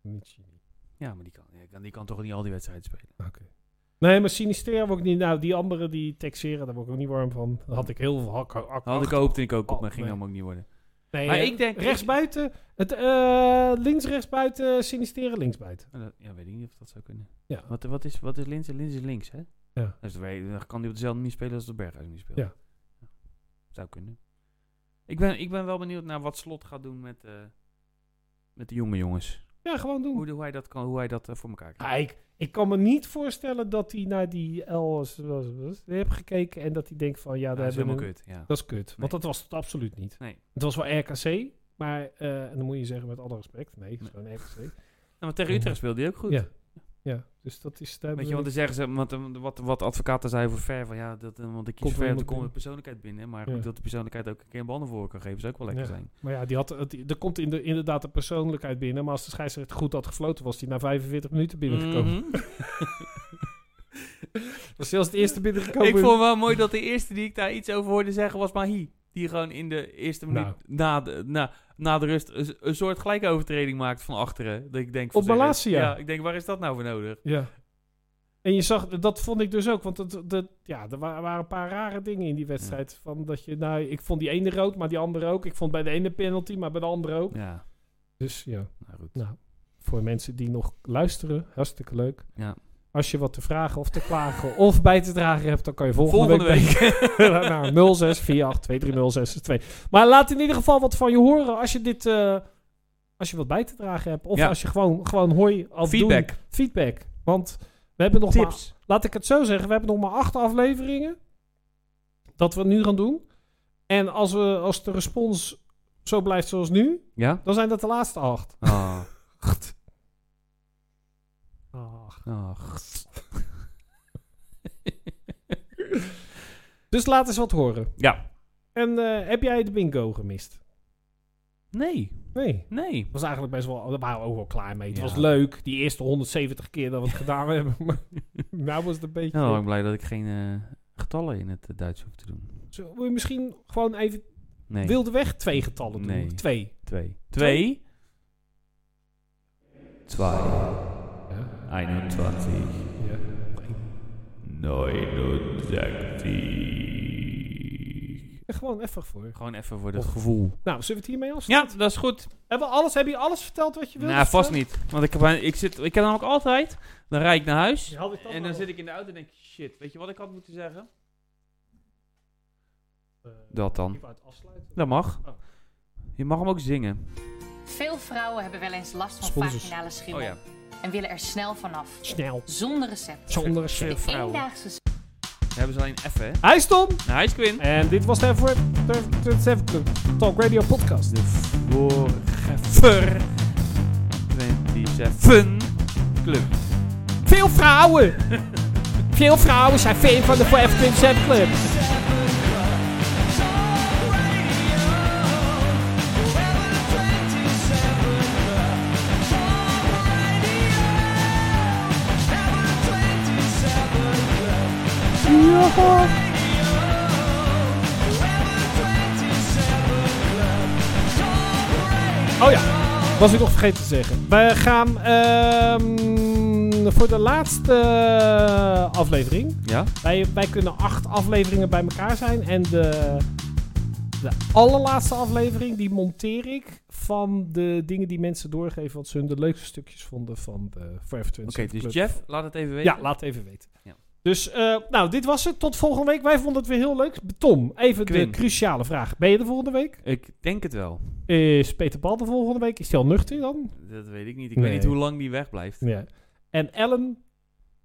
Speaker 1: niet Chili.
Speaker 2: Ja, maar die kan, ja, kan- die kan toch niet al die wedstrijden spelen.
Speaker 1: Nee, maar Sinistera word ik niet... Nou, die anderen die Texera, daar word ik ook niet warm van. Daar had ik heel veel hak. hak- hak-
Speaker 2: Had ik hoopte ik ook op, maar ging
Speaker 1: Oh, nee.
Speaker 2: helemaal ook niet worden.
Speaker 1: Nee,
Speaker 2: maar
Speaker 1: eh,
Speaker 2: ik denk-
Speaker 1: Rechtsbuiten, het, eh, links rechtsbuiten, Sinistera linksbuiten.
Speaker 2: Maar dat- Ja, weet ik niet of dat zou kunnen.
Speaker 1: Ja.
Speaker 2: Wat, wat is, wat is Linzen? Linzen is links, hè?
Speaker 1: Ja.
Speaker 2: Dus dan weet- dan kan hij op dezelfde manier spelen als de Berghuis nu speelt.
Speaker 1: Ja.
Speaker 2: Ja. Zou kunnen. Ik ben, ik ben wel benieuwd naar wat Slot gaat doen met, eh, met de jonge jongens.
Speaker 1: Ja, gewoon doen.
Speaker 2: Hoe, hoe hij dat, kan, hoe hij dat eh, voor elkaar krijgt.
Speaker 1: Ah, ik, ik kan me niet voorstellen dat hij naar die L heeft gekeken en dat hij denkt van... Ja,
Speaker 2: Ja,
Speaker 1: daar
Speaker 2: dat is
Speaker 1: hebben we
Speaker 2: helemaal
Speaker 1: een-
Speaker 2: kut, ja.
Speaker 1: Dat is kut. Want dat was het absoluut niet.
Speaker 2: Nee.
Speaker 1: Het was wel RKC, maar... eh, en dan moet je zeggen met alle respect, nee, het is
Speaker 2: Nee.
Speaker 1: gewoon RKC.
Speaker 2: Nou, maar tegen Utrecht speelde hij ook goed.
Speaker 1: Ja. Ja, dus Dus dat is daar
Speaker 2: Weet je, want dan zeggen ze, want, eh, wat, wat advocaten zeiden voor ver, van ja, dat, eh, want ik kies
Speaker 1: Komt
Speaker 2: ver,
Speaker 1: wel
Speaker 2: dan
Speaker 1: iemand
Speaker 2: komt de
Speaker 1: binnen.
Speaker 2: persoonlijkheid binnen. Maar
Speaker 1: Ja.
Speaker 2: goed, dat de persoonlijkheid ook een keer een bandenvoer kan geven, zou ook wel lekker
Speaker 1: Ja.
Speaker 2: zijn.
Speaker 1: Maar ja, die had, het- er komt in de, inderdaad de persoonlijkheid binnen. Maar als de scheidsrechter goed had gefloten, was hij na 45 minuten binnengekomen.
Speaker 2: Mhm.
Speaker 1: Was hij als het eerste binnengekomen?
Speaker 2: Ik vond wel mooi dat de eerste die ik daar iets over hoorde zeggen was Mahi. Die gewoon in de eerste minuut
Speaker 1: Nou.
Speaker 2: na, de, na, na de rust een, een soort gelijke overtreding maakt van achteren. Dat ik denk, van,
Speaker 1: Op
Speaker 2: zeg,
Speaker 1: Malasia.
Speaker 2: Ja, ik denk, waar is dat nou voor nodig?
Speaker 1: Ja. En je zag, dat vond ik dus ook, want het, dat, ja, er wa- waren een paar rare dingen in die wedstrijd. Van dat je, nou, ik vond die ene rood, maar die andere ook. Ik vond bij de ene penalty, maar bij de andere ook.
Speaker 2: Ja,
Speaker 1: Dus ja,
Speaker 2: nou goed.
Speaker 1: nou, voor mensen die nog luisteren, hartstikke leuk.
Speaker 2: Ja.
Speaker 1: Als je wat te vragen of te klagen of bij te dragen hebt, dan kan je volgende,
Speaker 2: Volgende
Speaker 1: week, [laughs] naar 0648230662. Maar laat in ieder geval wat van je horen als je dit, eh, als je wat bij te dragen hebt. Of
Speaker 2: Ja.
Speaker 1: als je gewoon, gewoon hooi of doen.
Speaker 2: Feedback,
Speaker 1: Feedback. Want we hebben nog maar,
Speaker 2: tips.
Speaker 1: laat ik het zo zeggen, we hebben nog maar acht afleveringen. Dat we nu gaan doen. En als, we, als de respons zo blijft zoals nu,
Speaker 2: Ja?
Speaker 1: dan zijn dat de laatste acht.
Speaker 2: [laughs] Ah,
Speaker 1: Ach.
Speaker 2: ah.
Speaker 1: Dus laat eens wat horen.
Speaker 2: Ja.
Speaker 1: En eh, heb jij de bingo gemist?
Speaker 2: Nee,
Speaker 1: Nee.
Speaker 2: nee.
Speaker 1: Was eigenlijk best wel, daar waren we ook wel klaar mee. Het
Speaker 2: Ja.
Speaker 1: was leuk, die eerste 170 keer dat we het gedaan hebben. Maar nou was het een beetje...
Speaker 2: Nou, ik ben blij dat ik geen eh, getallen in het eh, Duits hoef te doen.
Speaker 1: Zullen we misschien gewoon even
Speaker 2: Nee,
Speaker 1: wilde weg twee getallen doen?
Speaker 2: Nee.
Speaker 1: Twee.
Speaker 2: twee. Twee? Twee.
Speaker 1: Ja.
Speaker 2: 21.
Speaker 1: Ja.
Speaker 2: 69.
Speaker 1: Gewoon even voor.
Speaker 2: Gewoon even voor het gevoel.
Speaker 1: Nou, zullen we het hiermee afsluiten?
Speaker 2: Ja, dat is goed.
Speaker 1: Hebben we alles, heb je alles verteld wat je wilde?
Speaker 2: Nou, vast
Speaker 1: vertellen?
Speaker 2: niet. Want ik heb, eh, ik zit, ik heb namelijk altijd, dan rijd ik naar huis.
Speaker 1: Ja, had ik dat
Speaker 2: En
Speaker 1: maar
Speaker 2: dan
Speaker 1: wel.
Speaker 2: zit ik in de auto en denk ik, shit, weet je wat ik had moeten zeggen?
Speaker 1: Eh,
Speaker 2: Dat dan.
Speaker 1: ik wou het afsluiten.
Speaker 2: Dat mag.
Speaker 1: Oh.
Speaker 2: Je mag hem ook zingen.
Speaker 6: Veel vrouwen hebben wel eens last van
Speaker 1: Sponsors.
Speaker 6: vaginale schimmel
Speaker 2: Oh ja.
Speaker 6: en willen er snel vanaf.
Speaker 1: Snel.
Speaker 6: Zonder recept.
Speaker 1: Zonder
Speaker 6: De
Speaker 1: schrift.
Speaker 6: eendaagse
Speaker 2: We hebben ze alleen even, hè.
Speaker 1: Hij is Tom.
Speaker 2: Nou, hij is Quinn.
Speaker 1: En dit was de voor de Seven Club Talk Radio Podcast.
Speaker 2: De vorige 27 Club.
Speaker 1: Veel vrouwen. Veel vrouwen zijn fan van de Forever 27 Club. Oh ja, was ik nog vergeten te zeggen. We gaan ehm, voor de laatste eh, aflevering.
Speaker 2: Ja?
Speaker 1: Wij, wij kunnen acht afleveringen bij elkaar zijn. En de, de allerlaatste aflevering, die monteer ik van de dingen die mensen doorgeven. Wat ze hun de leukste stukjes vonden van de Forever 27
Speaker 2: Oké, dus
Speaker 1: Club.
Speaker 2: Jeff, laat het even weten.
Speaker 1: Ja, laat even weten.
Speaker 2: Ja.
Speaker 1: Dus, eh, nou, dit was het. Tot volgende week. Wij vonden het weer heel leuk. Tom, even
Speaker 2: Quinn.
Speaker 1: de cruciale vraag. Ben je de volgende week?
Speaker 2: Ik denk het wel.
Speaker 1: Is Peter Bal de volgende week? Is hij al nuchter dan?
Speaker 2: Dat weet ik niet. Ik
Speaker 1: Nee.
Speaker 2: weet niet hoe lang die wegblijft.
Speaker 1: Ja. En Ellen,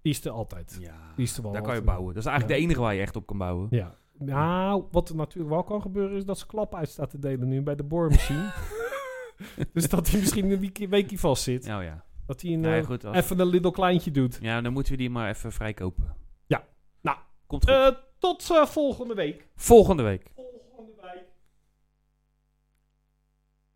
Speaker 1: die is er altijd.
Speaker 2: Ja,
Speaker 1: Die is er wel
Speaker 2: daar kan je
Speaker 1: altijd.
Speaker 2: bouwen. Dat is eigenlijk
Speaker 1: Ja.
Speaker 2: de enige waar je echt op kan bouwen.
Speaker 1: Ja. Nou, wat er natuurlijk wel kan gebeuren is dat ze klap uit staat te delen nu bij de
Speaker 2: [laughs]
Speaker 1: boormachine. dus dat hij misschien een weekje, weekje vast zit.
Speaker 2: Nou ja.
Speaker 1: Dat hij een,
Speaker 2: Nee,
Speaker 1: eh,
Speaker 2: goed, als-
Speaker 1: even een little kleintje doet.
Speaker 2: ja, dan moeten we die maar even vrijkopen.
Speaker 1: Ja. Nou,
Speaker 2: Komt goed.
Speaker 1: Eh, tot eh, volgende week.
Speaker 2: Volgende week.